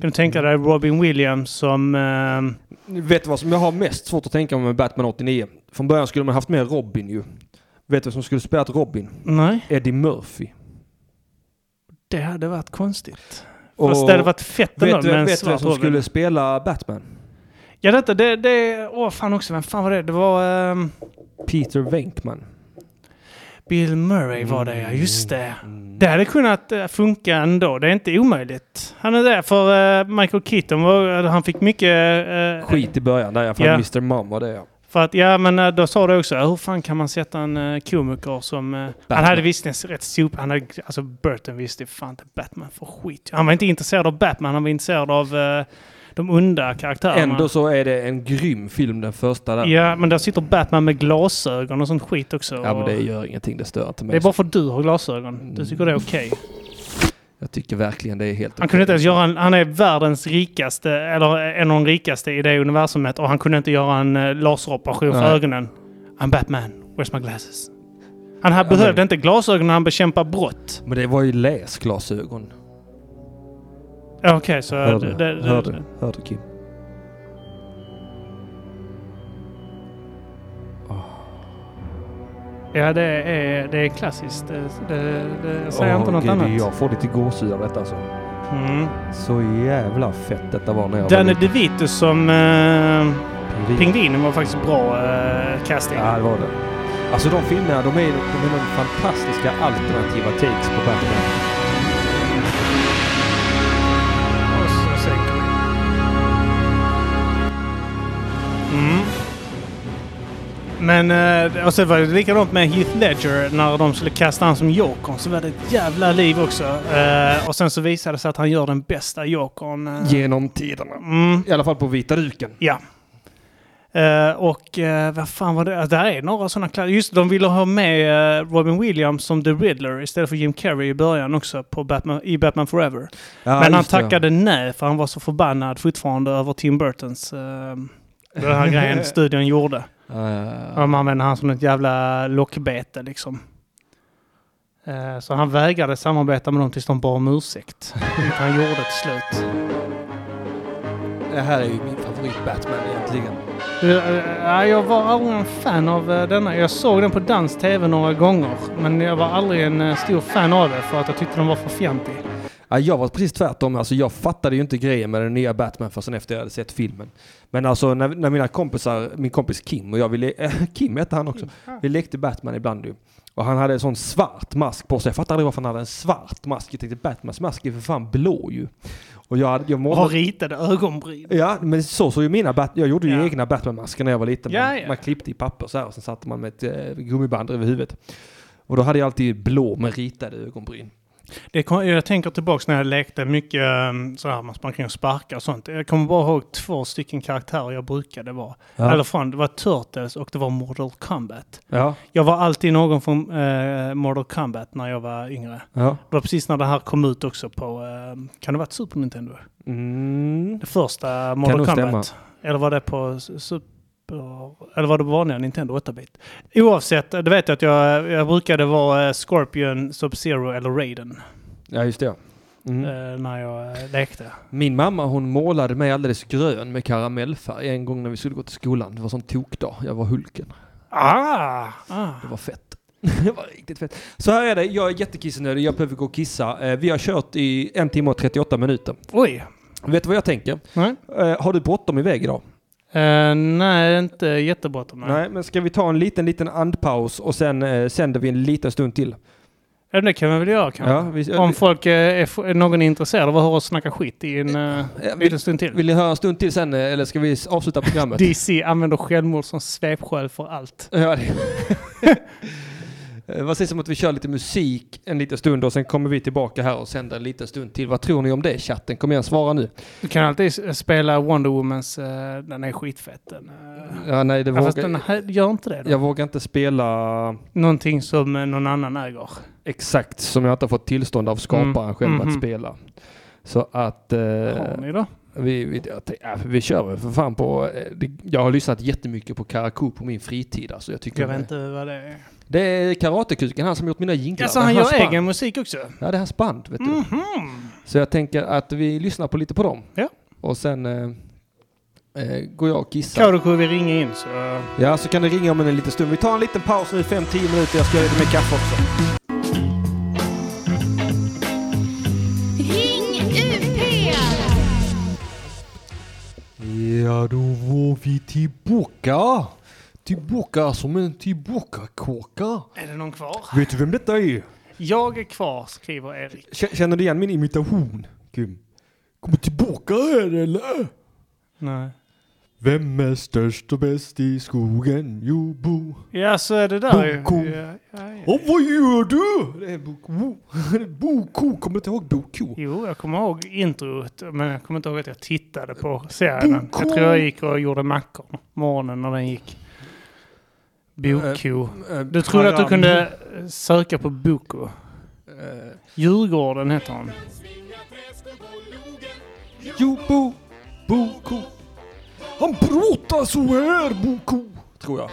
S3: Kan du tänka dig Robin Williams som... Eh,
S1: Vet du vad som jag har mest svårt att tänka mig med Batman 89? Från början skulle man haft med Robin ju. Vet du vem som skulle spelat Robin?
S3: Nej.
S1: Eddie Murphy.
S3: det hade varit konstigt. Fast det hade varit fett
S1: Vet
S3: ändå
S1: du
S3: med en
S1: vet du vem
S3: svart
S1: som
S3: Robin.
S1: skulle spela Batman?
S3: Ja detta, det... det åh fan också, vem fan var det? Det var... ehm,
S1: Peter Venkman.
S3: Bill Murray var det
S1: Mm.
S3: ja, just det. Det hade kunnat eh, funka ändå, det är inte omöjligt. Han är där för eh, Michael Keaton, var, han fick mycket... eh,
S1: Skit i början där, jag fan
S3: Ja.
S1: Mr. Mom var det ja.
S3: För att, ja men eh, då sa du också, hur fan kan man sätta en uh, komiker som... eh, han hade visst en rätt super... Han hade, alltså Burton visste fan inte Batman för skit. Han var inte intresserad av Batman, han var intresserad av eh, de onda karaktärerna.
S1: Ändå så är det en grym film den första där.
S3: Ja, men där sitter Batman med glasögon och sånt skit också.
S1: Ja, men det
S3: Och-
S1: gör ingenting, det stör inte mig.
S3: det är bara för att du har glasögon. Du tycker det är okej.
S1: Jag tycker verkligen det är helt
S3: Han kunde inte ens göra en, Han är världens rikaste, eller en av de rikaste i det universumet. Och han kunde inte göra en eh, laseroperation för
S1: Nej.
S3: ögonen. I'm Batman. Where's my glasses? Han här behövde inte glasögon när han bekämpade brott.
S1: Men det var ju läsglasögon.
S3: Ja, Okej, så...
S1: Hör du?
S3: det- det-
S1: Hör du? Hör du Kim?
S3: Ja, det är, det är klassiskt. Det, det, det, jag säger
S1: Åh,
S3: inte något
S1: gud,
S3: annat.
S1: Jag får lite gåshud av detta alltså.
S3: Mm.
S1: Så jävla fett detta var när jag var
S3: Danny
S1: liten.
S3: DeVito som eh,
S1: Pingvin.
S3: pingvinen var faktiskt bra eh, casting.
S1: Ja, det var det. Alltså de filmerna, de är, de är de fantastiska alternativa takes på Batman.
S3: Mm. Men, eh, och så var det likadant med Heath Ledger när de skulle kasta han som Jokern så var det ett jävla liv också. Eh, och sen så visade det sig att han gör den bästa Jokern. eh.
S1: Genom tiderna. I alla fall på vita duken.
S3: Ja. Eh, och eh, vad fan var det? Alltså, där är några sådana kläder. Just det, de ville ha med eh, Robin Williams som The Riddler istället för Jim Carrey i början också på Batman, i Batman Forever. Men
S1: Ja,
S3: han
S1: just det.
S3: tackade nej för han var så förbannad fortfarande över Tim Burtons... eh, den här
S1: *laughs*
S3: grejen studion gjorde. De använde han som ett jävla lockbete liksom. Eh, Så han vägrade samarbeta med dem tills de bad om ursäkt. Vilket han gjorde till slut.
S1: Det här är ju min favorit Batman egentligen.
S3: Ja, eh, jag var aldrig en fan av eh, denna. Jag såg den på dans-tv några gånger. Men jag var aldrig en eh, stor fan av det för att jag tyckte den var för fjantig.
S1: Ja, jag var precis tvärtom. Alltså, jag fattade ju inte grejen med den nya Batman förrän efter jag hade sett filmen. Men alltså när, när mina kompisar, min kompis Kim och jag, vi le- *laughs* Kim hette han också, vi lekte Batman ibland ju. Och han hade en sån svart mask på sig. Jag fattar aldrig varför han hade en svart mask. Jag tänkte Batmans mask är för fan blå ju. Och jag, hade, jag
S3: Och
S1: målade...
S3: har ritade ögonbryn.
S1: Ja, men så såg ju mina Bat- Jag gjorde ju egna Batman-masker när jag var liten.
S3: Ja,
S1: man,
S3: ja.
S1: man klippte i papper så här och sen satte man med ett eh, gummiband över huvudet. Och då hade jag alltid blå med ritade ögonbryn.
S3: Det kom, jag tänker tillbaks när jag lekte mycket ehm, så här, man sprang kring och sparkade och sånt. Jag kommer bara ihåg två stycken karaktärer jag brukade vara.
S1: Ja.
S3: Eller från, det var Turtles och det var Mortal Kombat.
S1: Ja.
S3: Jag var alltid någon från eh, Mortal Kombat när jag var yngre.
S1: Ja.
S3: Det var precis när det här kom ut också på, ehm, kan det ha varit Super Nintendo?
S1: Mm.
S3: Det första
S1: Kan
S3: Mortal
S1: nog
S3: Kombat.
S1: stämma.
S3: Eller var det på s- Super... Eller var det på vanliga Nintendo 8-bit? Oavsett, det vet jag att jag, jag brukade vara eh, Scorpion, Sub-Zero eller Raiden.
S1: Ja, just det. ja. Mm.
S3: eh, när jag eh, lekte.
S1: Min mamma hon målade mig alldeles grön med karamellfärg en gång när vi skulle gå till skolan. Det var sån tokdag. Jag var Hulken.
S3: Ah! ah.
S1: Det var fett. *laughs* det var riktigt fett. Så här är det. Jag är jättekissnödig. Jag behöver gå och kissa. Eh, Vi har kört i en timme och 38 minuter.
S3: Oj!
S1: Vet du vad jag tänker?
S3: Nej.
S1: Eh, Har du bråttom iväg idag?
S3: Eh, nej, inte jättebråttom. Nej.
S1: Nej, men ska vi ta en liten, liten andpaus och sen eh, sänder vi en liten stund till?
S3: Ja, det kan vi väl göra kanske.
S1: Ja, vi-
S3: Om folk, eh, är, f- är någon är intresserad av att höra oss snacka skit i en eh, liten stund till.
S1: Vill ni höra en stund till sen eh, eller ska vi s- avsluta
S3: *laughs*
S1: programmet?
S3: DC använder självmord som svepskäl för allt.
S1: Ja, det- *laughs* Eh, Vad sägs om att vi kör lite musik en liten stund och sen kommer vi tillbaka här och sänder en liten stund till. Vad tror ni om det chatten? Kom igen, svara nu.
S3: Du kan alltid s- spela Wonder Womans, eh, den är skitfett. Den, eh.
S1: Ja, nej, det
S3: Ja, fast
S1: vågar...
S3: den här, gör inte det då.
S1: Jag vågar inte spela
S3: Någonting som eh, någon annan äger.
S1: exakt som jag inte har fått tillstånd av skaparen
S3: Mm.
S1: själv
S3: Mhm.
S1: att spela. Så att... Eh, har
S3: ni då?
S1: Vi, vi, jag tänk- ja, vi kör väl för fan på... eh, Det, jag har lyssnat jättemycket på Karakou på min fritid. Alltså, jag tycker
S3: Jag vet inte vad det är.
S1: Det är Karatekuken, han som gjort mina jinglar.
S3: Jaså,
S1: Det är
S3: han gör
S1: hans band.
S3: egen musik också?
S1: Ja, det är hans band, vet du. Så jag tänker att vi lyssnar på lite på dem.
S3: Ja.
S1: Och sen eh, eh, går jag och kissar.
S3: Kadoku vill ringa in så...
S1: Ja, så kan du ringa om en liten stund. Vi tar en liten paus nu, 5-10 minuter. Jag ska göra lite mer kaffe också.
S5: Ring UP!
S1: Ja, då var vi tillbaka. Tillbaka som en tillbaka-kåka.
S3: Är det någon kvar?
S1: Vet du vem detta är?
S3: Jag är kvar, skriver Erik.
S1: Känner du igen min imitation, Kim? Kommer tillbaka här eller?
S3: Nej.
S7: Vem är störst och bäst i skogen? Jo, Bo.
S3: Ja, så är det där ju.
S7: Boko.
S3: Ja, ja, ja.
S7: Och vad gör du?
S1: Det är Boko. Boko. Kommer du inte ihåg Boko?
S3: Jo, jag kommer ihåg introt, men jag kommer inte ihåg att jag tittade på serien. Jag tror jag gick och gjorde mackor morgonen när den gick. Boko.
S1: Eh, eh,
S3: Du trodde att du
S1: Karam.
S3: kunde söka på Boko. Eh. Djurgården heter han.
S1: Jo, Bo. Boko. Han pratar så här, Boko. Tror jag.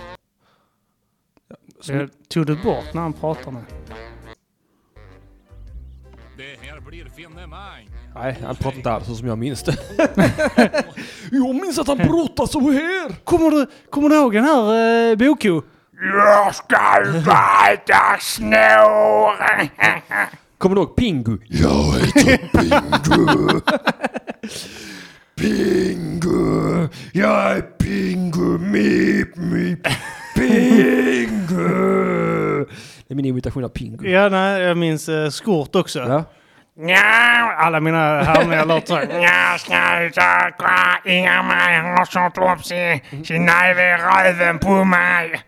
S3: Jag tog du bort när han pratade med?
S14: Det här blir finemang.
S1: Nej, han pratar inte alls så som jag minns det. *laughs*
S14: Jag minns att han pratar
S1: så här!
S3: Kommer du, kommer du ihåg den här eh, Boko?
S14: Jag ska vara snor!
S1: Kommer du ihåg Pingu? Jag heter Pingu.
S14: Pingu! Jag är Pingu! Mip, mip! Pingu!
S1: Det är min imitation av Pingu.
S3: Ja, nej, jag minns eh, Skort också. Ja. Alla mina härliga låtar. så här.
S14: Jag ska utåka, inga mig har kört upp sin, sin näve i röven på mig.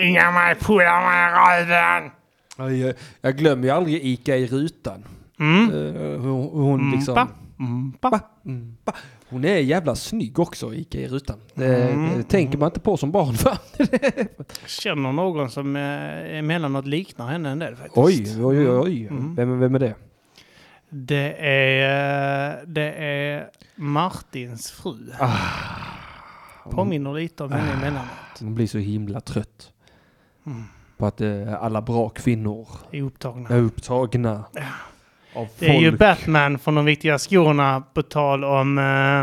S14: Inga mig pullar mig i röven.
S1: Aj, eh, Jag glömmer ju aldrig Ica i rutan.
S14: Mm.
S1: Eh, Hon, hon liksom...
S14: Mpa,
S1: Mpa,
S3: Mm.
S1: mpa. Hon är jävla snygg också, Ica i rutan. Det,
S3: Mm.
S1: det tänker man inte på som barn va? *laughs*
S3: Känner någon som eh, emellanåt liknar henne en del faktiskt.
S1: Oj, oj, oj. oj.
S3: Mm.
S1: Vem, vem är det?
S3: Det är, eh, det är Martins fru. Påminner lite om henne emellanåt.
S1: Man blir så himla trött.
S3: Mm.
S1: På att eh, alla bra kvinnor
S3: Är upptagna.
S1: Är upptagna. Av
S3: Det är ju
S1: folk.
S3: Batman från de viktiga skorna på tal om eh,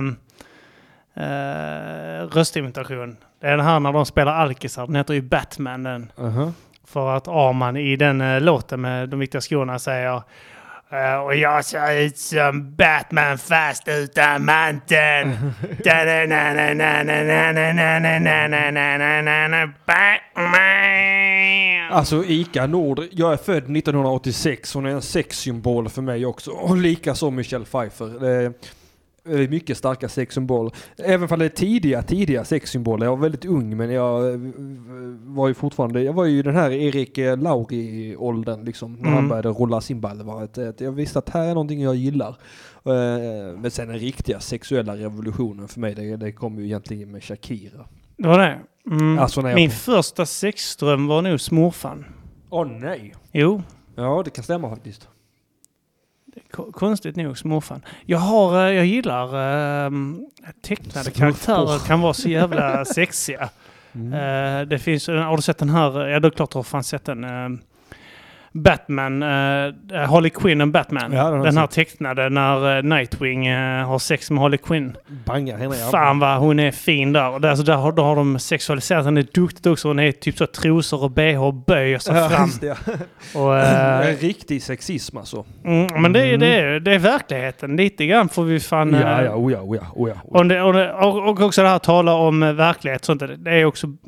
S3: eh, röstimitation. Det är den här när de spelar alkisar. Den heter ju Batman den.
S1: Aha.
S3: För att Arman i den eh, låten med de viktiga skorna säger eh, och jag ser ut som Batman fast utan
S1: *laughs*
S3: manteln. Da-da-na-na-na-na-na-na-na-na-na-na-na-na-na. Batman!
S1: Alltså Ica Nord, jag är född 1986, hon är en sexsymbol för mig också. Och likaså Michelle Pfeiffer. Det är- det är mycket starka sexsymboler. Även om det är tidiga, tidiga sexsymboler. Jag var väldigt ung men jag eh, var ju fortfarande, jag var ju den här Erik eh, Lauri-åldern liksom. När han
S3: Mm.
S1: började rulla sin balva. Att- att Jag visste att här är någonting jag gillar. Eh, Men sen den riktiga sexuella revolutionen för mig, det, det kom ju egentligen med Shakira.
S3: Det var det? Mm.
S1: Alltså, när jag-
S3: Min första sexdröm var nog smurfan.
S1: Åh nej!
S3: Jo.
S1: Ja, det kan stämma faktiskt.
S3: Ko- Konstigt nog smurfan. Jag, har, eh, jag gillar eh, tecknade
S1: Smurfporr.
S3: karaktärer kan vara så
S1: *laughs*
S3: jävla sexiga.
S1: Mm.
S3: Eh, det finns, har du sett den här? eh, Ja, det är klart du har fan sett den. eh, Batman, eh, Harley Quinn och Batman.
S1: Ja, den har
S3: den
S1: jag
S3: här
S1: sett.
S3: tecknade när eh, Nightwing eh, har sex med Harley Quinn.
S1: Bangar henne ja.
S3: Fan vad hon är fin där. Och där, alltså, där har, då har de sexualiserat henne duktigt också. Hon är typ så att trosor och bh böjer sig
S1: Ja,
S3: fram.
S1: just det.
S3: Och,
S1: Det *laughs*
S3: eh,
S1: är riktig sexism alltså.
S3: Mm, men det, är- det, är, det är verkligheten. Lite grann får vi fan... eh,
S1: Ja, ja, oja, oja, oja.
S3: Och, det, och, det, och, och också det här att tala om eh, verklighet. Sånt, där, det är också det,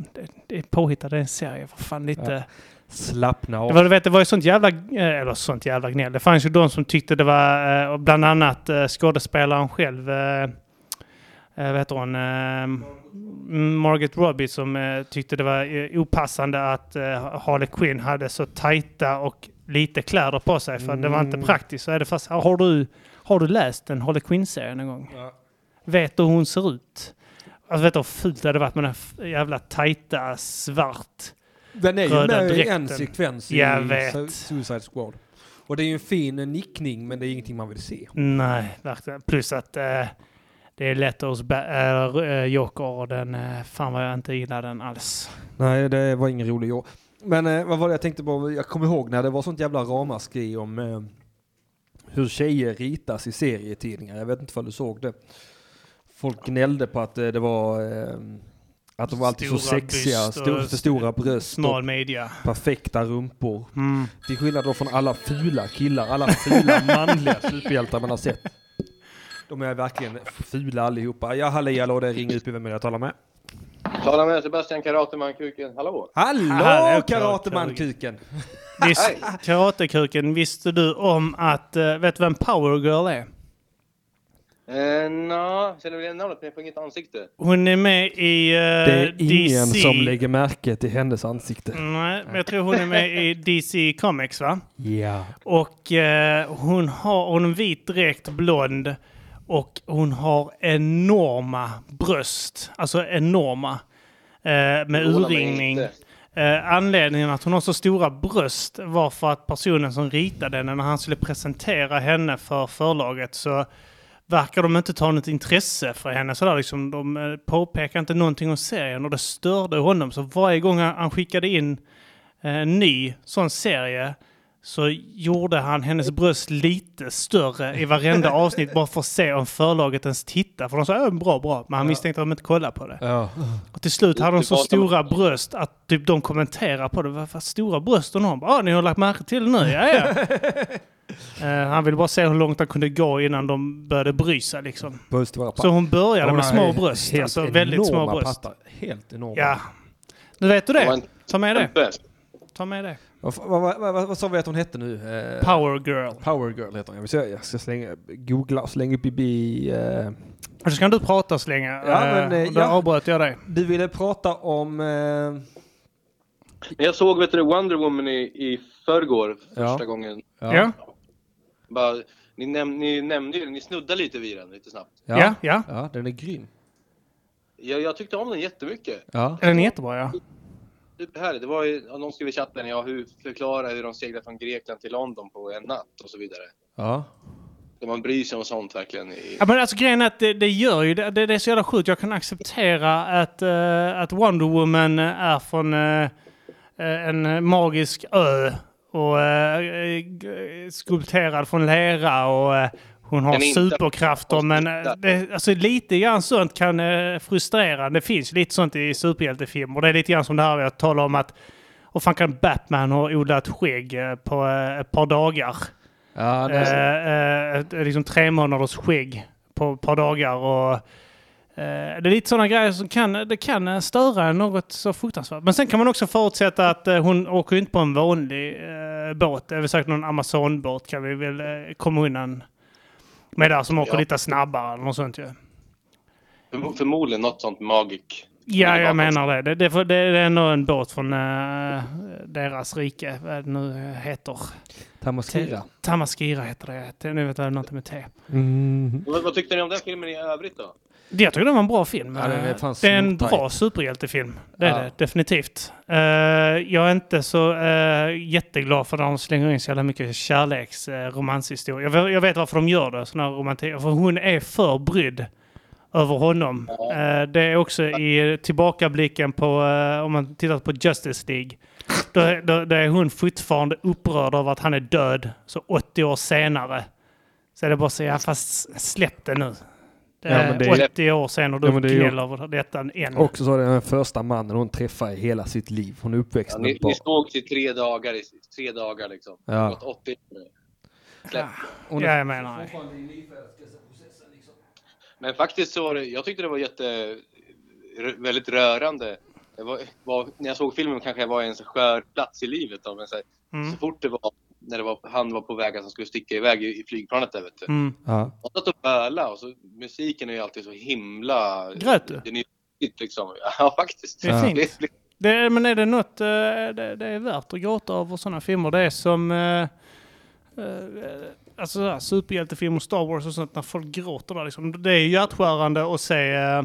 S3: det är påhittat. Det är en serie. För fan lite...
S1: Slappna
S3: Det var,
S1: av.
S3: du vet, det var ju sånt jävla, eh, eller sånt jävla gnäll. Det fanns ju de som tyckte det var, eh, och bland annat eh, skådespelaren själv, eh, eh, vad heter hon, eh, Margaret Robbie som eh, tyckte det var eh, opassande att eh, Harley Quinn hade så tajta och lite kläder på sig för det var inte
S1: Mm.
S3: praktiskt. Så är det fast, har du, har du läst en Harley Quinn-serie någon gång?
S1: Ja.
S3: Vet du hur hon ser ut? Alltså vet du hur fult det hade varit med den här f- jävla tajta svart
S1: Den är ju
S3: röda
S1: med i
S3: dräkten.
S1: en sekvens i
S3: Jag vet.
S1: Su- Suicide Squad. Och det är ju en fin eh, nickning men det är ingenting man vill se.
S3: Nej, verkligen. Plus att eh, det är lätt hos ba- äh, äh, Joker och den... Äh, fan vad jag inte gillar den alls.
S1: Nej, det var ingen rolig jag. Men eh, vad var det jag tänkte på? Jag kommer ihåg när det var sånt jävla ramaskri om eh, hur tjejer ritas i serietidningar. Jag vet inte om du såg det. Folk gnällde på att eh, det var eh, att de var alltid så
S3: Stora
S1: sexiga,
S3: byst och
S1: stor, för stora bröst. och
S3: smal midja.
S1: Perfekta rumpor.
S3: Mm.
S1: Till skillnad då från alla fula killar, alla fula manliga superhjältar man har sett. De är verkligen fula allihopa. Ja, halli hallå, det är Ring UP, vem är det jag talar med?
S15: Tala med Sebastian Karateman Kuken, hallå!
S1: Hallå Karateman-kuken!
S3: Visst, Karatekuken, visste du om att... eh, vet du vem Power Girl är?
S15: Eh, Nja, känner väl igen namnet men jag får inget ansikte.
S3: Hon är med i eh,
S1: Det är ingen
S3: DC.
S1: som lägger märke till hennes ansikte.
S3: Nej, men jag tror hon är med i DC Comics, va?
S1: Ja.
S3: Och eh, hon har hon är vit direkt blond och hon har enorma bröst. Alltså enorma. Eh, med
S15: Förvånar mig
S3: urringning.
S15: inte.
S3: Eh, anledningen att hon har så stora bröst var för att personen som ritade henne, när han skulle presentera henne för förlaget, så verkar de inte ta något intresse för henne. Sådär, liksom, de eh, påpekar inte någonting om serien och det störde honom. Så varje gång han han skickade in eh, en ny sån serie så gjorde han hennes bröst lite större i varenda avsnitt bara för att se om förlaget ens tittar. För de sa "Ja, bra, bra, men han misstänkte att de inte kollade på det.
S1: Ja.
S3: Och till slut hade hon så
S1: Tillbaka.
S3: stora bröst att typ de kommenterar på det. Vad, vad stora bröst hon har. Bara, Ah, ni har lagt märke till det nu? Ja, ja. Eh, han ville bara se hur långt han kunde gå innan de började bry sig. Liksom.
S1: Bröst var
S3: Så hon
S1: Ja,
S3: började
S1: hon
S3: med
S1: har
S3: små
S1: helt-
S3: bröst.
S1: helt
S3: Alltså väldigt små
S1: enorma
S3: bröst.
S1: pattar. Helt enorma.
S3: Ja. Nu vet du
S1: Hon var
S3: det.
S1: en
S3: Ta med det.
S1: kämpe.
S3: Ta med det.
S1: Vad, vad, vad, vad, vad sa vi att hon hette nu? Eh,
S3: Power Girl.
S1: Power Girl heter hon. Jag, vill säga, jag ska slänga, googla och slänga upp i... bi- Eh.
S3: Så ska du prata så länge.
S1: Ja, men, eh,
S3: Eh, och då
S1: ja.
S3: avbröt jag dig.
S1: Du ville prata om... Eh,
S15: Men *laughs* jag såg vet du, Wonder Woman i, i förrgår, första
S1: Ja.
S15: gången.
S1: Ja. Ja.
S15: Bara, ni, näm, ni nämnde ju den, ni snuddade lite vid den lite snabbt.
S3: Ja, ja.
S1: ja, den är grym.
S15: Jag, jag tyckte om den jättemycket.
S1: Ja.
S3: Den är jättebra, ja.
S15: Superhärlig. Det var ju, ja, någon skrev i chatten, ja, hur förklara hur de seglade från Grekland till London på en natt och så vidare.
S1: Ja.
S15: Där man bryr sig om sånt verkligen. I,
S3: Ja, men alltså grejen är att det, det gör ju det. Det, det är så jävla sjukt. Jag kan acceptera att, eh, att Wonder Woman eh, är från eh, eh, en magisk ö och eh, eh, g- skulpterad från lera och eh, Hon har
S10: Den är inte-
S3: superkrafter men eh, det, alltså, lite grann sånt kan eh, frustrera. Det finns lite sånt i superhjältefilmer. Det är lite grann som det här jag talar om att och fan kan Batman ha odlat skägg eh, på eh, ett par dagar?
S1: Ja, det
S3: eh, eh, ett- liksom tre månaders skägg på ett par dagar. Och, eh, det är lite sådana grejer som kan, det kan eh, störa en något så fruktansvärt. Men sen kan man också förutsätta att eh, hon åker ju inte på en vanlig eh, båt. Det är väl säkert någon Amazonbåt kan vi väl eh, komma undan med där som åker
S15: Ja.
S3: lite snabbare eller något sånt ju.
S15: Förmo- Förmodligen något sånt magic.
S3: Ja, jag menar det. Det, det, får- det är ändå en båt från eh, deras rike, vad det nu heter.
S1: Tamaskira.
S3: Te- Tamaskira heter det. det. Nu vet jag något med T.
S15: Vad, vad tyckte ni om den filmen i övrigt då?
S3: Det- Jag tycker det var en bra film.
S15: Ja, den är fan
S3: det är en
S15: snortajt.
S3: bra superhjältefilm. Det är
S15: Ja.
S3: det definitivt. Eh, jag är inte så eh, jätteglad för att de slänger in så jävla mycket kärleksromanshistoria. jag, vet- jag vet varför de gör det, sån här romantik. För hon är för brydd över honom. Eh, det är också i tillbakablicken på, eh, om man tittar på Justice League. Då, är- då, då är hon fortfarande upprörd över att han är död. Så 80 år senare. Så är det bara så, ja fast släpp det nu. Det
S1: Ja,
S3: är
S1: men det är-
S3: 80 år sen och du
S1: Ja, men det är ju-
S3: gnäller över detta än.
S1: Också så är det den första mannen hon träffar i hela sitt liv. Hon är uppväxt
S15: Ja,
S1: med
S15: ni,
S1: ett barn.
S15: ni sågs i tre dagar, i, tre dagar liksom.
S1: Ja.
S15: Det har gått 80 nu. Släpp.
S3: Ja, jag menar det.
S15: Men faktiskt så var det, jag tyckte det var jätte, r- väldigt rörande. Det var, var, när jag såg filmen kanske jag var i en så skör plats i livet. Då, men så, här,
S3: Mm.
S15: så fort det var, när det var, han var på väg att han skulle sticka iväg i, i flygplanet där vet du.
S3: Mm.
S1: Ja.
S15: Han satt och bölade och så, musiken är ju alltid så himla...
S3: Grät du?
S15: Den är ju liksom. *laughs* Ja, faktiskt.
S3: Det är fint.
S15: Det- det-
S3: Det, är- men är det något eh, det, det är värt att gråta över sådana filmer? Det är som eh, eh, alltså, så här, superhjältefilmer, Star Wars och sånt, när folk gråter där. Liksom. Det är ju hjärtskärande att se eh,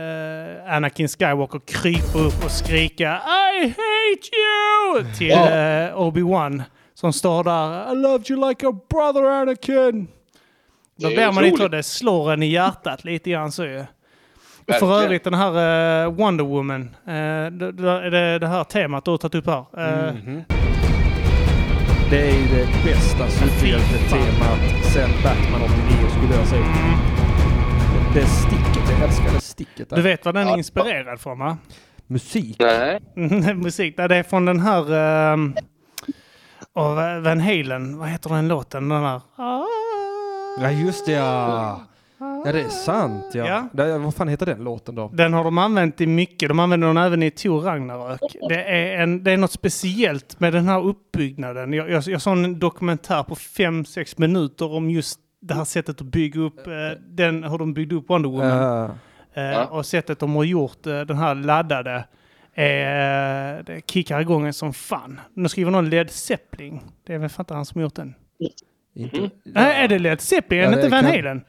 S3: eh, Anakin Skywalker krypa upp och skrika I hate you! till eh, Obi-Wan som står där I loved you like a brother Anakin. Då
S1: Det är
S3: blir man
S1: otroligt.
S3: inte det slår en i hjärtat lite grann så ju. Och för
S1: Verkligen.
S3: övrigt den här eh, Wonder Woman, eh, det, det, det- det här temat du har tagit upp här. eh,
S1: Mhm. Det är ju det bästa superhjältetemat sen Batman 89 skulle jag säga. Det, det sticket, jag älskar det sticket. där.
S3: Du vet vad den är inspirerad från va? *laughs*
S1: Musik.
S15: Nej.
S3: Musik, nej, det är från den här... ehm, av eh, Van Halen, vad heter den låten? Den här?
S1: Ja just det ja. Ja det är sant ja.
S3: Ja.
S1: Det, vad fan heter den låten då?
S3: Den har de använt i mycket. De använder den även i Tor Ragnarök. Det är, en, det är något speciellt med den här uppbyggnaden. Jag, jag, jag såg en dokumentär på 5-6 minuter om just det här sättet att bygga upp eh, den, hur de byggde upp Wonder Woman. Eh, Och sättet de har gjort eh, den här laddade är, eh, det kickar igång en som fan. Nu skriver någon Led Zeppelin. Det är väl fan inte han som har gjort den?
S1: Inte.
S3: Nej, är det Led Zeppelin?
S1: Ja, det
S3: inte Van
S1: kan-
S3: Halen?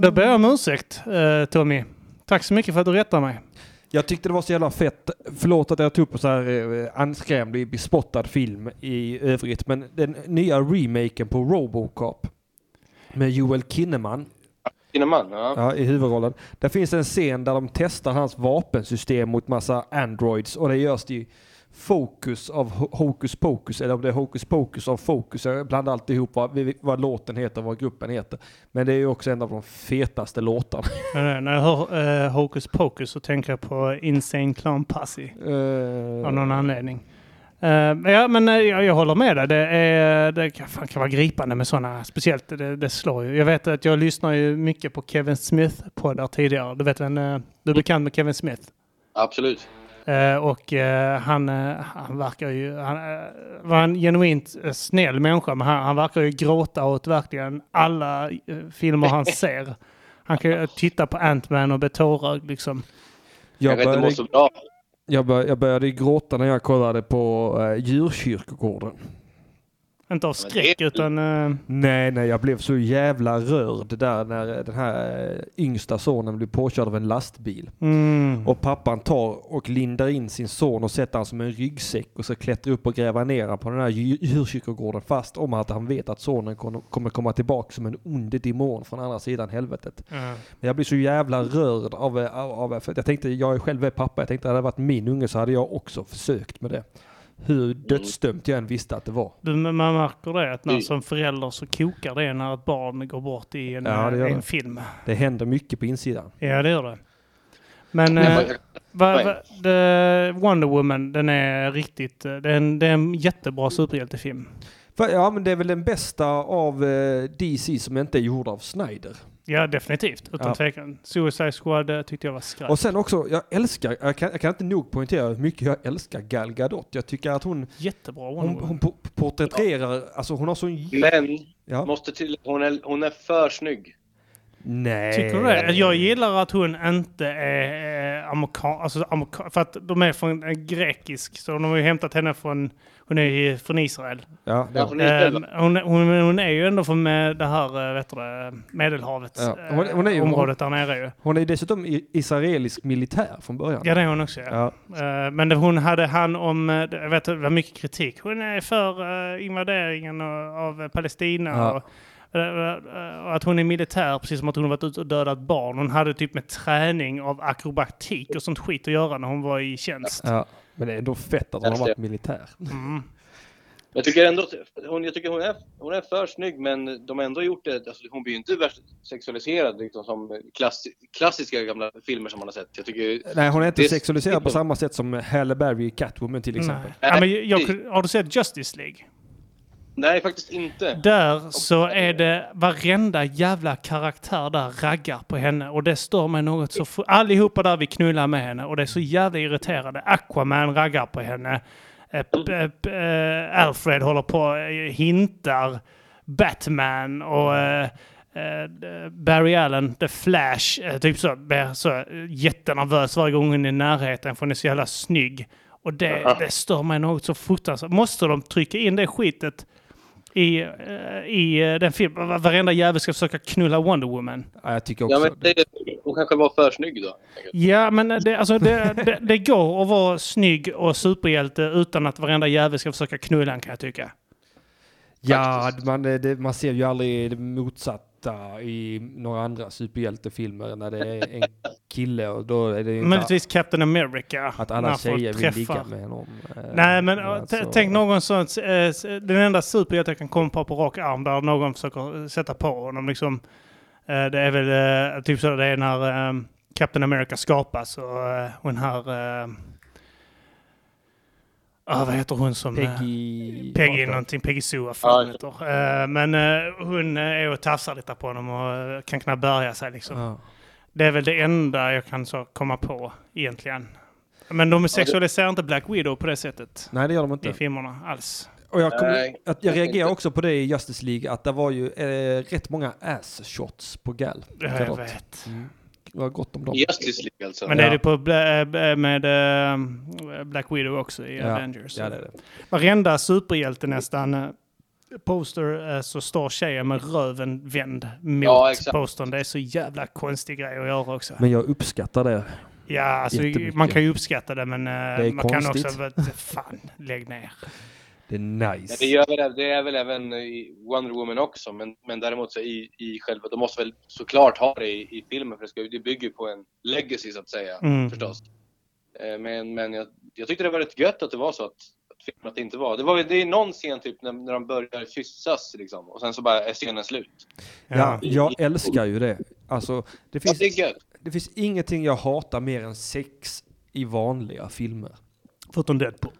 S3: Då ber jag om ursäkt, eh, Tommy. Tack så mycket för att du rättar mig.
S1: Jag tyckte det var så jävla fett. Förlåt att jag tog upp en så här eh, anskrämlig, bespottad film i övrigt. Men den nya remaken på Robocop med Joel Kinnaman
S15: Kinnaman, ja.
S1: ja, i huvudrollen. Där finns en scen där de testar hans vapensystem mot massa androids och det görs i Focus av Ho- Hocus Pocus, eller om det är Hocus Pocus av Focus. Jag blandar alltid ihop vad, vi- vad låten heter, vad gruppen heter. Men det är ju också en av de fetaste låtarna.
S3: Nej, nej, När jag hör eh, Hocus Pocus så tänker jag på Insane Clown Posse. Av någon anledning. Eh, men ja, men eh, jag, jag håller med dig. Det, är, det kan, fan, kan vara gripande med sådana. Speciellt det, det slår ju. Jag vet att jag lyssnar ju mycket på Kevin Smith-poddar tidigare. Du vet, en, eh, du är bekant med Kevin Smith?
S15: Absolut.
S3: Eh, och eh, han, eh, han verkar ju... Han eh, var en genuint eh, snäll människa, men han, han verkar ju gråta åt verkligen alla eh, filmer *laughs* han ser. Han kan ju eh, titta på Ant-Man och bli tårögd liksom.
S1: Jag började, jag, bör, jag började gråta när jag kollade på eh, djurkyrkogården.
S3: Inte av skräck, utan... eh,
S1: Nej, nej, jag blev så jävla rörd där när eh, den här eh, yngsta sonen blev påkörd av en lastbil.
S3: Mm.
S1: Och pappan tar och lindar in sin son och sätter han som en ryggsäck och så klättrar upp och gräva ner han på den här djur- djurkyrkogården fast om att han vet att sonen kon- kommer komma tillbaka som en ond demon från andra sidan helvetet.
S3: Ja.
S1: Men jag blir så jävla rörd av, eh, av, av för jag tänkte, jag är själv är pappa, jag tänkte hade det varit min unge så hade jag också försökt med det. Hur dödsdömt jag än visste att det var.
S3: Du, men man märker det att när som förälder så kokar det när ett barn går bort i en, eh,
S1: Ja, det gör
S3: i en
S1: det.
S3: film.
S1: Det händer mycket på insidan.
S3: Ja, det gör det. Men eh, va, va, the Wonder Woman, den är riktigt... eh, Det är en, det är en jättebra superhjältefilm.
S1: Va- Ja, men det är väl den bästa av eh, DC som inte är gjord av Snyder.
S3: Ja, definitivt. Utan
S1: Ja.
S3: tvekan. Suicide Squad eh, tyckte jag var skräp.
S1: Och sen också, jag älskar, jag kan, jag kan inte nog poängtera hur mycket jag älskar Gal Gadot. Jag tycker att hon,
S3: Jättebra Wonder
S1: hon,
S3: Woman.
S1: hon po- porträtterar, alltså hon har sån... j-
S15: Men
S1: Ja.
S15: måste till, hon, är, hon är för snygg.
S1: Nej.
S3: Tycker du
S1: Eh.
S3: det? Jag gillar att hon inte är eh, amerikan, alltså amerikan, för att de är från eh, grekisk, så de har ju hämtat henne från, hon är ju från Israel.
S1: Ja, det- Ja, från Israel,
S3: Ehm, hon, hon, hon är ju ändå från eh, det här, eh, vet du det, Medelhavets
S1: Ja.
S3: eh,
S1: Hon, hon är ju,
S3: området där nere ju.
S1: Hon är ju dessutom i- israelisk militär från början.
S3: Ja, det är hon också. Ja.
S1: Ja.
S3: Eh, Men det- hon hade hand om, eh, det- jag vet det var mycket kritik. Hon är för eh, invaderingen och- av eh, Palestina
S1: Ja.
S3: och, eh, eh, och att hon är militär, precis som att hon har varit ute och dödat barn. Hon hade typ med träning av akrobatik och sånt skit att göra när hon var i tjänst.
S1: Ja, men det är ändå fett att hon har varit militär.
S3: Mm.
S15: Jag tycker ändå att hon, jag tycker hon, är, hon är för snygg men de har ändå gjort det. Alltså, hon blir ju inte värst sexualiserad liksom, som klass, klassiska gamla filmer som man har sett. Jag tycker,
S1: Nej, hon är inte
S15: det-
S1: sexualiserad på samma sätt som Halle Berry i Catwoman till exempel.
S3: Nej. Ja, men jag- jag, har du sett Justice League?
S15: Nej, faktiskt inte.
S3: Där så är det varenda jävla karaktär där raggar på henne och det stör mig något så fr- Allihopa där vi knullar med henne och det är så jävla irriterade. Aquaman raggar på henne. Eh, p- p- eh, Alfred håller på och hintar. Batman och eh, eh, Barry Allen, The Flash, eh, typ så, blir så eh, jättenervös varje gång hon är i närheten för hon är så jävla snygg. Och det,
S12: Aha.
S3: det stör mig något så fruktansvärt. Måste de trycka in det skitet i, eh, i eh, den filmen? Va- Varenda jävel ska försöka knulla Wonder Woman.
S1: Ja, jag tycker
S15: Ja,
S1: också...
S15: men det, hon kanske var för snygg då.
S3: Ja, men eh, det, alltså, det, det, det går att vara snygg och superhjälte utan att varenda jävel ska försöka knulla en, kan jag tycka.
S1: Ja, man, det, man ser ju aldrig det motsatta i några andra superhjältefilmer när det är en kille och då är det ju inte...
S3: Möjligtvis Captain America.
S1: Att
S3: när
S1: alla
S3: folk
S1: tjejer vill ligga
S3: träffar.
S1: med honom. Eh,
S3: Nej, men eh,
S1: alltså-
S3: t- tänk någon sån... eh, s- Den enda superhjälte jag kan komma på på rak arm där någon försöker eh, sätta på honom. Liksom, eh, det är väl eh, typ så det är när eh, Captain America skapas och eh, hon här... eh, ah, vad heter hon som... eh,
S1: Peggy...
S3: Peggy någonting, Peggy Sue vad
S1: Ja,
S3: fan
S1: just
S3: heter. Eh, Men eh, hon eh, är och tafsar lite på honom och eh, kan knappt bärga sig liksom.
S1: Ja.
S3: Det är väl det enda jag kan så komma på egentligen. Men de sexualiserar inte Black Widow på det sättet.
S1: Nej, det gör de inte.
S3: I filmerna alls.
S1: Och jag, kommer,
S3: Nej.
S1: att jag reagerar också på det i Justice League, att det var ju eh, rätt många ass-shots på Gal.
S3: Ja, jag
S1: Gadot.
S3: vet.
S1: Mm. Det var gott om dem.
S15: I Justice League alltså.
S3: Men det är
S1: Ja.
S3: det på Bla- eh, med eh, Black Widow också i
S1: Ja.
S3: Avengers.
S1: Ja, det är det.
S3: Varenda superhjälte nästan eh, poster eh, så står tjejen med röven vänd mot
S15: Ja, exakt.
S3: postern. Det är så jävla konstig grej att göra också.
S1: Men jag uppskattar det.
S3: Ja, alltså,
S1: Jättemycket.
S3: man kan ju uppskatta det, men eh,
S1: är
S3: man
S1: konstigt.
S3: kan också... vara- *laughs* Fan, lägg ner.
S1: Det är nice.
S15: Men Det, gör väl, det är väl även i Wonder Woman också, men, men däremot så i, i själva, de måste väl såklart ha det i, i filmen för det, ska, ju- det bygger ju på en legacy så att säga,
S3: Mm.
S15: förstås. Eh, Men, men jag, jag tyckte det var rätt gött att det var så att, att filmen att det inte var. Det, var väl- det är någon scen typ när, när de börjar kyssas liksom, och sen så bara är scenen slut.
S1: Ja, jag älskar ju det. Alltså, det finns,
S15: det är gött.
S1: det finns ingenting jag hatar mer än sex i vanliga filmer.
S3: Förutom Deadpool.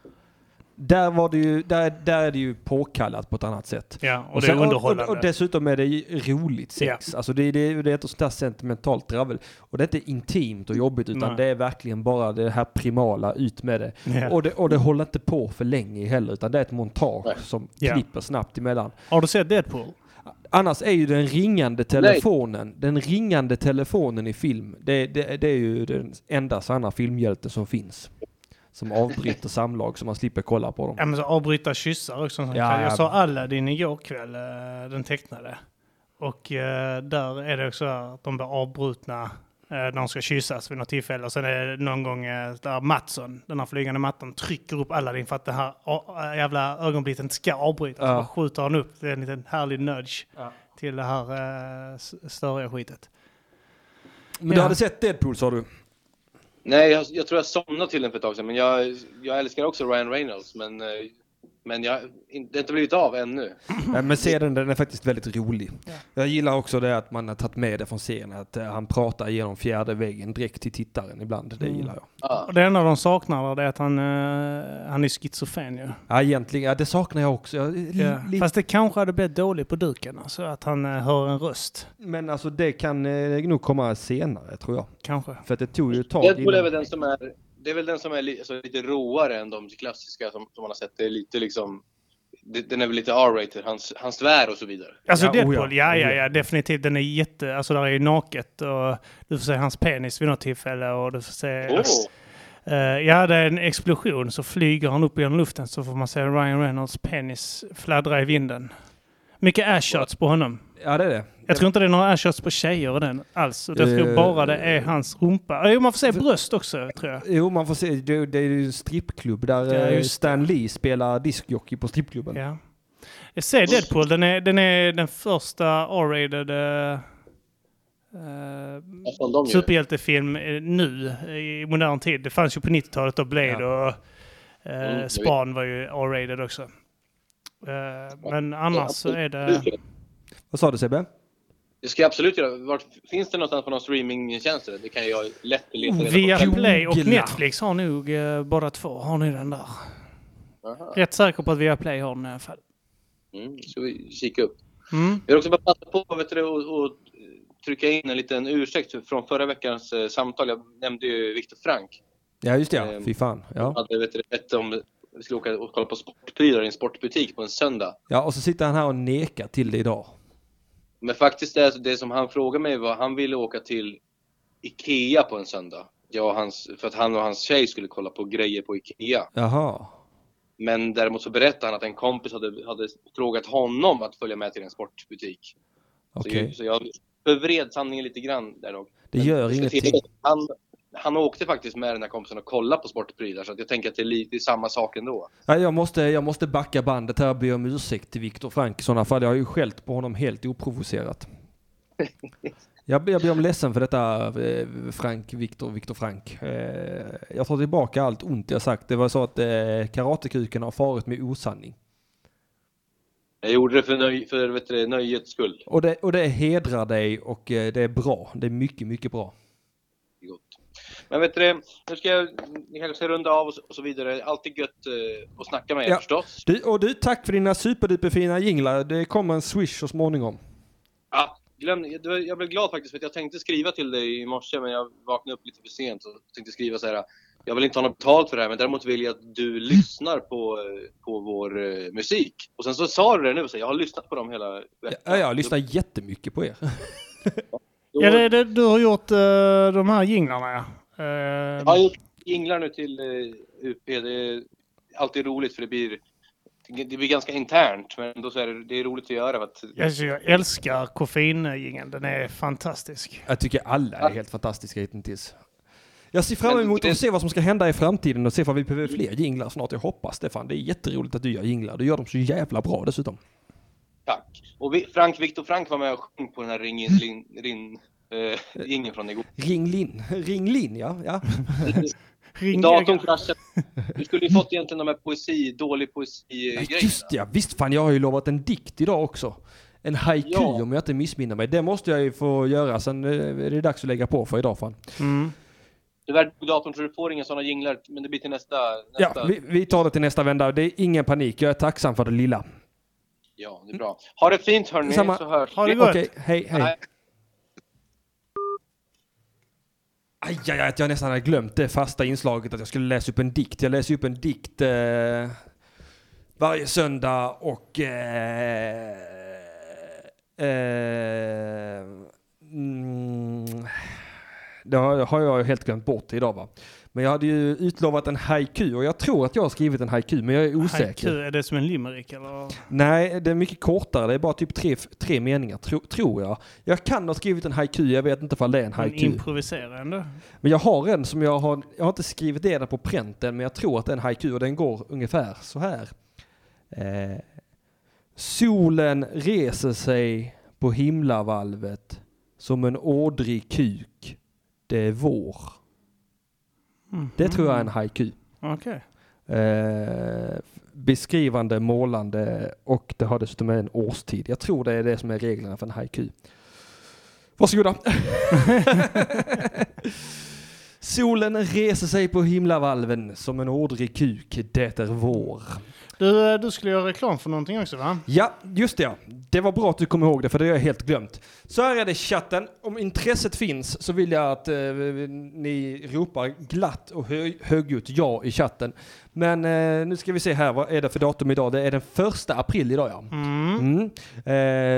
S1: Där, var det ju, där, där är det ju påkallat på ett annat sätt.
S3: Ja, och det är underhållande.
S1: Och, och dessutom är det ju roligt sex. Alltså det, det, det är inte sånt där sentimentalt dravel. Och det är inte intimt och jobbigt utan
S3: Nej.
S1: det är verkligen bara det här primala, ut med det.
S3: Ja.
S1: Och, det. och det håller inte på för länge heller utan det är ett montage som
S3: Ja.
S1: klipper snabbt emellan.
S3: Har du sett Deadpool?
S1: Annars är ju den ringande telefonen, den ringande telefonen i film, det, det, det är ju den enda sanna filmhjälten som finns. Som avbryter samlag så man slipper kolla på dem.
S3: Ja, men så avbryta kyssar också.
S1: Ja,
S3: Ja,
S1: ja.
S3: jag sa Aladdin igår kväll, eh, den tecknade. Och eh, där är det också här att de blir avbrutna eh, när de ska kyssas vid något tillfälle. Och sen är det någon gång eh, där Mattsson, den här flygande matten, trycker upp Aladdin för att den här a- jävla ögonblicket inte ska avbrytas.
S1: Ja.
S3: Så bara skjuter han upp, det är en liten härlig nudge
S1: Ja.
S3: till det här eh, s- störiga skitet.
S1: *clears throat* Men du hade sett Deadpool sa du?
S15: Nej, jag, jag tror jag somnade till den för ett tag sedan, men jag, jag älskar också Ryan Reynolds, men, eh, men jag, in, det har inte blivit av ännu.
S1: Nej, Men serien den är faktiskt väldigt rolig. Jag gillar också det att man har tagit med det från serien, att eh, han pratar genom fjärde väggen direkt till tittaren ibland. Det
S3: Mm.
S1: gillar jag.
S3: Och det enda de saknar där, det är att han, eh, han är schizofren ju.
S1: Ja, egentligen, ja, det saknar jag också. Jag, li-
S3: Ja.
S1: li-
S3: Fast det kanske hade blivit dåligt på duken alltså, att han eh, hör en röst.
S1: Men alltså det kan eh, nog komma senare tror jag.
S3: Kanske.
S1: För att det tog ju ett tag
S15: Deadpool är väl
S1: innan.
S15: den som är, det är väl den som är li, alltså, lite råare än de klassiska som, som man har sett. Det är lite liksom, det, den är väl lite R-rated, han, s- han svär och så vidare.
S3: Alltså Deadpool, ja. ja, ja, definitivt. Den är jätte... Alltså där är ju naket och du får se hans penis vid något tillfälle och du får se...
S15: Oh.
S3: Eh, ja, det är en explosion så flyger han upp genom luften så får man se Ryan Reynolds penis fladdra i vinden. Mycket airshots på honom.
S1: Ja, det är det.
S3: Jag tror inte det är några airshots på tjejer i den alls. Jag
S1: Eh.
S3: tror bara det är hans rumpa. Eh, Jo, man får se bröst också tror jag.
S1: Jo, man får se. Det, det är ju en strippklubb där
S3: Ja,
S1: eh,
S3: just
S1: Stan Lee spelar diskjockey på strippklubben.
S3: Ja. Jag ser Deadpool, den är den, är den första R-rated eh, eh,
S15: Vad fan de gör.
S3: superhjältefilm eh, nu i modern tid. Det fanns ju på 90-talet då Blade och eh,
S15: Mm, jag
S3: Spawn var ju R-rated också. Eh, men annars så är det...
S1: Vad sa du Sebbe?
S15: Det ska jag absolut göra. Vart, finns det någonstans på någon streamingtjänst? Det kan jag lätt leta reda på.
S3: Via Play och
S15: Googla.
S3: Netflix har nog eh, båda två. Har ni den där? Rätt säker på att Viaplay har den i alla fall.
S15: Mm, ska vi kika upp.
S3: Mm.
S15: Jag vill också bara passa på vet du, och, och trycka in en liten ursäkt från förra veckans eh, samtal. Jag nämnde ju Viktor Frank.
S1: Ja, just det. Ja.
S15: Ehm,
S1: Fy fan.
S15: Han
S1: Ja.
S15: hade vet du, ett om vi skulle åka och kolla på sportprylar i en sportbutik på en söndag.
S1: ja, och så sitter han här och nekar till det idag.
S15: Men faktiskt det, det som han frågade mig var han ville åka till Ikea på en söndag. Jag och hans, för att han och hans tjej skulle kolla på grejer på Ikea.
S1: Jaha.
S15: Men däremot så berättade han att en kompis hade, hade frågat honom att följa med till en sportbutik.
S1: Okej.
S15: Så, så jag förvred sanningen lite grann där nog.
S1: Det gör
S15: Jag ska
S1: ingenting.
S15: tillägga att Han, han åkte faktiskt med den här kompisen och kollade på sportprylar så att jag tänker att det är lite samma sak ändå.
S1: Nej, jag, måste, jag måste backa bandet här och be om ursäkt till Viktor Frank i sådana fall. Jag har ju skällt på honom helt oprovocerat. Jag, ber- jag ber om ledsen för detta eh, Frank, Viktor, Viktor Frank. Eh, Jag tar tillbaka allt ont jag sagt. Det var så att eh, karatekuken har farit med osanning.
S15: Jag gjorde det för, nöj, för vet du, nöjets skull.
S1: Och det, och det hedrar dig och eh, det är bra. Det är mycket, mycket bra.
S15: Men vet du det, nu ska jag, ni kanske ska runda av och så, och så vidare. Alltid gött eh, att snacka med er
S1: Ja.
S15: förstås.
S1: Du, och du, tack för dina superduperfina jinglar. Det kommer en swish så småningom.
S15: Ja, glöm, jag jag blev glad faktiskt för att jag tänkte skriva till dig i morse men jag vaknade upp lite för sent och tänkte skriva så här. Jag vill inte ha något betalt för det här men däremot vill jag att du lyssnar på, eh, på vår eh, musik. Och sen så sa du det nu, så jag har lyssnat på dem hela veckan.
S1: Ja, jag lyssnar jättemycket på er.
S3: Ja, det, det, du har gjort eh, de här jinglarna ja. Eh,
S15: Jag har gjort jinglar nu till eh, UP. Det är alltid roligt för det blir, det blir ganska internt men ändå så är det, det är roligt att göra. För att,
S3: Alltså, jag älskar koffeinjingeln. Den är fantastisk.
S1: Jag tycker alla är helt fantastiska hittills. Jag ser fram emot att se vad som ska hända i framtiden och se om vi behöver fler jinglar snart. Jag hoppas det. Fan, det är jätteroligt att du gör jinglar. Du gör dem så jävla bra dessutom.
S15: Tack! Och vi, Frank, Viktor Frank var med och sjöng på den här ring, lin, rin, eh, jingeln från igår.
S1: Mm. *laughs* Ringlin. Ringlin, ja. ja.
S15: Datorn kraschade. Du skulle ju fått egentligen de här poesi, dålig poesi-grejerna.
S1: Just ja, visst fan. Jag har ju lovat en dikt idag också. En haiku om jag inte missminner mig. Det måste jag ju få göra. Sen eh, är det dags att lägga på för idag fan.
S15: Tyvärr dog datorn så du får inga sådana jinglar, men det blir till nästa. nästa.
S1: Ja, vi, vi tar det till nästa vända. Det är ingen panik. Jag är tacksam för det lilla.
S15: Ja, det är bra. Ha det fint hörni,
S1: Samma.
S15: så hörs
S1: Ha det
S15: vi.
S1: gott. Okej, hej, hej. Aj, aj, aj, att jag nästan hade glömt det fasta inslaget att jag skulle läsa upp en dikt. Jag läser upp en dikt eh, varje söndag och... Eh, eh, mm, det har, har jag helt glömt bort idag va. Men jag hade ju utlovat en haiku och jag tror att jag har skrivit en haiku men jag är osäker.
S3: Haiku, är det som en limerick eller?
S1: Nej, det är mycket kortare. Det är bara typ tre, tre meningar, tro, tror jag. Jag kan ha skrivit en haiku, jag vet inte ifall det är en
S3: Men
S1: haiku.
S3: improvisera ändå.
S1: Men jag har en som jag har, jag har inte skrivit ner den på pränten, men jag tror att det är en haiku och den går ungefär så här. Eh, solen reser sig på himlavalvet som en ådrig kuk. Det är vår. Det tror jag är en haiku.
S3: Okej.
S1: Eh, beskrivande, målande och det har dessutom en årstid. Jag tror det är det som är reglerna för en haiku. Varsågoda. Solen reser sig på himlavalven som en ådrig kuk. Det är vår.
S3: Du, eh, du skulle göra reklam för någonting också va?
S1: Ja, just det. ja. Det var bra att du kom ihåg det, för det har jag helt glömt. Så här är det i chatten. Om intresset finns så vill jag att eh, ni ropar glatt och hö högljutt ja i chatten. Men eh, nu ska vi se här, vad är det för datum idag? Det är den första april idag ja. Mm.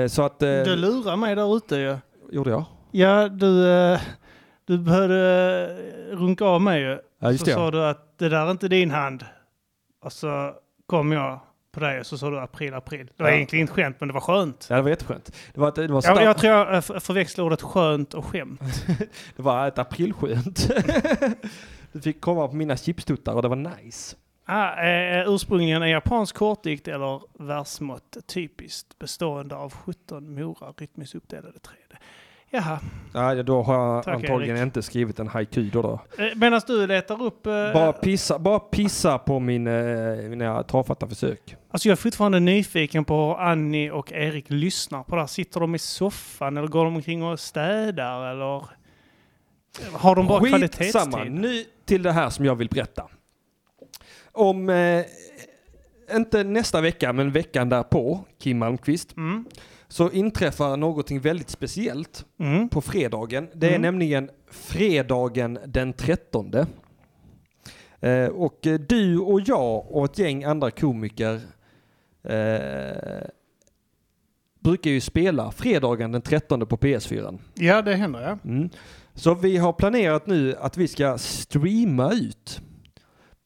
S1: Eh, så att... Eh,
S3: Du lurar mig där ute ju.
S1: Gjorde jag?
S3: Ja, du, eh, du började eh, runka av mig ju.
S1: Ja, just
S3: så
S1: det, ja.
S3: sa du att det där är inte din hand. Och så kom jag på dig och så sa du april, april. Det var
S1: Ja.
S3: egentligen inte skönt, men det var skönt.
S1: Ja, det var jätteskönt. Det var, ett- det var,
S3: Jag,
S1: starkt.
S3: jag tror jag eh, f- förväxlar ordet skönt och skämt.
S1: det var ett aprilskönt. *laughs* du fick komma på mina chipstuttar och det var nice.
S3: Ah, eh, ursprungligen en japansk kortdikt eller versmått, typiskt bestående av 17 morar rytmiskt uppdelade träd. Jaha,
S1: Nej, då har jag
S3: Tack,
S1: antagligen
S3: Erik.
S1: inte skrivit en haiku då. då.
S3: eh, medan du letar upp... Eh,
S1: Bara pissa, bara pissa på min, eh, mina tafatta försök.
S3: Alltså jag är fortfarande nyfiken på hur Annie och Erik lyssnar på det här. Sitter de i soffan eller går de omkring och städar eller eh, har de bara
S1: Skitsamma,
S3: kvalitetstid?
S1: nu till det här som jag vill berätta. Om, eh, inte nästa vecka, men veckan därpå, Kim Malmqvist, så inträffar någonting väldigt speciellt
S3: Mm.
S1: på fredagen. Det är
S9: Mm.
S1: nämligen fredagen den 13. Eh, och eh, du och jag och ett gäng andra komiker eh, brukar ju spela fredagen den 13 på PS4.
S3: Ja, det händer ja.
S1: Mm. Så vi har planerat nu att vi ska streama ut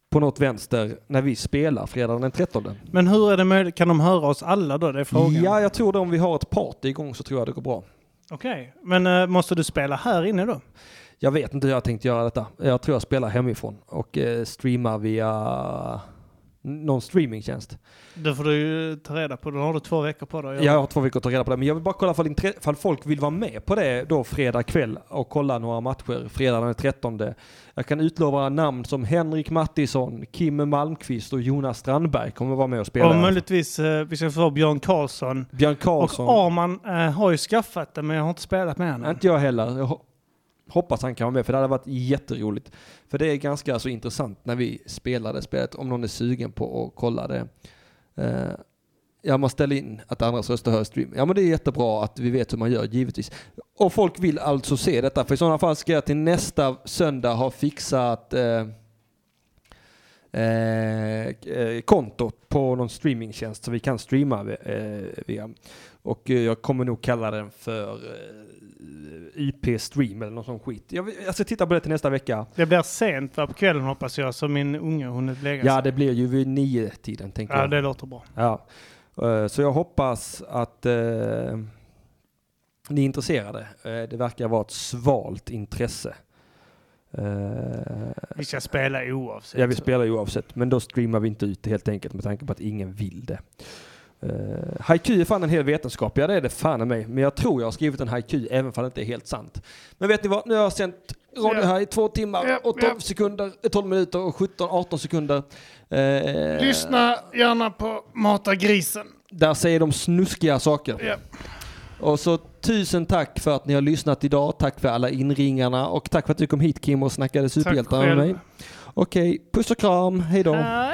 S1: på något vänster när vi spelar fredagen den 13.
S3: Men hur är det möjligt? Kan de höra oss alla då? Det är frågan.
S1: Ja, jag tror det om vi har ett party igång så tror jag det går bra.
S3: Okej, men eh, måste du spela här inne då?
S1: Jag vet inte hur jag tänkt göra detta. Jag tror jag spelar hemifrån och eh, streamar via någon streamingtjänst.
S3: Det får du ju ta reda på. Då har du två veckor på dig. att göra.
S1: Jag har två veckor att ta reda på det, men jag vill bara kolla ifall, intre- ifall folk vill vara med på det då fredag kväll och kolla några matcher fredag den 13. Jag kan utlova namn som Henrik Mattisson, Kim Malmqvist och Jonas Strandberg kommer vara med och spela.
S3: Och möjligtvis eh, vi ska få Björn Karlsson.
S1: Björn Karlsson.
S3: Och Arman eh, har ju skaffat det, men jag har inte spelat med honom.
S1: Inte jag heller. Jag ho- hoppas han kan vara med, för det hade varit jätteroligt. För det är ganska så intressant när vi spelar det spelet, om någon är sugen på att kolla det. Eh, ja, man ställer in att andras röster hörs i stream. Ja, men det är jättebra att vi vet hur man gör, givetvis. Och folk vill alltså se detta, för i sådana fall ska jag till nästa söndag ha fixat eh, eh, eh, konto på någon streamingtjänst som vi kan streama eh, via. Och eh, jag kommer nog kalla den för eh, IP-stream eller någon sån skit. Jag, vill- jag ska titta på det till nästa vecka.
S3: Det blir sent va, på kvällen hoppas jag, så min unge hunnit lägga sig.
S1: Ja, det blir ju vid nio-tiden tänker
S3: Ja,
S1: jag.
S3: det låter bra.
S1: Ja. Eh, Så jag hoppas att eh, ni är intresserade. Eh, Det verkar vara ett svalt intresse. Eh,
S3: Vi ska spela oavsett.
S1: Ja, vi spelar ju oavsett. Men då streamar vi inte ut det helt enkelt med tanke på att ingen vill det. Uh, haiku är fan en hel vetenskap. Ja, det är det fan i mig. Men jag tror jag har skrivit en haiku även om det inte är helt sant. Men vet ni vad? Nu har jag sänt radio här i två timmar och 12, sekunder, eh, 12 minuter och 17-18 sekunder. Eh,
S3: Lyssna gärna på Mata grisen.
S1: Där säger de snuskiga saker.
S3: Ja.
S1: Och så tusen tack för att ni har lyssnat idag. Tack för alla inringarna och tack för att du kom hit Kim och snackade superhjältar med
S3: själv.
S1: mig. Okej, puss och kram. Hej då.
S3: Hej.